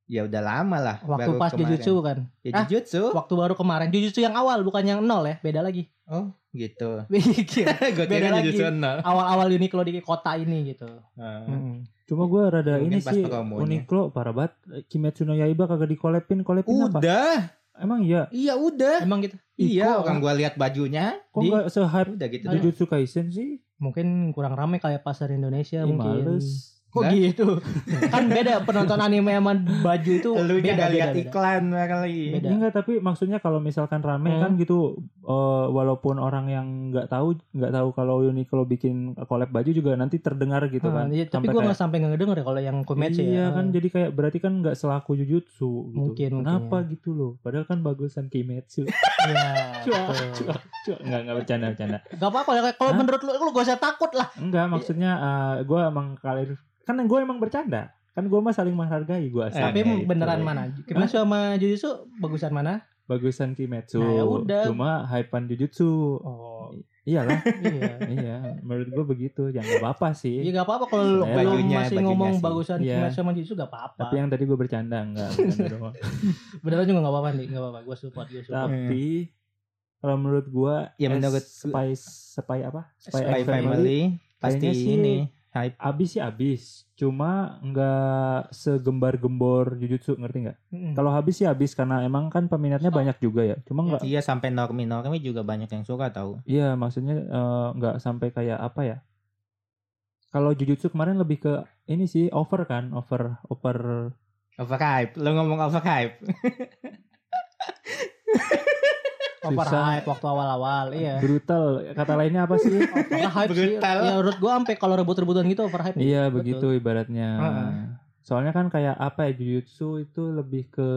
[SPEAKER 1] Ya udah lama lah.
[SPEAKER 2] waktu
[SPEAKER 1] baru
[SPEAKER 2] pas
[SPEAKER 1] kemarin.
[SPEAKER 2] jujutsu bukan
[SPEAKER 1] Ya
[SPEAKER 2] Ah.
[SPEAKER 1] jujutsu.
[SPEAKER 2] waktu baru kemarin jujutsu yang awal bukan yang nol ya beda lagi Iya.
[SPEAKER 1] Oh, gitu. Gue
[SPEAKER 2] Beda
[SPEAKER 1] kira
[SPEAKER 2] lagi.
[SPEAKER 1] jujutsu Ah. nol.
[SPEAKER 2] awal awal Uniqlo di kota ini gitu
[SPEAKER 1] Heeh.
[SPEAKER 2] Hmm.
[SPEAKER 3] Cuma gue rada
[SPEAKER 1] Mungkin
[SPEAKER 3] ini
[SPEAKER 1] pas
[SPEAKER 3] sih
[SPEAKER 1] promonya.
[SPEAKER 3] Uniqlo parah banget Kimetsu no Yaiba kagak dikolepin Kolepin apa?
[SPEAKER 1] Udah,
[SPEAKER 3] Emang iya
[SPEAKER 1] iya udah.
[SPEAKER 2] emang gitu
[SPEAKER 1] Iya,
[SPEAKER 3] Iko,
[SPEAKER 1] orang gua lihat bajunya
[SPEAKER 3] Kok
[SPEAKER 2] Di-
[SPEAKER 3] nggak se-hype
[SPEAKER 1] udah gitu. doang.
[SPEAKER 3] Jujutsu Kaisen sih?
[SPEAKER 2] mungkin kurang rame kayak pasar Indonesia Ya,
[SPEAKER 3] Ih,
[SPEAKER 2] mungkin
[SPEAKER 3] males.
[SPEAKER 2] kok
[SPEAKER 1] Hah?
[SPEAKER 2] gitu kan beda penonton anime sama baju itu
[SPEAKER 1] Lu
[SPEAKER 2] beda
[SPEAKER 1] juga
[SPEAKER 2] beda,
[SPEAKER 1] lihat
[SPEAKER 2] beda.
[SPEAKER 1] iklan ya kali.
[SPEAKER 2] Beda.
[SPEAKER 3] Ini enggak tapi maksudnya kalau misalkan rame
[SPEAKER 2] Hmm.
[SPEAKER 3] kan gitu eh, walaupun orang yang nggak tahu nggak tahu kalau Uniqlo bikin collab baju juga nanti terdengar gitu
[SPEAKER 2] Ah,
[SPEAKER 3] kan.
[SPEAKER 2] iya, tapi gue
[SPEAKER 3] Sampai
[SPEAKER 2] nggak
[SPEAKER 3] kayak,
[SPEAKER 2] sampai nggak ngedenger ya kalau yang Kometsu
[SPEAKER 3] Iya
[SPEAKER 2] ya.
[SPEAKER 3] kan jadi kayak berarti kan nggak selaku Jujutsu gitu.
[SPEAKER 2] Mungkin, ya. mungkin
[SPEAKER 3] Kenapa gitu loh? Padahal kan bagusan Kimetsu.
[SPEAKER 2] Iya,
[SPEAKER 3] Cua,
[SPEAKER 2] betul.
[SPEAKER 3] cua, cua. Enggak enggak bercanda bercanda.
[SPEAKER 2] Gak apa-apa ya, kalau
[SPEAKER 3] Hah?
[SPEAKER 2] menurut lu lu gak usah takut lah.
[SPEAKER 3] Enggak maksudnya gue emang kalir kan gue emang bercanda kan gue mah saling menghargai gue asli.
[SPEAKER 1] Nah,
[SPEAKER 2] Tapi
[SPEAKER 1] itu.
[SPEAKER 3] iya.
[SPEAKER 2] beneran mana? Kimetsu sama Jujutsu bagusan mana?
[SPEAKER 3] bagusan Kimetsu.
[SPEAKER 2] Nah, ya udah.
[SPEAKER 3] Cuma hypean Jujutsu.
[SPEAKER 2] Oh,
[SPEAKER 3] Iyalah,
[SPEAKER 2] iya.
[SPEAKER 3] iya. Menurut gue begitu. Ya nggak apa-apa
[SPEAKER 2] Ya
[SPEAKER 3] sih.
[SPEAKER 2] gak apa-apa kalau lu
[SPEAKER 3] Selera.
[SPEAKER 2] lu
[SPEAKER 1] Bajunya,
[SPEAKER 2] masih
[SPEAKER 1] bajunya
[SPEAKER 2] ngomong
[SPEAKER 1] sih.
[SPEAKER 2] bagusan
[SPEAKER 3] Iya.
[SPEAKER 2] Kimetsu sama Jujutsu gak apa-apa.
[SPEAKER 3] Tapi yang tadi gue bercanda enggak. bercanda doang.
[SPEAKER 2] Eh. Beneran juga gak apa-apa nih, gak apa-apa. Gue support, gue support.
[SPEAKER 3] Tapi kalau menurut gue
[SPEAKER 1] Ya,
[SPEAKER 3] es
[SPEAKER 1] menurut-
[SPEAKER 3] spy spy apa? Spy,
[SPEAKER 1] Spy
[SPEAKER 3] X
[SPEAKER 1] Family pasti
[SPEAKER 3] Kayaknya sih-
[SPEAKER 1] ini hype.
[SPEAKER 3] Abis sih abis, cuma nggak segembar-gembor Jujutsu ngerti nggak?
[SPEAKER 2] Mm-mm.
[SPEAKER 3] Kalau habis sih habis karena emang kan peminatnya banyak juga ya. Cuma nggak
[SPEAKER 1] Iya sampai normi normi juga banyak yang suka tahu.
[SPEAKER 3] Iya, maksudnya eh, nggak sampai kayak apa ya? Kalau Jujutsu kemarin lebih ke ini sih over kan, over over
[SPEAKER 1] Overhype, lo ngomong overhype.
[SPEAKER 2] Overhype waktu awal-awal, iya.
[SPEAKER 3] brutal. Kata lainnya apa sih?
[SPEAKER 2] Overhype sih.
[SPEAKER 1] Brutal.
[SPEAKER 2] Ya menurut gue sampai kalau rebut-rebutan gitu overhype.
[SPEAKER 3] iya,
[SPEAKER 2] Betul.
[SPEAKER 3] begitu ibaratnya.
[SPEAKER 2] Heeh.
[SPEAKER 3] Soalnya kan kayak apa ya Jujutsu itu lebih ke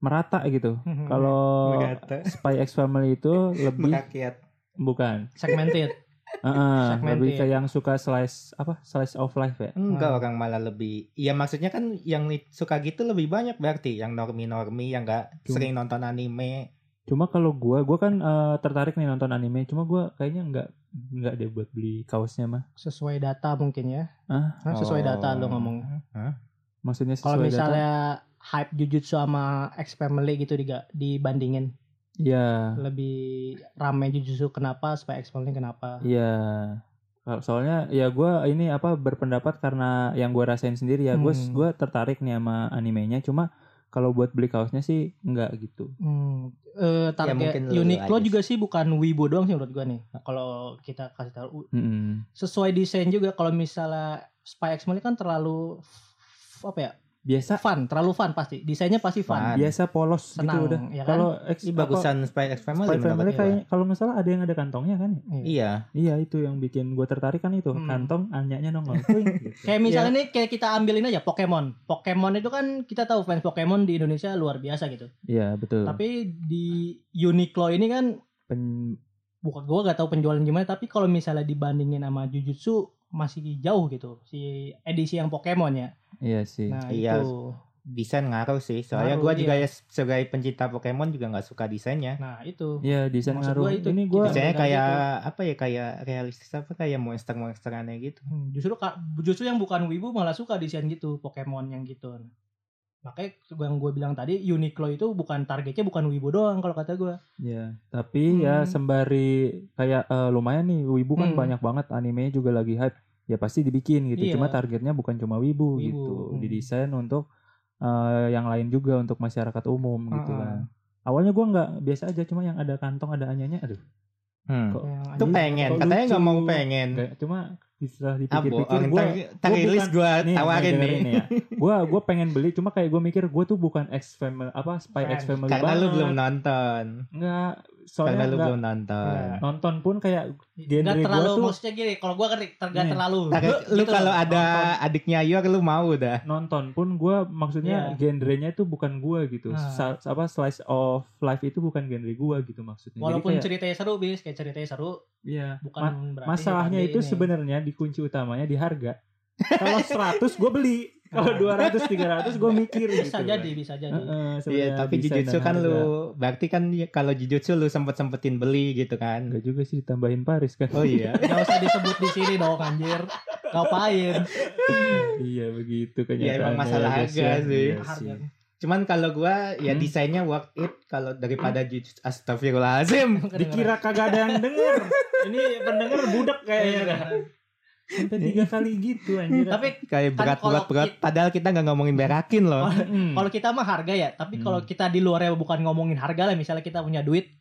[SPEAKER 3] merata gitu.
[SPEAKER 2] Hmm. Oh.
[SPEAKER 3] Kalau
[SPEAKER 1] Merata.
[SPEAKER 3] Spy X Family itu lebih
[SPEAKER 1] Merakyat.
[SPEAKER 3] bukan.
[SPEAKER 2] segmented.
[SPEAKER 3] Heeh,
[SPEAKER 2] Segmented.
[SPEAKER 3] lebih ke yang suka slice apa? Slice of life ya.
[SPEAKER 1] Enggak
[SPEAKER 2] Hmm.
[SPEAKER 1] orang malah lebih. Iya maksudnya kan yang li- suka gitu lebih banyak berarti yang normi normi yang nggak
[SPEAKER 3] Cuma-
[SPEAKER 1] sering nonton anime.
[SPEAKER 3] Cuma kalau gua gua kan eh, tertarik nih nonton anime, cuma gua kayaknya nggak nggak deh buat beli kaosnya mah.
[SPEAKER 2] sesuai data mungkin ya
[SPEAKER 3] Ah,
[SPEAKER 2] Kan sesuai data lo
[SPEAKER 5] Oh.
[SPEAKER 2] ngomong
[SPEAKER 3] maksudnya
[SPEAKER 2] kalau
[SPEAKER 3] sesuai data?
[SPEAKER 2] misalnya hype Jujutsu sama X Family gitu diga- dibandingin
[SPEAKER 3] Iya,
[SPEAKER 2] lebih rame Jujutsu kenapa supaya X Family kenapa
[SPEAKER 3] iya. Kalau- Soalnya ya gua ini apa berpendapat karena yang gua rasain sendiri ya. Gua
[SPEAKER 2] Hmm.
[SPEAKER 3] gua tertarik nih sama animenya, cuma kalau buat beli kaosnya sih nggak gitu.
[SPEAKER 2] Hmm, eh
[SPEAKER 3] Ya,
[SPEAKER 2] target
[SPEAKER 1] mungkin lu
[SPEAKER 2] Uniqlo
[SPEAKER 1] aja
[SPEAKER 2] juga sih bukan Wibo doang sih menurut gua nih. Nah, kalau kita kasih tahu u-
[SPEAKER 3] Mm-mm.
[SPEAKER 2] sesuai desain juga kalau misalnya Spy X Family kan terlalu f- apa ya?
[SPEAKER 3] Biasa
[SPEAKER 2] Fun, terlalu fun pasti. Desainnya pasti fun.
[SPEAKER 5] Fun.
[SPEAKER 3] biasa polos
[SPEAKER 2] Senang,
[SPEAKER 3] gitu udah.
[SPEAKER 2] ya kan?
[SPEAKER 3] Kalau X
[SPEAKER 1] Ini
[SPEAKER 3] apa,
[SPEAKER 1] bagusan Spy X Family.
[SPEAKER 3] Spy Family
[SPEAKER 1] pendapatnya,
[SPEAKER 3] kayak kalau nggak salah ada yang ada kantongnya kan? ya?
[SPEAKER 1] Wak. Iya.
[SPEAKER 3] Iya itu yang bikin gue tertarik kan itu
[SPEAKER 2] Hmm.
[SPEAKER 3] kantong anyanya nongol. Puing, gitu.
[SPEAKER 2] Kayak misalnya nih kayak kita ambilin aja Pokemon. Pokemon itu kan kita tahu fans Pokemon di Indonesia luar biasa gitu.
[SPEAKER 3] Iya betul.
[SPEAKER 2] Tapi di Uniqlo ini kan
[SPEAKER 3] Pen-
[SPEAKER 2] bukan gua gak tahu penjualan gimana tapi kalau misalnya dibandingin sama Jujutsu masih jauh gitu si edisi yang Pokemon ya.
[SPEAKER 3] iya sih.
[SPEAKER 2] Nah,
[SPEAKER 1] Iya.
[SPEAKER 2] itu.
[SPEAKER 1] Desain ngaruh sih. Soalnya
[SPEAKER 2] Ngaruh,
[SPEAKER 1] gue juga
[SPEAKER 3] iya.
[SPEAKER 1] ya sebagai pencinta Pokemon juga nggak suka desainnya.
[SPEAKER 2] Nah, itu.
[SPEAKER 3] Iya desain
[SPEAKER 2] Maksud
[SPEAKER 3] ngaruh.
[SPEAKER 2] gua itu,
[SPEAKER 3] Ini gue
[SPEAKER 2] desain-
[SPEAKER 1] Desainnya
[SPEAKER 2] Nah,
[SPEAKER 1] kayak apa ya kayak realistis apa kayak monster-monster aneh gitu.
[SPEAKER 2] Hmm, justru ka- justru yang bukan wibu malah suka desain gitu Pokemon yang gitu makanya yang gue bilang tadi Uniqlo itu bukan targetnya bukan wibu doang kalau kata gue
[SPEAKER 3] ya tapi ya
[SPEAKER 2] Hmm.
[SPEAKER 3] sembari kayak eh, lumayan nih wibu kan
[SPEAKER 2] Hmm.
[SPEAKER 3] banyak banget animenya juga lagi hype. Ya pasti dibikin gitu.
[SPEAKER 2] Iya.
[SPEAKER 3] Cuma targetnya bukan cuma wibu,
[SPEAKER 2] Wibu,
[SPEAKER 3] gitu.
[SPEAKER 2] hmm.
[SPEAKER 3] Didesain untuk eh, yang lain juga untuk masyarakat umum gitu
[SPEAKER 2] Ah, ah.
[SPEAKER 3] kan. Awalnya gue nggak biasa aja cuma yang ada kantong ada anyanya aduh.
[SPEAKER 1] Hmm.
[SPEAKER 3] Kok-
[SPEAKER 2] Yang
[SPEAKER 1] Itu
[SPEAKER 2] anjing.
[SPEAKER 1] pengen,
[SPEAKER 3] kok
[SPEAKER 1] katanya nggak mau
[SPEAKER 3] lucu.
[SPEAKER 1] pengen. Ah,
[SPEAKER 3] Nggak, cuma setelah
[SPEAKER 1] Abo,
[SPEAKER 3] dipikir-pikir
[SPEAKER 1] orang
[SPEAKER 3] gue
[SPEAKER 1] tar- tarilis gue tawarin nih.
[SPEAKER 3] dengerin ya. Gua gua pengen beli cuma kayak gue mikir gue tuh bukan X family apa spy
[SPEAKER 2] Fan.
[SPEAKER 3] X family
[SPEAKER 1] Karena
[SPEAKER 3] banget.
[SPEAKER 1] lu belum nonton.
[SPEAKER 3] Enggak, soalnya
[SPEAKER 1] Karena lu
[SPEAKER 3] nggak-
[SPEAKER 1] belum nonton.
[SPEAKER 2] Nah,
[SPEAKER 3] nonton pun kayak genre
[SPEAKER 2] Nggak terlalu
[SPEAKER 3] gua tuh- Iya. Nah,
[SPEAKER 2] maksudnya gini kalau gue kan ter- nggak
[SPEAKER 3] Nih.
[SPEAKER 2] terlalu
[SPEAKER 1] Tapi
[SPEAKER 2] Gitu
[SPEAKER 1] lu
[SPEAKER 2] loh.
[SPEAKER 1] kalau ada
[SPEAKER 3] Nah,
[SPEAKER 1] adiknya Yor lu mau dah.
[SPEAKER 3] nonton pun gue
[SPEAKER 1] Iya.
[SPEAKER 3] maksudnya genrenya itu bukan gue gitu.
[SPEAKER 2] Ah.
[SPEAKER 3] Sa- apa slice of life itu bukan genre gue gitu maksudnya. Jadi
[SPEAKER 2] walaupun
[SPEAKER 3] kayak,
[SPEAKER 2] ceritanya seru bis kayak ceritanya seru
[SPEAKER 3] iya.
[SPEAKER 2] bukan
[SPEAKER 3] Ma-
[SPEAKER 2] berarti
[SPEAKER 3] Masalahnya
[SPEAKER 2] nanti
[SPEAKER 3] itu
[SPEAKER 2] ini.
[SPEAKER 3] sebenarnya di kunci utamanya di harga. Kalau 100 gue beli,
[SPEAKER 1] Ah.
[SPEAKER 3] kalau 200 300 gue mikir gitu.
[SPEAKER 2] bisa jadi bisa jadi
[SPEAKER 3] Heeh,
[SPEAKER 1] Iya,
[SPEAKER 3] sebenarnya
[SPEAKER 1] tapi
[SPEAKER 3] desain
[SPEAKER 1] Jujutsu
[SPEAKER 3] dan
[SPEAKER 1] kan
[SPEAKER 3] harga.
[SPEAKER 1] lu berarti kan ya kalau Jujutsu lu sempet-sempetin beli gitu kan.
[SPEAKER 3] Enggak juga sih ditambahin Paris kan.
[SPEAKER 1] Oh iya.
[SPEAKER 2] nggak usah disebut di sini dong anjir ngapain
[SPEAKER 3] iya begitu
[SPEAKER 1] Iya,
[SPEAKER 3] kenyataannya.
[SPEAKER 1] emang masalah
[SPEAKER 3] guys, ya.
[SPEAKER 1] harga sih.
[SPEAKER 3] Iya
[SPEAKER 2] harga
[SPEAKER 1] Cuman kalau gua ya
[SPEAKER 3] Hmm.
[SPEAKER 1] desainnya worth it kalau daripada
[SPEAKER 2] Hmm.
[SPEAKER 1] Jujutsu Astagfirullahalazim.
[SPEAKER 3] Dikira kagak ada yang denger. Ini pendengar budak
[SPEAKER 2] Iya,
[SPEAKER 3] kayaknya. dah. Sampai tiga kali gitu anjir.
[SPEAKER 2] tapi
[SPEAKER 1] Kayak
[SPEAKER 2] Kan
[SPEAKER 1] berat
[SPEAKER 2] kalau
[SPEAKER 1] berat berat
[SPEAKER 2] kita-
[SPEAKER 1] padahal kita nggak ngomongin berakin loh.
[SPEAKER 3] Mm.
[SPEAKER 2] Kalau kita mah harga ya, tapi
[SPEAKER 3] Hmm.
[SPEAKER 2] kalau kita di luarnya bukan ngomongin harga lah, misalnya kita punya duit,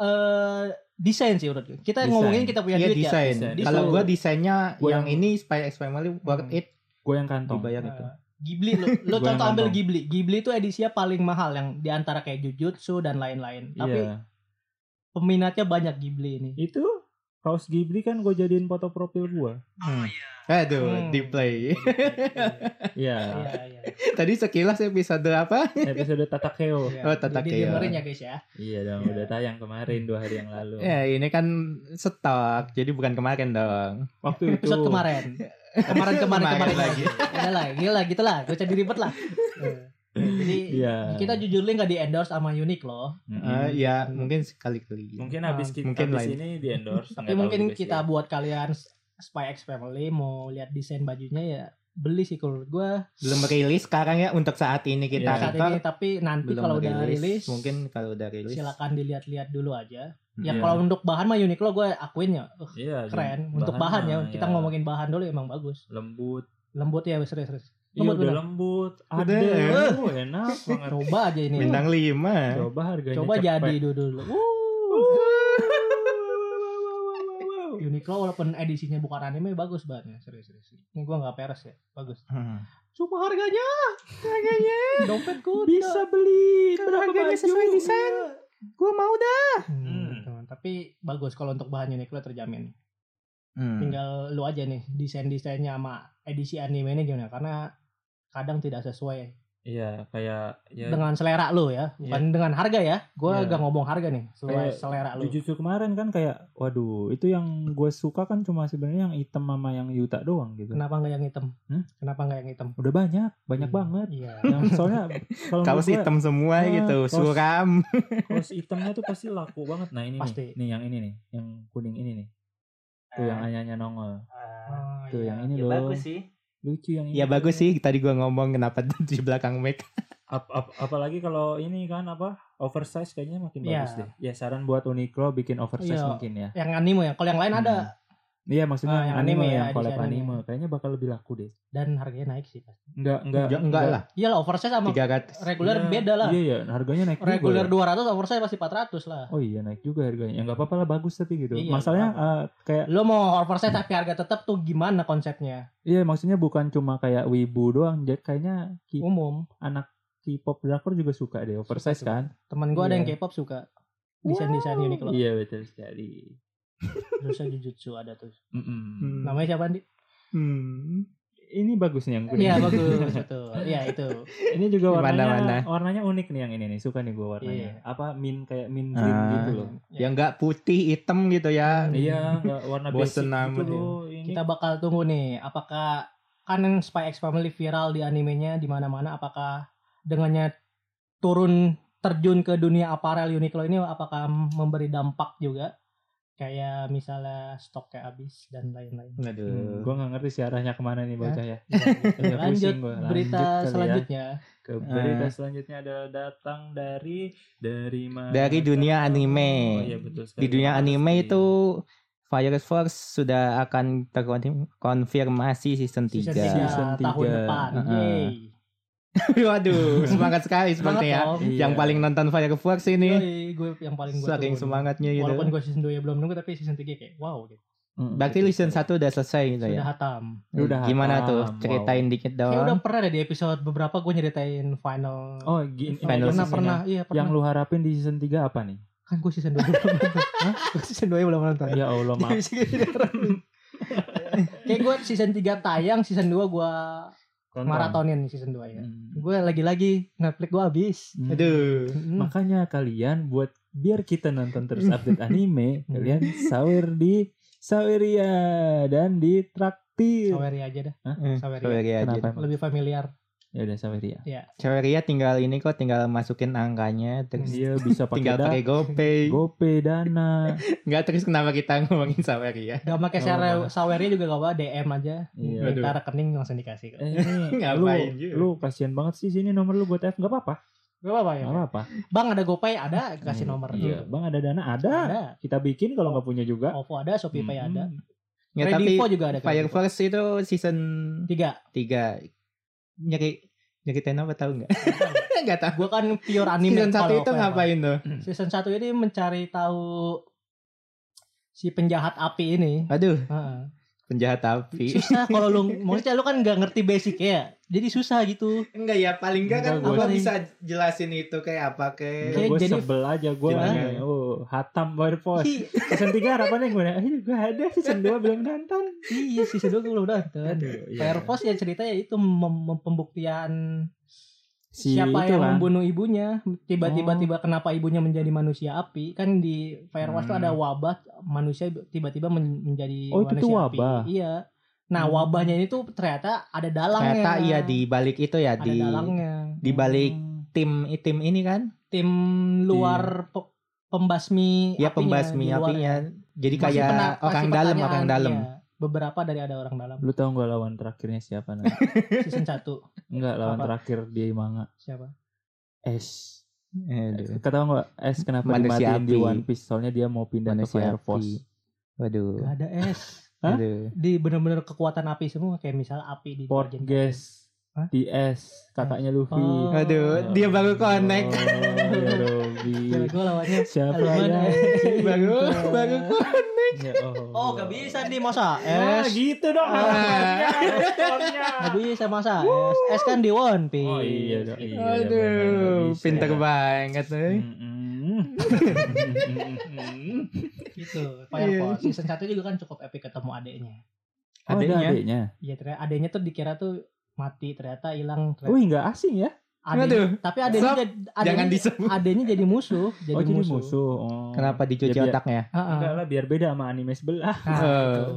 [SPEAKER 2] eh desain sih menurut gue. Kita
[SPEAKER 3] Desain.
[SPEAKER 2] ngomongin kita punya
[SPEAKER 1] Iya
[SPEAKER 2] duit ya.
[SPEAKER 1] desain.
[SPEAKER 3] desain.
[SPEAKER 1] Kalau
[SPEAKER 2] Desain.
[SPEAKER 1] gua desainnya
[SPEAKER 3] Gua
[SPEAKER 1] yang
[SPEAKER 3] yang-
[SPEAKER 1] ini Spy X Family worth
[SPEAKER 2] Hmm.
[SPEAKER 1] it
[SPEAKER 3] gue yang kantong. Iya.
[SPEAKER 1] dibayar
[SPEAKER 2] Eh,
[SPEAKER 1] itu.
[SPEAKER 2] Ghibli lo, lo
[SPEAKER 3] Gua yang
[SPEAKER 2] contoh ambil
[SPEAKER 3] kantong.
[SPEAKER 2] Ghibli. Ghibli itu edisinya paling mahal yang diantara kayak Jujutsu dan lain-lain. Tapi
[SPEAKER 3] Tapi
[SPEAKER 2] peminatnya banyak Ghibli ini.
[SPEAKER 3] itu kaos Ghibli kan gue jadiin foto profil gue.
[SPEAKER 1] Hmm. Aduh,
[SPEAKER 2] Oh, Hmm.
[SPEAKER 1] di play.
[SPEAKER 3] Iya.
[SPEAKER 2] Iya, iya.
[SPEAKER 1] Tadi sekilas episode apa?
[SPEAKER 3] Episode Tatakeo.
[SPEAKER 2] Iya.
[SPEAKER 1] Oh, tetap
[SPEAKER 2] Jadi
[SPEAKER 1] ya.
[SPEAKER 2] dengerin ya guys ya.
[SPEAKER 3] Iya dong, udah tayang kemarin dua hari yang lalu.
[SPEAKER 2] Iya.
[SPEAKER 1] Ya, ini kan stok. Jadi bukan kemarin dong.
[SPEAKER 3] Waktu itu.
[SPEAKER 2] Episode kemarin. Kemarin kemarin kemarin lagi. Udah lah, gila gitu lah. Gue jadi ribet lah. Eh, Jadi
[SPEAKER 3] Iya.
[SPEAKER 2] kita jujurnya nggak di endorse sama Uniqlo loh.
[SPEAKER 3] Mm-mm.
[SPEAKER 2] Ah,
[SPEAKER 1] Eh,
[SPEAKER 2] Hmm.
[SPEAKER 1] ya,
[SPEAKER 2] iya.
[SPEAKER 1] mungkin sekali-kali. gitu.
[SPEAKER 3] Mungkin habis kita
[SPEAKER 1] Mungkin
[SPEAKER 3] habis
[SPEAKER 1] lain.
[SPEAKER 3] ini di endorse.
[SPEAKER 2] Tapi mungkin kita buat kalian s- Spy X Family mau lihat desain bajunya ya beli sih kalau menurut gua
[SPEAKER 1] Belum rilis sekarang ya untuk saat ini kita
[SPEAKER 3] Iya.
[SPEAKER 2] saat
[SPEAKER 1] record.
[SPEAKER 2] ini tapi nanti
[SPEAKER 1] Belum
[SPEAKER 2] kalau
[SPEAKER 1] rilis.
[SPEAKER 2] udah rilis
[SPEAKER 1] Mungkin kalau udah rilis.
[SPEAKER 2] silakan dilihat-lihat dulu aja. Ya
[SPEAKER 3] Iya.
[SPEAKER 2] kalau untuk bahan mah Uniqlo gue akuin ya uh,
[SPEAKER 3] Iya,
[SPEAKER 2] keren. Untuk bahan ya kita ngomongin bahan dulu emang bagus.
[SPEAKER 3] lembut.
[SPEAKER 2] Lembut ya serius-serius.
[SPEAKER 3] Iya
[SPEAKER 2] Lembut,
[SPEAKER 3] udah
[SPEAKER 2] bener.
[SPEAKER 3] lembut.
[SPEAKER 1] Udah.
[SPEAKER 3] Ada. Oh, enak banget.
[SPEAKER 2] Coba aja ini.
[SPEAKER 1] Bintang 5.
[SPEAKER 3] Coba harganya
[SPEAKER 2] Coba
[SPEAKER 3] cepet.
[SPEAKER 2] jadi dulu dulu. Uniqlo walaupun edisinya bukan anime bagus banget ya serius-serius. Ini gua nggak peres ya. Bagus. Cuma harganya, harganya dompet gue
[SPEAKER 3] Bisa beli
[SPEAKER 1] Kalau
[SPEAKER 3] berapa
[SPEAKER 1] harganya
[SPEAKER 3] baju?
[SPEAKER 1] sesuai desain.
[SPEAKER 3] Iya.
[SPEAKER 1] Gue mau dah.
[SPEAKER 3] Hmm.
[SPEAKER 2] Hmm. gitu. Tapi bagus kalau untuk bahan Uniqlo terjamin. Hmm.
[SPEAKER 3] Hmm.
[SPEAKER 1] Hmm.
[SPEAKER 2] Tinggal lu aja nih desain-desainnya sama edisi anime ini gimana karena kadang tidak sesuai
[SPEAKER 3] Iya, kayak ya
[SPEAKER 2] dengan selera lu ya bukan dengan harga ya gue
[SPEAKER 3] Iya.
[SPEAKER 2] gak ngomong harga nih sesuai
[SPEAKER 3] Kayak
[SPEAKER 2] selera lu
[SPEAKER 3] Jujutsu kemarin kan kayak waduh, itu yang gue suka kan cuma sebenarnya yang hitam sama yang yuta doang gitu.
[SPEAKER 2] kenapa nggak yang hitam
[SPEAKER 3] Hmm?
[SPEAKER 2] kenapa nggak yang hitam
[SPEAKER 3] Udah banyak, banyak
[SPEAKER 2] Hmm,
[SPEAKER 3] banget.
[SPEAKER 2] iya
[SPEAKER 3] Yang soalnya kalau
[SPEAKER 1] Kaos
[SPEAKER 3] menurut gua,
[SPEAKER 1] hitam semua
[SPEAKER 3] Ah,
[SPEAKER 1] gitu,
[SPEAKER 3] kaos-
[SPEAKER 1] suram.
[SPEAKER 3] kaos hitamnya tuh pasti laku banget. Nah, ini
[SPEAKER 2] Pasti.
[SPEAKER 3] nih, nih yang ini nih, yang kuning ini nih. Tuh yang anyanya nongol.
[SPEAKER 2] Oh,
[SPEAKER 3] Tuh
[SPEAKER 2] iya.
[SPEAKER 3] yang ini
[SPEAKER 1] Ya
[SPEAKER 3] loh.
[SPEAKER 1] bagus sih.
[SPEAKER 3] Lucu yang ini.
[SPEAKER 1] Ya bagus sih. Tadi gua ngomong kenapa di belakang mic.
[SPEAKER 3] Ap- ap- apalagi kalau ini kan apa? Oversize kayaknya makin
[SPEAKER 2] Iya.
[SPEAKER 3] bagus deh. Ya saran buat Uniqlo bikin oversize
[SPEAKER 2] Iya.
[SPEAKER 3] mungkin ya.
[SPEAKER 2] yang anime ya kalau yang lain ada
[SPEAKER 3] Iya, maksudnya
[SPEAKER 2] Ah,
[SPEAKER 3] yang
[SPEAKER 2] yang
[SPEAKER 3] anime,
[SPEAKER 2] anime ya,
[SPEAKER 3] yang
[SPEAKER 2] edisi
[SPEAKER 3] collab
[SPEAKER 2] anime.
[SPEAKER 3] anime. Kayaknya bakal lebih laku deh.
[SPEAKER 2] dan harganya naik sih Iya pasti
[SPEAKER 3] Enggak, enggak.
[SPEAKER 1] Ya, enggak lah,
[SPEAKER 2] iyalah oversize sama
[SPEAKER 1] 300.
[SPEAKER 2] reguler
[SPEAKER 3] Iya,
[SPEAKER 2] beda lah
[SPEAKER 3] Iya, iya, harganya naik juga
[SPEAKER 2] reguler
[SPEAKER 3] ya.
[SPEAKER 2] 200 oversize pasti 400 lah
[SPEAKER 3] Oh iya, naik juga harganya. Ya enggak apa-apa lah bagus tapi gitu.
[SPEAKER 2] Iya,
[SPEAKER 3] Masalahnya
[SPEAKER 2] nggak
[SPEAKER 3] eh, kayak
[SPEAKER 2] lo mau oversize tapi harga tetap tuh gimana konsepnya
[SPEAKER 3] iya maksudnya bukan cuma kayak wibu doang. Jadi kayaknya ki-
[SPEAKER 2] umum
[SPEAKER 3] anak K-pop drakor juga suka deh oversize
[SPEAKER 2] Suka, suka.
[SPEAKER 3] kan?
[SPEAKER 2] temen gue ada yang
[SPEAKER 3] Iya.
[SPEAKER 2] K-pop suka desain desain Uniqlo
[SPEAKER 3] Iya, betul sekali.
[SPEAKER 2] terus jujutsu ada tuh
[SPEAKER 3] Mm-mm.
[SPEAKER 1] Hmm.
[SPEAKER 2] namanya siapa nih
[SPEAKER 1] Hmm.
[SPEAKER 3] Ini bagus nih yang kuning.
[SPEAKER 2] iya bagus betul iya itu
[SPEAKER 3] ini
[SPEAKER 1] Di
[SPEAKER 3] juga warnanya
[SPEAKER 1] mana-mana.
[SPEAKER 3] warnanya unik nih yang ini nih. Suka nih gua warnanya. Apa min kayak min green
[SPEAKER 1] Ah.
[SPEAKER 3] gitu loh.
[SPEAKER 2] Iya.
[SPEAKER 1] Ya enggak putih hitam gitu ya.
[SPEAKER 3] Iya, nggak warna
[SPEAKER 1] Bosen
[SPEAKER 3] basic gitu
[SPEAKER 1] amat ya.
[SPEAKER 3] loh. Ini
[SPEAKER 2] kita bakal tunggu nih apakah kan yang Spy X Family viral di animenya di mana-mana apakah dengannya turun terjun ke dunia aparel Uniqlo ini apakah memberi dampak juga kayak misalnya stoknya habis dan lain-lain.
[SPEAKER 1] Aduh.
[SPEAKER 3] gue Hmm, nggak ngerti sih arahnya kemana nih bocah ya. Iya,
[SPEAKER 2] Lanjut
[SPEAKER 3] pusing gua. Lanjut kali
[SPEAKER 2] berita
[SPEAKER 3] ya.
[SPEAKER 2] selanjutnya.
[SPEAKER 3] Ke
[SPEAKER 1] Ah.
[SPEAKER 3] berita selanjutnya adalah datang dari dari mana?
[SPEAKER 1] Dari dunia
[SPEAKER 3] kamu?
[SPEAKER 1] anime.
[SPEAKER 3] Oh, iya, betul sekali. Iya.
[SPEAKER 1] Di dunia
[SPEAKER 3] Pasti.
[SPEAKER 1] anime itu Fire Force sudah akan terkonfirmasi season 3.
[SPEAKER 2] Season
[SPEAKER 3] tiga.
[SPEAKER 2] tiga
[SPEAKER 3] Season
[SPEAKER 2] tahun
[SPEAKER 3] tiga.
[SPEAKER 2] depan.
[SPEAKER 1] Heeh.
[SPEAKER 2] Yeay.
[SPEAKER 1] Waduh, semangat sekali
[SPEAKER 2] Semangat
[SPEAKER 1] sepertinya.
[SPEAKER 2] dong.
[SPEAKER 3] Iya.
[SPEAKER 1] Yang paling nonton Fire Force ini
[SPEAKER 2] Yoi, gue yang paling gue
[SPEAKER 1] saking
[SPEAKER 2] tunggu.
[SPEAKER 1] semangatnya gitu.
[SPEAKER 2] Walaupun gue season 2 ya belum nunggu tapi season 3 kayak wow gitu.
[SPEAKER 3] Mm,
[SPEAKER 1] Berarti
[SPEAKER 3] betul
[SPEAKER 1] season 1
[SPEAKER 3] sekali.
[SPEAKER 1] udah selesai
[SPEAKER 3] Iya,
[SPEAKER 1] gitu
[SPEAKER 2] Sudah
[SPEAKER 1] ya.
[SPEAKER 2] hatam.
[SPEAKER 3] Udah
[SPEAKER 1] Gimana
[SPEAKER 3] hatam.
[SPEAKER 1] tuh?
[SPEAKER 3] Wow.
[SPEAKER 1] Ceritain dikit dong.
[SPEAKER 2] Kayak udah pernah ada di episode beberapa gue nyeritain final
[SPEAKER 3] Oh, gini,
[SPEAKER 1] Final
[SPEAKER 2] pernah
[SPEAKER 3] ini season
[SPEAKER 2] pernah
[SPEAKER 3] ya.
[SPEAKER 2] iya
[SPEAKER 3] Yang
[SPEAKER 2] pernah.
[SPEAKER 3] lu harapin di season 3 apa nih?
[SPEAKER 2] kan gue season 2 belum nonton. Iya, Hah? Gue season 2 belum nonton.
[SPEAKER 3] Ya Allah, maaf.
[SPEAKER 2] Kayak gue season 3 tayang, season 2 gue
[SPEAKER 3] Tonton.
[SPEAKER 2] maratonin nih season 2 ya.
[SPEAKER 3] Mm.
[SPEAKER 2] Gue lagi-lagi Netflix gue habis.
[SPEAKER 3] Mm.
[SPEAKER 1] Aduh.
[SPEAKER 2] Mm.
[SPEAKER 3] Makanya kalian buat biar kita nonton terus update anime, kalian sahur di Saweria dan di Traktir.
[SPEAKER 2] Saweria aja dah,
[SPEAKER 1] Eh,
[SPEAKER 2] Saweria.
[SPEAKER 1] Saweria aja.
[SPEAKER 3] Kenapa emang?
[SPEAKER 2] lebih familiar.
[SPEAKER 3] Ya udah Saweria.
[SPEAKER 1] Saweria tinggal ini kok tinggal masukin angkanya terus
[SPEAKER 3] Dia bisa Iya. pakai
[SPEAKER 1] tinggal
[SPEAKER 3] da,
[SPEAKER 1] pakai GoPay.
[SPEAKER 3] GoPay Dana.
[SPEAKER 1] Enggak terus kenapa kita ngomongin Saweria?
[SPEAKER 2] Gak pakai
[SPEAKER 3] Oh,
[SPEAKER 2] Saweria,
[SPEAKER 3] nggak.
[SPEAKER 2] Saweria juga gak apa DM aja.
[SPEAKER 3] Iya.
[SPEAKER 2] Minta rekening langsung dikasih.
[SPEAKER 3] Eh, ini lu,
[SPEAKER 1] Ngapain juga.
[SPEAKER 3] lu kasihan banget sih sini nomor lu buat F nggak apa-apa
[SPEAKER 2] Gak apa-apa ya.
[SPEAKER 3] nggak apa-apa
[SPEAKER 2] Bang ada GoPay ada, kasih
[SPEAKER 3] Hmm,
[SPEAKER 2] nomor.
[SPEAKER 3] iya. bang ada dana ada
[SPEAKER 2] Ada.
[SPEAKER 3] kita bikin kalau nggak punya juga
[SPEAKER 2] OVO ada, Shopee Pay
[SPEAKER 3] Hmm.
[SPEAKER 2] ada.
[SPEAKER 1] Ya,
[SPEAKER 2] Ready
[SPEAKER 1] tapi
[SPEAKER 2] Info juga ada.
[SPEAKER 1] Fire Force itu season
[SPEAKER 2] Tiga.
[SPEAKER 1] 3 nyari nyeritain apa tahu nggak? Nggak tahu.
[SPEAKER 2] Gue kan pure anime.
[SPEAKER 1] Season 1
[SPEAKER 2] kalau
[SPEAKER 1] itu
[SPEAKER 2] Fire Force.
[SPEAKER 1] ngapain tuh?
[SPEAKER 2] Season 1 ini mencari tahu si penjahat api ini.
[SPEAKER 1] Aduh,
[SPEAKER 2] Heeh.
[SPEAKER 1] penjahat api.
[SPEAKER 2] Susah kalau lu maksudnya lu kan nggak ngerti basic ya. Jadi susah gitu.
[SPEAKER 1] Enggak ya, paling nggak kan
[SPEAKER 3] Enggak,
[SPEAKER 2] gua
[SPEAKER 1] gua
[SPEAKER 2] sih.
[SPEAKER 1] bisa jelasin itu kayak apa kayak
[SPEAKER 2] Kayak
[SPEAKER 3] gue
[SPEAKER 2] jadi-
[SPEAKER 3] sebel aja gue
[SPEAKER 1] Gimana?
[SPEAKER 3] oh, hatam Fire Force
[SPEAKER 2] Hi,
[SPEAKER 3] season 3 harapannya gimana akhirnya gue ada season 2 belum nonton iya.
[SPEAKER 2] iya sih sebelum gue belum nonton.
[SPEAKER 1] Iya.
[SPEAKER 2] Fire Force ya ceritanya itu mem- mem- pembuktian
[SPEAKER 3] Si
[SPEAKER 2] siapa
[SPEAKER 3] itu
[SPEAKER 1] Gitu
[SPEAKER 2] yang
[SPEAKER 3] kan.
[SPEAKER 2] membunuh ibunya tiba-tiba
[SPEAKER 3] Oh.
[SPEAKER 2] tiba kenapa ibunya menjadi manusia api kan di Fire Force
[SPEAKER 1] Hmm.
[SPEAKER 2] tuh ada wabah tiba-tiba tiba-tiba men- menjadi
[SPEAKER 3] Oh, itu
[SPEAKER 2] manusia
[SPEAKER 3] tuh
[SPEAKER 2] api.
[SPEAKER 3] wabah.
[SPEAKER 2] Iya. Nah,
[SPEAKER 3] Hmm.
[SPEAKER 2] wabahnya ini tuh ternyata ada dalangnya.
[SPEAKER 1] ternyata iya di balik itu ya
[SPEAKER 2] ada
[SPEAKER 1] di
[SPEAKER 2] dalangnya.
[SPEAKER 1] di balik tim tim ini kan?
[SPEAKER 2] tim luar pe- pembasmi
[SPEAKER 1] Ya pembasmi
[SPEAKER 2] di luar.
[SPEAKER 1] apinya. Jadi
[SPEAKER 2] Masih
[SPEAKER 1] kayak
[SPEAKER 2] pena- masih
[SPEAKER 1] orang dalam,
[SPEAKER 2] pertanyaan,
[SPEAKER 1] orang dalam.
[SPEAKER 2] iya. beberapa dari ada orang dalam
[SPEAKER 3] lu tau gak lawan terakhirnya siapa nah?
[SPEAKER 2] season 1
[SPEAKER 3] enggak lawan
[SPEAKER 2] Apa?
[SPEAKER 3] terakhir di manga
[SPEAKER 2] siapa
[SPEAKER 3] S
[SPEAKER 1] Aduh.
[SPEAKER 3] kata gak S kenapa
[SPEAKER 1] Manusia
[SPEAKER 3] dimatiin di
[SPEAKER 1] api.
[SPEAKER 3] One Piece soalnya dia mau pindah
[SPEAKER 1] Manusia
[SPEAKER 3] ke Fire
[SPEAKER 1] api.
[SPEAKER 3] Force
[SPEAKER 1] Waduh.
[SPEAKER 2] Gak ada S
[SPEAKER 3] Hah?
[SPEAKER 1] Aduh.
[SPEAKER 2] di bener-bener kekuatan api semua kayak misal api di
[SPEAKER 3] Port
[SPEAKER 2] Jin
[SPEAKER 3] guys
[SPEAKER 2] Hah?
[SPEAKER 3] DS kakaknya Luffy
[SPEAKER 2] Oh.
[SPEAKER 1] Eh. Aduh, dia baru connect.
[SPEAKER 3] Oh, ya Robby.
[SPEAKER 2] Kira gue lawannya
[SPEAKER 3] Siapa
[SPEAKER 2] Alman.
[SPEAKER 3] ya?
[SPEAKER 1] baru
[SPEAKER 2] Gitu.
[SPEAKER 1] baru
[SPEAKER 3] Ya Allah.
[SPEAKER 2] oh gak bisa nih masa
[SPEAKER 3] Ah,
[SPEAKER 2] S
[SPEAKER 3] gitu dong
[SPEAKER 2] Ah.
[SPEAKER 3] harapannya, responnya.
[SPEAKER 2] gak bisa masa S S kan di One Piece
[SPEAKER 3] Oh iya dong. Iya, bener, nggak
[SPEAKER 1] Aduh,
[SPEAKER 3] bisa. ya.
[SPEAKER 1] pinter banget. eh.
[SPEAKER 3] Mm-mm.
[SPEAKER 2] gitu Fire
[SPEAKER 1] Iya.
[SPEAKER 2] Force season 1 juga kan cukup epic ketemu adiknya
[SPEAKER 3] Oh, ada
[SPEAKER 1] Adeknya.
[SPEAKER 3] adeknya.
[SPEAKER 2] iya ternyata adiknya tuh dikira tuh mati ternyata hilang
[SPEAKER 3] Wih, nggak asing ya?
[SPEAKER 2] Ade-
[SPEAKER 1] Waduh.
[SPEAKER 2] tapi adanya
[SPEAKER 1] Sob,
[SPEAKER 2] jadi
[SPEAKER 1] jangan
[SPEAKER 2] adenya,
[SPEAKER 1] disebut.
[SPEAKER 2] adenya jadi musuh, jadi
[SPEAKER 3] oh jadi
[SPEAKER 2] musuh.
[SPEAKER 3] musuh. Oh.
[SPEAKER 1] Kenapa dicuci
[SPEAKER 3] Ya, biar-
[SPEAKER 1] otaknya?
[SPEAKER 2] Ha-ha.
[SPEAKER 3] Enggak lah biar beda sama anime sebelah.
[SPEAKER 2] Nah,
[SPEAKER 1] Eh.
[SPEAKER 2] itu.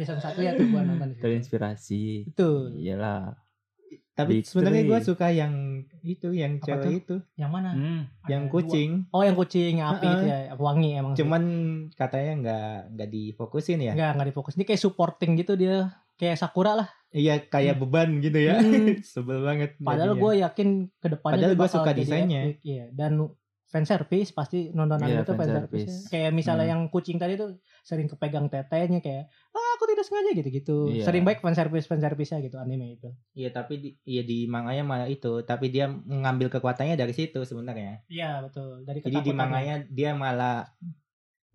[SPEAKER 2] Season 1 ya tuh gua nonton di situ.
[SPEAKER 3] Terinspirasi.
[SPEAKER 2] Betul.
[SPEAKER 3] Iyalah.
[SPEAKER 1] Tapi
[SPEAKER 3] Victory.
[SPEAKER 1] sebenarnya gue suka yang itu, yang
[SPEAKER 2] Apa
[SPEAKER 1] cewek itu,
[SPEAKER 2] Yang mana?
[SPEAKER 3] Hmm.
[SPEAKER 1] yang
[SPEAKER 2] Ada
[SPEAKER 1] kucing.
[SPEAKER 2] dua. Oh, yang kucing api
[SPEAKER 1] Ha-ha.
[SPEAKER 2] itu ya, wangi emang. sih.
[SPEAKER 1] Cuman katanya nggak nggak difokusin ya.
[SPEAKER 2] enggak enggak difokus. Ini kayak supporting gitu dia, kayak Sakura lah.
[SPEAKER 1] Iya kayak beban gitu ya.
[SPEAKER 2] Hmm.
[SPEAKER 1] Sebel banget.
[SPEAKER 2] Padahal
[SPEAKER 1] jadinya.
[SPEAKER 2] gue yakin ke depannya
[SPEAKER 1] Iya, Padahal
[SPEAKER 2] dia
[SPEAKER 1] gua
[SPEAKER 2] bakal
[SPEAKER 1] suka
[SPEAKER 2] jadi
[SPEAKER 1] desainnya.
[SPEAKER 2] epic, Iya, dan fan service pasti nontonan
[SPEAKER 3] Iya,
[SPEAKER 2] itu fan
[SPEAKER 3] fanservice.
[SPEAKER 2] service. Kayak misalnya
[SPEAKER 3] Hmm.
[SPEAKER 2] yang kucing tadi tuh sering kepegang tetenya kayak ah aku tidak sengaja gitu-gitu.
[SPEAKER 3] Iya.
[SPEAKER 2] Sering baik fan service fan service-nya gitu anime itu.
[SPEAKER 1] Iya tapi di, iya di manganya malah itu, tapi dia mengambil kekuatannya dari situ sebenarnya.
[SPEAKER 2] Iya, betul. Dari
[SPEAKER 1] Jadi di
[SPEAKER 2] ketakutan. ya.
[SPEAKER 1] manganya dia malah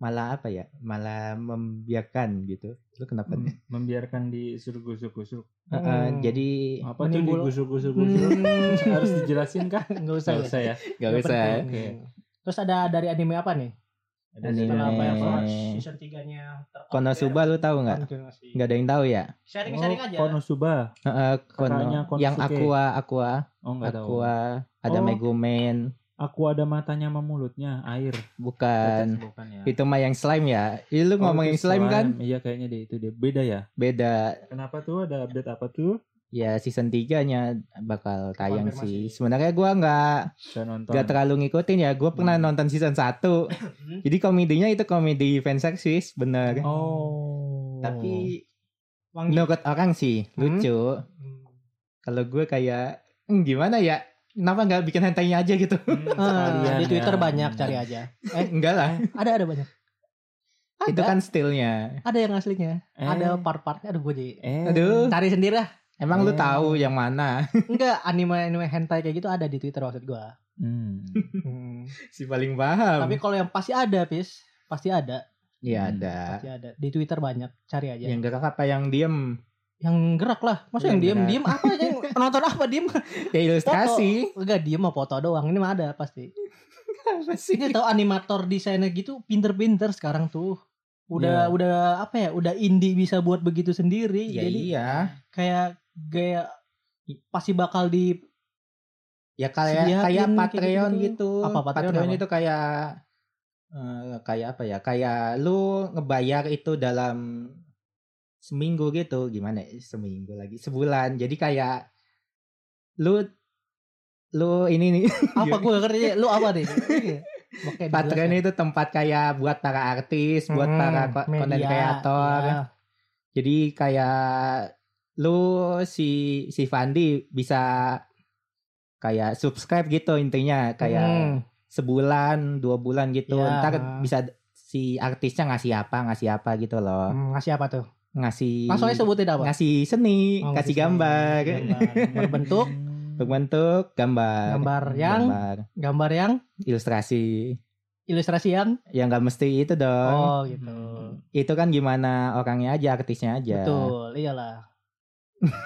[SPEAKER 1] malah apa ya? Malah membiarkan gitu. Lu kenapa? nih?
[SPEAKER 3] Membiarkan digusuk-gusuk.
[SPEAKER 1] Heeh,
[SPEAKER 2] Hmm.
[SPEAKER 1] jadi
[SPEAKER 3] Apa
[SPEAKER 2] Menimbul-
[SPEAKER 3] tuh digusuk-gusuk-gusuk?
[SPEAKER 2] Hmm,
[SPEAKER 3] Harus dijelasin kan?
[SPEAKER 2] Nggak usah
[SPEAKER 3] Enggak
[SPEAKER 2] ya.
[SPEAKER 3] usah ya.
[SPEAKER 1] gak
[SPEAKER 2] Nggak
[SPEAKER 1] bisa ya.
[SPEAKER 2] penting. Terus ada dari anime apa nih?
[SPEAKER 3] Ada
[SPEAKER 1] Anime.
[SPEAKER 3] satu
[SPEAKER 2] Setelah
[SPEAKER 3] nama yang sama.
[SPEAKER 2] Firewatch season 3-nya
[SPEAKER 1] Konosuba lu tahu nggak? Nggak ada yang tahu ya?
[SPEAKER 2] Sharing-sharing
[SPEAKER 3] Oh,
[SPEAKER 2] aja.
[SPEAKER 3] Konosuba.
[SPEAKER 1] Heeh, Kono-
[SPEAKER 3] Kakaknya Konosuke.
[SPEAKER 1] yang aqua aqua
[SPEAKER 3] Oh enggak tahu.
[SPEAKER 1] aqua ada
[SPEAKER 3] Oh.
[SPEAKER 1] Megumen
[SPEAKER 3] Aku ada matanya sama mulutnya, air.
[SPEAKER 1] bukan
[SPEAKER 3] Bukan ya.
[SPEAKER 1] itu mah yang slime ya. Ih, lu
[SPEAKER 3] Oh,
[SPEAKER 1] ngomong
[SPEAKER 3] itu
[SPEAKER 1] yang slime, kan?
[SPEAKER 3] Iya kayaknya deh itu dia. Beda ya.
[SPEAKER 1] Beda.
[SPEAKER 3] Kenapa tuh ada update apa tuh?
[SPEAKER 1] Ya season 3-nya bakal tayang sih.
[SPEAKER 2] Konfirmasi.
[SPEAKER 1] Sebenarnya gua nggak
[SPEAKER 3] Saya nonton.
[SPEAKER 1] Gak terlalu ngikutin ya. Gue pernah
[SPEAKER 3] Hmm.
[SPEAKER 1] nonton season 1.
[SPEAKER 2] Hmm.
[SPEAKER 1] Jadi komedinya itu komedi fanservice bener.
[SPEAKER 3] Oh.
[SPEAKER 1] Tapi
[SPEAKER 2] Wangi.
[SPEAKER 1] menurut orang sih
[SPEAKER 2] Hmm.
[SPEAKER 1] lucu.
[SPEAKER 2] Hmm.
[SPEAKER 1] Kalau gue kayak "Hmm, gimana ya? Kenapa nggak bikin hentainya aja gitu?
[SPEAKER 3] Hmm,
[SPEAKER 2] Ah,
[SPEAKER 3] sekalian
[SPEAKER 2] di Twitter
[SPEAKER 3] ya.
[SPEAKER 2] banyak cari aja.
[SPEAKER 1] Eh, enggak lah.
[SPEAKER 2] Ada ada banyak. Ada,
[SPEAKER 1] Itu kan stylenya.
[SPEAKER 2] ada yang aslinya.
[SPEAKER 3] Eh,
[SPEAKER 2] Ada part-partnya. Aduh gue jadi
[SPEAKER 3] Eh.
[SPEAKER 1] Aduh,
[SPEAKER 2] cari sendiri lah.
[SPEAKER 1] emang lu
[SPEAKER 3] Eh.
[SPEAKER 1] tahu yang mana?
[SPEAKER 2] Enggak anime anime hentai kayak gitu ada di Twitter maksud gue.
[SPEAKER 3] Hmm.
[SPEAKER 1] si paling paham.
[SPEAKER 2] Tapi kalau yang pasti ada, Pis. Pasti ada,
[SPEAKER 1] Iya ada.
[SPEAKER 2] pasti ada. Di Twitter banyak, cari aja.
[SPEAKER 1] Yang gerak apa yang diem?
[SPEAKER 2] Yang gerak lah.
[SPEAKER 1] Yang
[SPEAKER 2] Masa yang diem
[SPEAKER 1] gerak.
[SPEAKER 2] diem apa yang penonton apa diem?
[SPEAKER 1] Ya ilustrasi.
[SPEAKER 2] Enggak diem mah foto doang. Ini mah ada pasti.
[SPEAKER 1] Apa sih?
[SPEAKER 2] Ini tahu Iya animator desainer gitu pinter-pinter sekarang tuh. Udah
[SPEAKER 3] Iya.
[SPEAKER 2] udah apa ya? Udah indie bisa buat begitu sendiri.
[SPEAKER 1] Ya
[SPEAKER 2] Jadi
[SPEAKER 1] iya.
[SPEAKER 2] kayak gaya pasti bakal di
[SPEAKER 1] Ya kayak kayak
[SPEAKER 2] Sediain kayak
[SPEAKER 1] Patreon
[SPEAKER 2] gitu.
[SPEAKER 1] gitu.
[SPEAKER 2] Apa Patreon apa?
[SPEAKER 1] itu kayak eh, kayak apa ya? Kayak lu ngebayar itu dalam seminggu gitu. Gimana? ya? Seminggu lagi, sebulan. Jadi kayak lu lu ini nih
[SPEAKER 2] apa gue ngerti lu apa nih? Oke, Hmm,
[SPEAKER 1] Patreon itu tempat kayak buat para artis, buat para ko-
[SPEAKER 2] iya.
[SPEAKER 1] content creator. ya, Jadi kayak lu si si Fandi bisa kayak subscribe gitu intinya kayak
[SPEAKER 2] Hmm.
[SPEAKER 1] sebulan dua bulan gitu
[SPEAKER 2] Ya.
[SPEAKER 1] ntar bisa d- si artisnya ngasih apa ngasih apa gitu loh
[SPEAKER 2] ngasih apa tuh?
[SPEAKER 1] ngasih
[SPEAKER 2] Hmm. Langsung aja sebutin apa?
[SPEAKER 1] ngasih seni kasih
[SPEAKER 2] Oh, ngasih
[SPEAKER 1] gambar
[SPEAKER 2] seni. Hmm. Gambar berbentuk
[SPEAKER 1] berbentuk gambar
[SPEAKER 2] gambar yang
[SPEAKER 1] Gambar.
[SPEAKER 2] gambar yang
[SPEAKER 1] ilustrasi
[SPEAKER 2] ilustrasi yang
[SPEAKER 1] yang nggak mesti itu dong
[SPEAKER 2] oh gitu
[SPEAKER 1] itu kan gimana orangnya aja artisnya aja
[SPEAKER 2] betul iyalah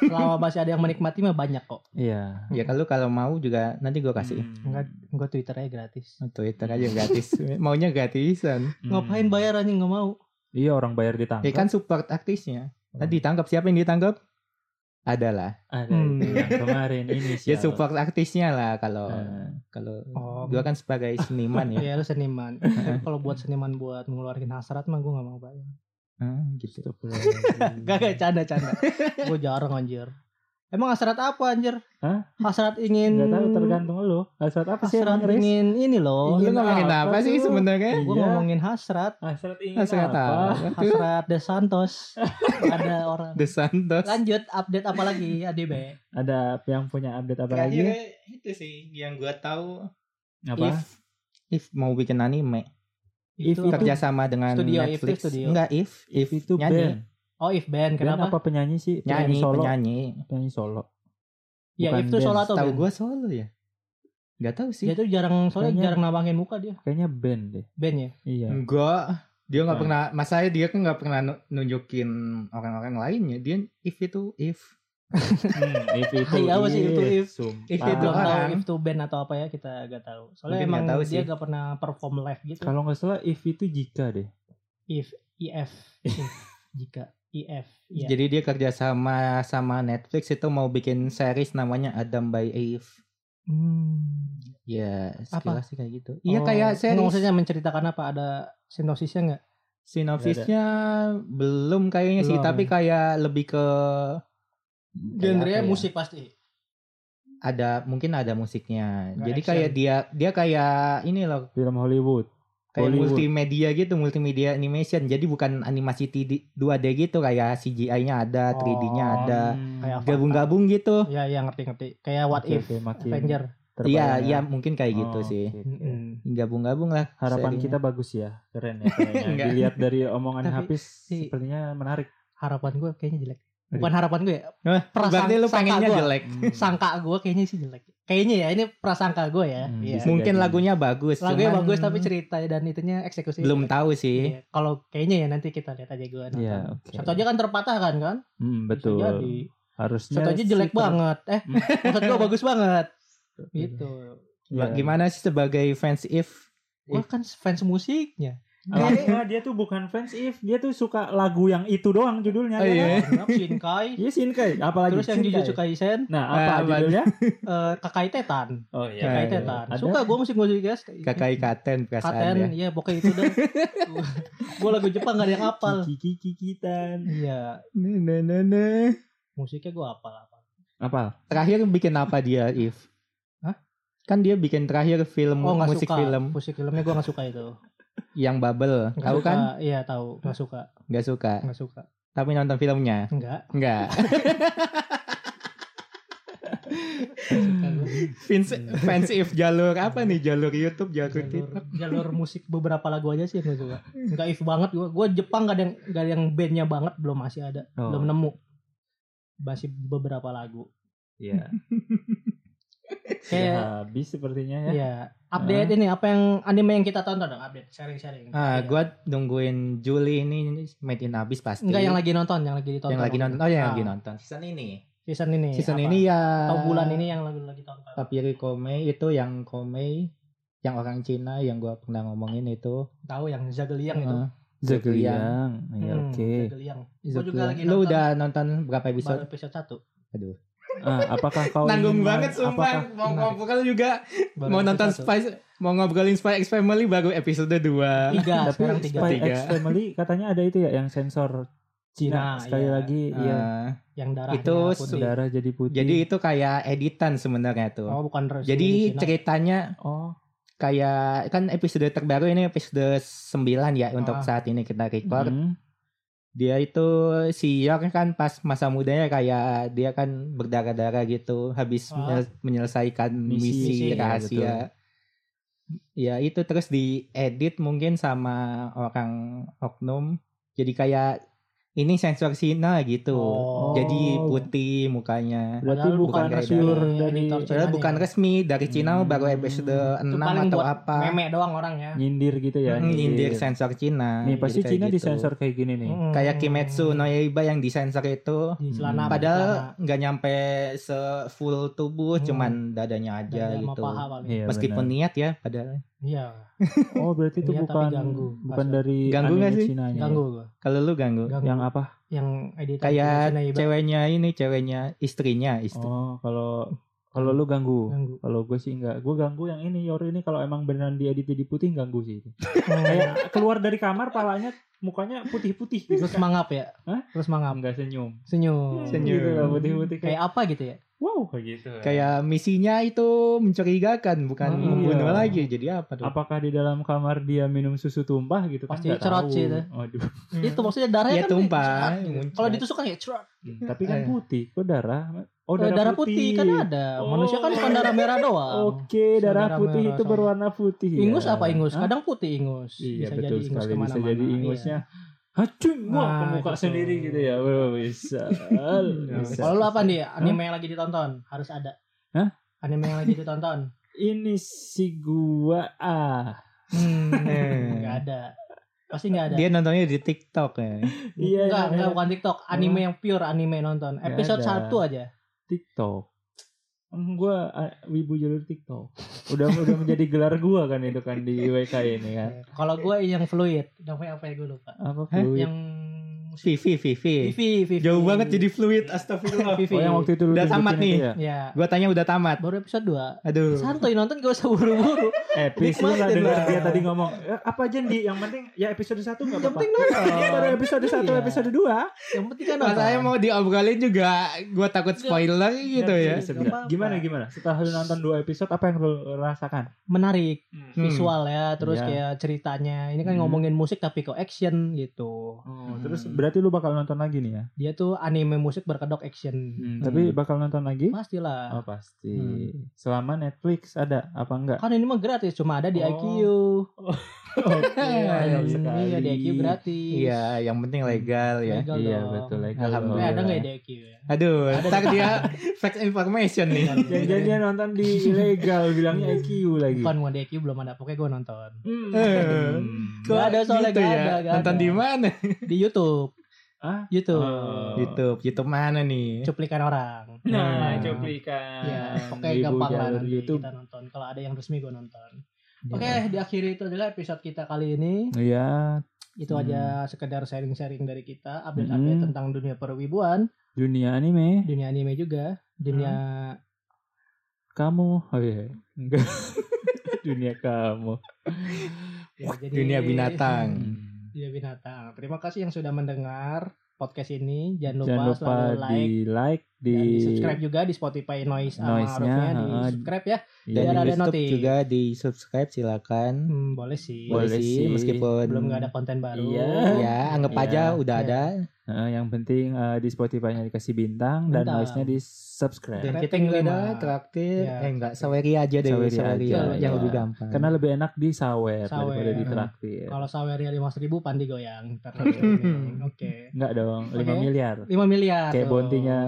[SPEAKER 2] selama masih ada yang menikmati mah banyak kok
[SPEAKER 3] Iya.
[SPEAKER 1] ya kalau kalau mau juga nanti gua kasih
[SPEAKER 3] Hmm.
[SPEAKER 2] Enggak. gue twitternya gratis
[SPEAKER 1] Oh, Twitter aja gratis maunya gratisan
[SPEAKER 3] Hmm.
[SPEAKER 2] ngapain bayar anjing nggak mau
[SPEAKER 3] Iya orang bayar ditangkap.
[SPEAKER 1] ya kan support artisnya
[SPEAKER 3] Hmm.
[SPEAKER 1] nanti ditangkap siapa yang ditangkap adalah
[SPEAKER 3] Ada
[SPEAKER 2] Hmm.
[SPEAKER 3] itu yang kemarin ini Nah. sih.
[SPEAKER 1] Ya support artisnya lah kalau
[SPEAKER 3] Hmm.
[SPEAKER 1] kalau
[SPEAKER 2] Oh.
[SPEAKER 1] gua kan sebagai seniman ya.
[SPEAKER 2] Iya lu seniman kalau buat seniman buat mengeluarkan hasrat mah gue nggak mau bayar
[SPEAKER 1] Hmm, gitu.
[SPEAKER 2] Gak gak canda canda. gue jarang anjir. Emang hasrat apa anjir?
[SPEAKER 3] Hah?
[SPEAKER 2] Hasrat ingin.
[SPEAKER 3] Enggak tahu tergantung lu. Hasrat apa sih
[SPEAKER 2] Hasrat
[SPEAKER 3] Bang Riz?
[SPEAKER 2] ingin ini loh.
[SPEAKER 1] Lu
[SPEAKER 3] Ingin
[SPEAKER 1] ngomongin apa,
[SPEAKER 3] apa
[SPEAKER 1] sih
[SPEAKER 3] tuh?
[SPEAKER 1] sebenarnya?
[SPEAKER 2] Gue
[SPEAKER 3] Iya.
[SPEAKER 2] ngomongin hasrat.
[SPEAKER 3] Hasrat ingin
[SPEAKER 1] Saya
[SPEAKER 3] apa?
[SPEAKER 1] tahu. Tuh,
[SPEAKER 2] Hasrat De Santos. Ada orang.
[SPEAKER 1] The Santos.
[SPEAKER 2] Lanjut update apa lagi ADB?
[SPEAKER 3] Ada yang punya update apa lagi?
[SPEAKER 1] itu sih yang gua tahu.
[SPEAKER 3] Apa?
[SPEAKER 1] If if mau bikin anime,
[SPEAKER 3] If
[SPEAKER 2] Itu-
[SPEAKER 1] kerja sama dengan
[SPEAKER 2] Studio, if
[SPEAKER 1] Netflix.
[SPEAKER 2] itu studio.
[SPEAKER 1] Enggak, if
[SPEAKER 3] If itu
[SPEAKER 1] nyanyi,
[SPEAKER 3] band.
[SPEAKER 2] Oh if band
[SPEAKER 3] Band
[SPEAKER 2] kenapa?
[SPEAKER 3] apa penyanyi
[SPEAKER 1] nyanyi,
[SPEAKER 3] sih? penyanyi solo.
[SPEAKER 1] penyanyi.
[SPEAKER 3] Penyanyi solo.
[SPEAKER 2] Ya
[SPEAKER 3] Bukan
[SPEAKER 2] if tuh
[SPEAKER 3] band.
[SPEAKER 2] solo atau
[SPEAKER 1] Tahu
[SPEAKER 2] band?
[SPEAKER 1] gua solo ya? Enggak tahu
[SPEAKER 2] Dia
[SPEAKER 1] sih.
[SPEAKER 2] tuh jarang soalnya
[SPEAKER 3] Kayaknya-
[SPEAKER 2] jarang nampangin muka dia
[SPEAKER 3] Kayaknya band deh.
[SPEAKER 2] band ya.
[SPEAKER 3] Iya.
[SPEAKER 1] Enggak. Dia nggak
[SPEAKER 3] Bukan.
[SPEAKER 1] pernah, masanya dia kan nggak pernah nu- nunjukin orang-orang lainnya. Dia if itu if
[SPEAKER 3] Hmm, if itu.
[SPEAKER 2] Iya, apa sih? If itu if.
[SPEAKER 3] Sumpah.
[SPEAKER 1] If
[SPEAKER 2] Kita
[SPEAKER 1] itu
[SPEAKER 2] belum tahu
[SPEAKER 1] orang.
[SPEAKER 2] if tuh band atau apa ya kita gak tahu. Soalnya
[SPEAKER 1] kan? Mungkin
[SPEAKER 2] emang
[SPEAKER 1] nggak tahu
[SPEAKER 2] dia
[SPEAKER 1] sih.
[SPEAKER 2] gak pernah perform live gitu.
[SPEAKER 3] Kalau nggak salah if itu jika deh.
[SPEAKER 2] If if if, jika if ya.
[SPEAKER 1] Jadi dia kerja sama sama Netflix itu mau bikin series namanya Adam by Eve.
[SPEAKER 2] Hmm.
[SPEAKER 1] Ya,
[SPEAKER 2] Apa?
[SPEAKER 1] sekilas sih kayak gitu. Iya
[SPEAKER 2] Oh,
[SPEAKER 1] kayak
[SPEAKER 2] nggak,
[SPEAKER 1] series.
[SPEAKER 2] Maksudnya menceritakan apa? Ada sinopsisnya nggak?
[SPEAKER 1] Sinopsisnya belum kayaknya sih,
[SPEAKER 2] Belum. ya.
[SPEAKER 1] tapi kayak lebih ke
[SPEAKER 2] Genre
[SPEAKER 1] kayak apa ya?
[SPEAKER 2] musik pasti.
[SPEAKER 1] Ada mungkin ada musiknya.
[SPEAKER 2] Nggak
[SPEAKER 1] Jadi
[SPEAKER 2] action.
[SPEAKER 1] kayak dia dia kayak ini loh,
[SPEAKER 3] Film Hollywood.
[SPEAKER 1] kayak
[SPEAKER 3] Hollywood.
[SPEAKER 1] multimedia gitu, multimedia animation. Jadi bukan animasi 3D 2D gitu kayak CGI-nya ada, 3D-nya
[SPEAKER 2] Oh,
[SPEAKER 1] ada.
[SPEAKER 3] Hmm.
[SPEAKER 2] Kayak apa?
[SPEAKER 1] Gabung-gabung gitu.
[SPEAKER 2] Ya, ya ngerti-ngerti. Kayak what if Avenger.
[SPEAKER 1] Iya,
[SPEAKER 3] ya.
[SPEAKER 2] ya.
[SPEAKER 1] iya mungkin kayak gitu sih.
[SPEAKER 2] Mm-mm.
[SPEAKER 1] Gabung-gabung lah.
[SPEAKER 3] Oh, Harapan
[SPEAKER 1] serinya.
[SPEAKER 3] kita bagus ya, keren ya. kayaknya.
[SPEAKER 1] Enggak.
[SPEAKER 3] Dilihat dari omongan
[SPEAKER 2] Tapi,
[SPEAKER 3] habis,
[SPEAKER 2] i-
[SPEAKER 3] sepertinya menarik.
[SPEAKER 2] Harapan gue kayaknya jelek. Bukan harapan gue ya.
[SPEAKER 1] Eh, berarti lu
[SPEAKER 2] sangka
[SPEAKER 1] pengennya
[SPEAKER 2] gua.
[SPEAKER 1] jelek.
[SPEAKER 2] Sangka gue kayaknya sih jelek. Kayaknya ya, ini prasangka gue ya.
[SPEAKER 3] Hmm,
[SPEAKER 2] Iya.
[SPEAKER 3] bisa.
[SPEAKER 1] Mungkin
[SPEAKER 3] jadi.
[SPEAKER 1] lagunya bagus.
[SPEAKER 2] Lagunya
[SPEAKER 1] cuman
[SPEAKER 2] bagus tapi cerita dan itunya eksekusi.
[SPEAKER 1] belum tahu sih.
[SPEAKER 2] Iya. Kalau kayaknya ya nanti kita lihat aja gue nonton.
[SPEAKER 3] Iya, oke.
[SPEAKER 2] Satu aja kan terpatahkan kan?
[SPEAKER 3] Mm,
[SPEAKER 2] Bisa
[SPEAKER 3] betul.
[SPEAKER 2] jadi.
[SPEAKER 3] Harusnya
[SPEAKER 2] Satu aja
[SPEAKER 3] Iya, sih
[SPEAKER 2] jelek
[SPEAKER 3] ter-
[SPEAKER 2] banget. Eh,
[SPEAKER 3] Hmm.
[SPEAKER 2] maksud gue bagus banget. Gitu.
[SPEAKER 3] Iya.
[SPEAKER 1] Gimana sih sebagai fans if
[SPEAKER 2] Gue kan fans musiknya.
[SPEAKER 3] Ah, enggak, dia tuh bukan fans if, dia tuh suka lagu yang itu doang
[SPEAKER 1] Oh,
[SPEAKER 3] judulnya. ya
[SPEAKER 1] iya.
[SPEAKER 3] kan?
[SPEAKER 2] Kenapa Shinkai?
[SPEAKER 3] Iya, Shinkai. Apalagi
[SPEAKER 2] Terus yang Ah,
[SPEAKER 3] Shinkai.
[SPEAKER 2] Jujutsu Kaisen,
[SPEAKER 3] Nah,
[SPEAKER 1] Eh,
[SPEAKER 3] apa
[SPEAKER 1] apa?
[SPEAKER 3] judulnya?
[SPEAKER 2] eh, Kakai Tetan.
[SPEAKER 3] Oh
[SPEAKER 1] Nah,
[SPEAKER 2] Kakai
[SPEAKER 1] iya.
[SPEAKER 2] Tetan.
[SPEAKER 3] Ada.
[SPEAKER 2] Suka gue musik-musik guys.
[SPEAKER 1] Kakai Katen perasaan ya?
[SPEAKER 2] Katen, iya pokoknya itu dong. gue lagu Jepang gak ada yang hafal.
[SPEAKER 3] Kiki Kikitan.
[SPEAKER 2] Iya,
[SPEAKER 1] Ne, ne, ne, ne.
[SPEAKER 2] musiknya gue hafal apa.
[SPEAKER 3] Apa?
[SPEAKER 1] Terakhir bikin apa dia if?
[SPEAKER 2] Hah?
[SPEAKER 1] Kan dia bikin terakhir film
[SPEAKER 2] Oh nggak
[SPEAKER 1] musik
[SPEAKER 2] suka.
[SPEAKER 1] film
[SPEAKER 2] Musik filmnya gue nggak suka itu.
[SPEAKER 1] yang Bubble.
[SPEAKER 2] Nggak
[SPEAKER 1] Tahu
[SPEAKER 2] suka.
[SPEAKER 1] kan?
[SPEAKER 2] Iya tahu. Nggak suka.
[SPEAKER 1] Nggak suka.
[SPEAKER 2] Nggak suka.
[SPEAKER 1] Tapi nonton filmnya.
[SPEAKER 2] Enggak.
[SPEAKER 1] Enggak.
[SPEAKER 2] Suka gua.
[SPEAKER 1] fans fans if jalur apa nih? Jalur YouTube, Hmm. jalur
[SPEAKER 2] jalur,
[SPEAKER 1] TikTok.
[SPEAKER 2] jalur musik beberapa lagu aja sih yang gue suka. Nggak if banget gue. Gue Jepang gak ada yang gak ada yang bandnya banget belum masih ada.
[SPEAKER 3] Oh.
[SPEAKER 2] Belum nemu. Masih beberapa lagu.
[SPEAKER 3] Iya.
[SPEAKER 2] Kayak
[SPEAKER 3] Sudah habis sepertinya ya.
[SPEAKER 2] ya update ini apa yang anime yang kita tonton dong update sharing-sharing.
[SPEAKER 1] Ah,
[SPEAKER 2] Iya.
[SPEAKER 1] gua nungguin Juli ini made in abis pasti.
[SPEAKER 2] Enggak yang lagi nonton, yang lagi ditonton.
[SPEAKER 1] Yang lagi nonton. Oh, yang
[SPEAKER 2] Ah,
[SPEAKER 1] lagi nonton. Season ini.
[SPEAKER 2] Season ini.
[SPEAKER 1] Season
[SPEAKER 2] apa?
[SPEAKER 1] ini ya
[SPEAKER 2] atau bulan ini yang lagi lagi tonton.
[SPEAKER 1] Papiri Komei itu yang Komei yang orang Cina yang gua pernah ngomongin itu
[SPEAKER 2] Tahu yang Zageliang itu.
[SPEAKER 1] Eh,
[SPEAKER 3] Zodiang. Ya
[SPEAKER 2] Hmm,
[SPEAKER 3] oke.
[SPEAKER 2] Zageliang.
[SPEAKER 1] Zodiac.
[SPEAKER 2] Gua juga lagi
[SPEAKER 1] iya, Lu
[SPEAKER 2] nonton.
[SPEAKER 1] udah nonton berapa
[SPEAKER 2] Baru
[SPEAKER 1] episode?
[SPEAKER 2] episode 1.
[SPEAKER 3] Ah, apakah kau ingin- apakah-
[SPEAKER 1] mau
[SPEAKER 2] Menarik.
[SPEAKER 1] ngobrol juga Spice mau ngobrolin Spy X Family baru episode 2
[SPEAKER 2] 3,
[SPEAKER 3] Tapi
[SPEAKER 2] sekarang 3.
[SPEAKER 3] Spy
[SPEAKER 1] Tiga.
[SPEAKER 3] X Family katanya ada itu ya yang sensor Cina
[SPEAKER 1] Nah,
[SPEAKER 2] Cina,
[SPEAKER 3] sekali
[SPEAKER 2] iya.
[SPEAKER 3] lagi
[SPEAKER 1] Ah.
[SPEAKER 3] iya
[SPEAKER 2] yang darahnya
[SPEAKER 1] Itu
[SPEAKER 2] putih.
[SPEAKER 3] saudara jadi putih.
[SPEAKER 1] jadi itu kayak editan sebenarnya tuh
[SPEAKER 2] Oh, bukan resmi di
[SPEAKER 1] jadi
[SPEAKER 2] Cina.
[SPEAKER 1] ceritanya
[SPEAKER 3] oh
[SPEAKER 1] kayak kan episode terbaru ini episode 9 ya untuk
[SPEAKER 2] Ah. Mm-hmm.
[SPEAKER 1] saat ini kita record
[SPEAKER 3] hmm.
[SPEAKER 1] dia itu si York kan pas masa mudanya kayak dia kan berdarah-darah gitu habis
[SPEAKER 2] Ah.
[SPEAKER 1] menyel- menyelesaikan
[SPEAKER 3] Misi.
[SPEAKER 1] misi,
[SPEAKER 2] Misi, iya,
[SPEAKER 1] rahasia. Ya itu terus diedit mungkin sama orang oknum. Jadi kayak ini sensor Cina gitu.
[SPEAKER 2] Oh.
[SPEAKER 1] Jadi putih mukanya.
[SPEAKER 3] Berarti
[SPEAKER 2] Padahal
[SPEAKER 3] bukan
[SPEAKER 2] bukan kayak
[SPEAKER 3] resmi
[SPEAKER 2] dari
[SPEAKER 3] dari
[SPEAKER 2] editor Cina.
[SPEAKER 1] Padahal bukan resmi dari Cina
[SPEAKER 3] Hmm.
[SPEAKER 1] baru episode 6
[SPEAKER 2] ya? Itu paling
[SPEAKER 1] atau
[SPEAKER 2] buat
[SPEAKER 1] apa.
[SPEAKER 2] Meme doang orangnya.
[SPEAKER 3] nyindir gitu ya.
[SPEAKER 1] Hmm, Nyindir sensor Cina.
[SPEAKER 3] Nih
[SPEAKER 1] Jadi
[SPEAKER 3] pasti
[SPEAKER 1] kayak
[SPEAKER 3] Cina
[SPEAKER 1] gitu.
[SPEAKER 3] disensor kayak gini nih.
[SPEAKER 2] Mm.
[SPEAKER 1] Kayak Kimetsu no Yaiba yang disensor itu
[SPEAKER 2] di celana
[SPEAKER 3] Hmm.
[SPEAKER 1] Padahal nggak nyampe se full tubuh,
[SPEAKER 2] Hmm.
[SPEAKER 1] cuman dadanya aja gitu.
[SPEAKER 2] paha paling.
[SPEAKER 3] Ya, Iya,
[SPEAKER 1] Meskipun
[SPEAKER 3] benar.
[SPEAKER 1] niat ya, padahal.
[SPEAKER 2] Iya.
[SPEAKER 3] oh berarti itu
[SPEAKER 2] Iya, tapi
[SPEAKER 3] bukan
[SPEAKER 2] ganggu.
[SPEAKER 3] bukan
[SPEAKER 2] Pas-
[SPEAKER 3] dari
[SPEAKER 1] Ganggu nggak
[SPEAKER 3] anime
[SPEAKER 1] sih?
[SPEAKER 3] Cinanya.
[SPEAKER 2] Ganggu gua.
[SPEAKER 1] Kalau lu ganggu.
[SPEAKER 2] Ganggu.
[SPEAKER 3] Yang apa?
[SPEAKER 2] yang editor
[SPEAKER 1] Kayak
[SPEAKER 2] Cina ibarat
[SPEAKER 1] ceweknya ini, ceweknya istrinya, istri.
[SPEAKER 3] Oh kalau kalau lu ganggu.
[SPEAKER 2] ganggu.
[SPEAKER 3] Kalau gue sih enggak, gue ganggu yang ini Yor ini kalau emang beneran diedit jadi putih ganggu sih itu.
[SPEAKER 2] Kayak
[SPEAKER 3] Kayak keluar dari kamar palanya mukanya putih-putih gitu.
[SPEAKER 2] terus mangap ya?
[SPEAKER 3] Hah?
[SPEAKER 2] Terus mangap.
[SPEAKER 3] Enggak senyum.
[SPEAKER 2] Senyum.
[SPEAKER 1] Senyum. Hmm.
[SPEAKER 3] Gitu loh, putih-putih kayak
[SPEAKER 2] Kayak apa gitu ya?
[SPEAKER 3] wow kayak gitu.
[SPEAKER 1] Kayak misinya itu mencurigakan, bukan
[SPEAKER 2] Hmm,
[SPEAKER 1] membunuh
[SPEAKER 3] iya.
[SPEAKER 1] lagi. Jadi apa tuh?
[SPEAKER 3] apakah di dalam kamar dia minum susu tumpah gitu
[SPEAKER 2] Pasti
[SPEAKER 3] kan nggak
[SPEAKER 2] cerot
[SPEAKER 3] tahu.
[SPEAKER 2] sih itu.
[SPEAKER 3] Aduh.
[SPEAKER 2] Itu maksudnya darahnya
[SPEAKER 1] Ya,
[SPEAKER 2] kan
[SPEAKER 1] tumpah.
[SPEAKER 2] cerat gitu.
[SPEAKER 1] Muncrat.
[SPEAKER 2] Kalau ditusuk kan ya cerat.
[SPEAKER 3] Tapi kan
[SPEAKER 1] Eh.
[SPEAKER 3] putih, kok darah? Oh,
[SPEAKER 2] Eh, Darah, putih. kan ada.
[SPEAKER 1] Oh.
[SPEAKER 2] Manusia kan cuma darah merah doang.
[SPEAKER 3] Oke, darah
[SPEAKER 2] Saudara
[SPEAKER 3] putih
[SPEAKER 2] merah
[SPEAKER 3] itu
[SPEAKER 2] sama-
[SPEAKER 3] berwarna putih.
[SPEAKER 1] iya.
[SPEAKER 3] ya.
[SPEAKER 2] Ingus apa ingus?
[SPEAKER 3] Hah?
[SPEAKER 2] Kadang putih ingus.
[SPEAKER 3] Iya, betul sekali. Bisa
[SPEAKER 2] kemana-mana.
[SPEAKER 3] jadi ingusnya. Hacung, wah,
[SPEAKER 2] Nah,
[SPEAKER 3] kemuka
[SPEAKER 2] gitu.
[SPEAKER 3] sendiri gitu ya. Wah, bisa.
[SPEAKER 2] Iya.
[SPEAKER 3] bisa.
[SPEAKER 2] Kalau lu apa nih? Anime yang lagi ditonton harus ada.
[SPEAKER 3] Hah?
[SPEAKER 2] Anime yang lagi ditonton.
[SPEAKER 3] Ini si gua ah.
[SPEAKER 1] Hmm,
[SPEAKER 2] Enggak ada. Pasti enggak ada.
[SPEAKER 1] Dia nontonnya di TikTok ya.
[SPEAKER 3] Iya,
[SPEAKER 2] enggak,
[SPEAKER 3] namanya
[SPEAKER 2] enggak bukan TikTok, anime yang pure anime nonton.
[SPEAKER 3] Nggak
[SPEAKER 2] Episode
[SPEAKER 3] ada.
[SPEAKER 2] 1 aja.
[SPEAKER 3] TikTok. Em, Gua ah, wibu jalur TikTok. Udah udah menjadi gelar gua kan itu kan di WK ini kan.
[SPEAKER 2] Kalau gue yang fluid, namanya apa ya gue lupa.
[SPEAKER 3] Apa
[SPEAKER 1] Hah?
[SPEAKER 3] fluid?
[SPEAKER 2] Yang
[SPEAKER 1] Vivi, Vivi.
[SPEAKER 2] Vivi, Vivi.
[SPEAKER 1] Jauh banget jadi fluid, astagfirullah.
[SPEAKER 2] Vivi.
[SPEAKER 3] Oh yang waktu itu lu
[SPEAKER 1] Udah
[SPEAKER 3] tunjukin
[SPEAKER 1] tamat
[SPEAKER 3] itu
[SPEAKER 1] nih.
[SPEAKER 3] ya?
[SPEAKER 2] Ya,
[SPEAKER 1] Gua tanya udah tamat.
[SPEAKER 2] baru episode 2.
[SPEAKER 1] Aduh.
[SPEAKER 2] Santuy nonton gak usah buru-buru.
[SPEAKER 3] Eh, please lu gak
[SPEAKER 2] Nikmatin
[SPEAKER 3] denger
[SPEAKER 2] lah.
[SPEAKER 3] dia tadi ngomong. "Eh, apa aja Di? Yang penting ya episode 1 gak
[SPEAKER 2] Yang
[SPEAKER 3] apa-apa. Eh,
[SPEAKER 2] penting nonton.
[SPEAKER 3] Baru episode 1,
[SPEAKER 2] Iya.
[SPEAKER 3] episode 2.
[SPEAKER 2] Yang penting kan nonton.
[SPEAKER 1] Masalahnya Nah, mau diobrolin juga gua takut spoiler gitu ya.
[SPEAKER 2] Nggak apa-apa.
[SPEAKER 3] Gimana gimana? Setelah lu nonton 2 episode apa yang lu rasakan?
[SPEAKER 2] menarik
[SPEAKER 1] Hmm.
[SPEAKER 2] visual ya, terus
[SPEAKER 3] Iya.
[SPEAKER 2] kayak ceritanya. Ini kan
[SPEAKER 3] Hmm.
[SPEAKER 2] ngomongin musik tapi kok action gitu.
[SPEAKER 3] Oh, terus berarti lu bakal nonton lagi nih ya?
[SPEAKER 2] Dia tuh anime musik berkedok action.
[SPEAKER 3] Tapi bakal nonton lagi?
[SPEAKER 2] Pastilah.
[SPEAKER 3] Hmm. Oh pasti.
[SPEAKER 2] Hmm.
[SPEAKER 3] Selama Netflix ada apa enggak?
[SPEAKER 2] Kan ini mah gratis, cuma ada di
[SPEAKER 3] Oh.
[SPEAKER 2] IQ.
[SPEAKER 3] Oke,
[SPEAKER 2] Iya,
[SPEAKER 3] ayo sekali.
[SPEAKER 2] di IQ gratis.
[SPEAKER 1] Iya, yang penting legal ya.
[SPEAKER 2] Legal
[SPEAKER 3] Iya
[SPEAKER 2] dong.
[SPEAKER 3] betul.
[SPEAKER 2] Eh,
[SPEAKER 1] Alhamdulillah.
[SPEAKER 2] ada nggak ya di IQ ya? Iya,
[SPEAKER 1] Aduh, ntar dia fact information nih.
[SPEAKER 3] Janjinya nonton di ilegal bilangnya IQ lagi.
[SPEAKER 2] Iya. Bukan bukan di IQ belum ada, pokoknya gue nonton
[SPEAKER 3] Hmm.
[SPEAKER 1] Eh.
[SPEAKER 2] Nggak ada soalnya,
[SPEAKER 1] gitu
[SPEAKER 2] nggak
[SPEAKER 1] ya.
[SPEAKER 2] ada, nggak
[SPEAKER 1] Nonton
[SPEAKER 2] ada.
[SPEAKER 1] di mana?
[SPEAKER 2] di YouTube.
[SPEAKER 3] Ah?
[SPEAKER 2] YouTube.
[SPEAKER 3] Oh. iya.
[SPEAKER 1] YouTube, YouTube mana nih?
[SPEAKER 2] Cuplikan orang.
[SPEAKER 3] Nah, cuplikan.
[SPEAKER 2] Ya, oke
[SPEAKER 3] Ibu
[SPEAKER 2] gampang lah
[SPEAKER 3] jalur
[SPEAKER 2] nanti
[SPEAKER 3] YouTube.
[SPEAKER 2] kita nonton. Kalau ada yang resmi gue nonton.
[SPEAKER 3] Iya.
[SPEAKER 2] Oke, diakhiri itu adalah episode kita kali ini.
[SPEAKER 3] Iya.
[SPEAKER 2] Itu
[SPEAKER 3] Hmm.
[SPEAKER 2] aja sekedar sharing-sharing dari kita, update-update
[SPEAKER 3] Mm-mm.
[SPEAKER 2] tentang dunia perwibuan,
[SPEAKER 3] Dunia anime.
[SPEAKER 2] dunia anime juga, dunia
[SPEAKER 3] Hmm. Kamu. Oh iya. Enggak. Dunia kamu.
[SPEAKER 2] ya, jadi-
[SPEAKER 1] Dunia binatang.
[SPEAKER 2] Dunia binatang. Terima kasih yang sudah mendengar podcast ini. Jangan lupa,
[SPEAKER 3] Jangan lupa
[SPEAKER 2] selalu
[SPEAKER 3] di
[SPEAKER 2] like
[SPEAKER 3] like di,
[SPEAKER 2] dan di subscribe juga di Spotify Noise sama
[SPEAKER 3] Noise-nya,
[SPEAKER 2] Rufnya di
[SPEAKER 3] heeh.
[SPEAKER 2] subscribe ya.
[SPEAKER 3] Iya,
[SPEAKER 2] Dan
[SPEAKER 3] di-
[SPEAKER 2] ada
[SPEAKER 1] YouTube
[SPEAKER 2] notif.
[SPEAKER 1] juga di subscribe silakan.
[SPEAKER 2] Hmm, boleh sih.
[SPEAKER 3] Boleh sih.
[SPEAKER 1] meskipun
[SPEAKER 2] Belum nggak ada konten baru.
[SPEAKER 3] Iya.
[SPEAKER 1] Ya, anggap
[SPEAKER 3] Iya.
[SPEAKER 1] aja udah
[SPEAKER 2] Iya.
[SPEAKER 1] ada.
[SPEAKER 3] Heeh, yang penting eh, di Spotify-nya dikasih bintang, dan
[SPEAKER 2] Bintang.
[SPEAKER 3] noise-nya di subscribe.
[SPEAKER 1] Dan
[SPEAKER 2] Rating
[SPEAKER 1] kita nggak ada
[SPEAKER 2] lima.
[SPEAKER 1] traktir,
[SPEAKER 2] Iya.
[SPEAKER 1] eh enggak saweri aja deh,
[SPEAKER 3] Saweri
[SPEAKER 1] saweri,
[SPEAKER 3] aja,
[SPEAKER 1] yang
[SPEAKER 3] iya.
[SPEAKER 1] lebih gampang.
[SPEAKER 3] Karena lebih enak di sawer,
[SPEAKER 2] Sawer.
[SPEAKER 3] daripada di traktir.
[SPEAKER 2] Iya. Kalau saweria 5000 pandi goyang. Ntar kalau streaming. Oke.
[SPEAKER 3] Enggak dong, 5
[SPEAKER 2] Oke.
[SPEAKER 3] miliar.
[SPEAKER 2] 5 miliar.
[SPEAKER 3] Kayak
[SPEAKER 2] tuh.
[SPEAKER 3] bontinya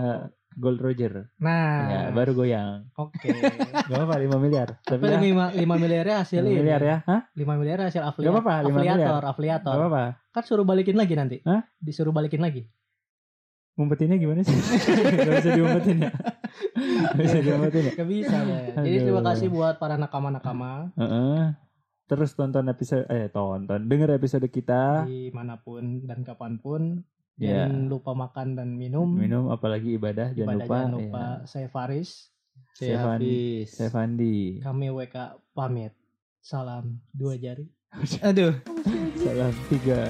[SPEAKER 3] Gold Roger.
[SPEAKER 2] Nah.
[SPEAKER 3] Ya, baru goyang.
[SPEAKER 2] Oke.
[SPEAKER 3] Gak apa-apa 5 miliar. Tapi
[SPEAKER 2] Tapi 5,
[SPEAKER 3] ya,
[SPEAKER 2] 5 miliarnya
[SPEAKER 3] 5
[SPEAKER 2] hasil ini.
[SPEAKER 3] miliar ya. Hah?
[SPEAKER 2] 5 miliar hasil afiliat.
[SPEAKER 3] Gak apa-apa, 5 miliar.
[SPEAKER 2] afiliator,
[SPEAKER 3] Gak
[SPEAKER 2] afiliator.
[SPEAKER 3] apa-apa.
[SPEAKER 2] Kan suruh balikin lagi nanti.
[SPEAKER 3] Hah?
[SPEAKER 2] Disuruh balikin lagi.
[SPEAKER 3] Ngumpetinnya gimana sih? Gak bisa diumpetin ya. Gak bisa
[SPEAKER 2] Iya.
[SPEAKER 3] diumpetin ya.
[SPEAKER 2] Gak bisa deh. Jadi
[SPEAKER 3] Aduh.
[SPEAKER 2] terima kasih buat para nakama-nakama
[SPEAKER 3] Heeh. Terus tonton episode eh tonton, denger episode kita.
[SPEAKER 2] dimanapun dan kapanpun.
[SPEAKER 3] Ya.
[SPEAKER 2] Jangan lupa makan dan Iya. minum.
[SPEAKER 3] Minum apalagi ibadah jangan
[SPEAKER 2] Ibadah
[SPEAKER 3] lupa.
[SPEAKER 2] jangan lupa. Saya Faris.
[SPEAKER 3] Ya. Saya Fandi. Saya Fandi.
[SPEAKER 2] Kami WK pamit. Salam dua jari.
[SPEAKER 1] Aduh,
[SPEAKER 3] Salam tiga.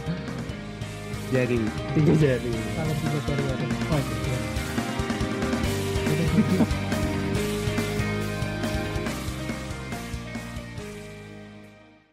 [SPEAKER 1] jari, tiga jari.
[SPEAKER 2] Salam tiga jari. Oh, iya.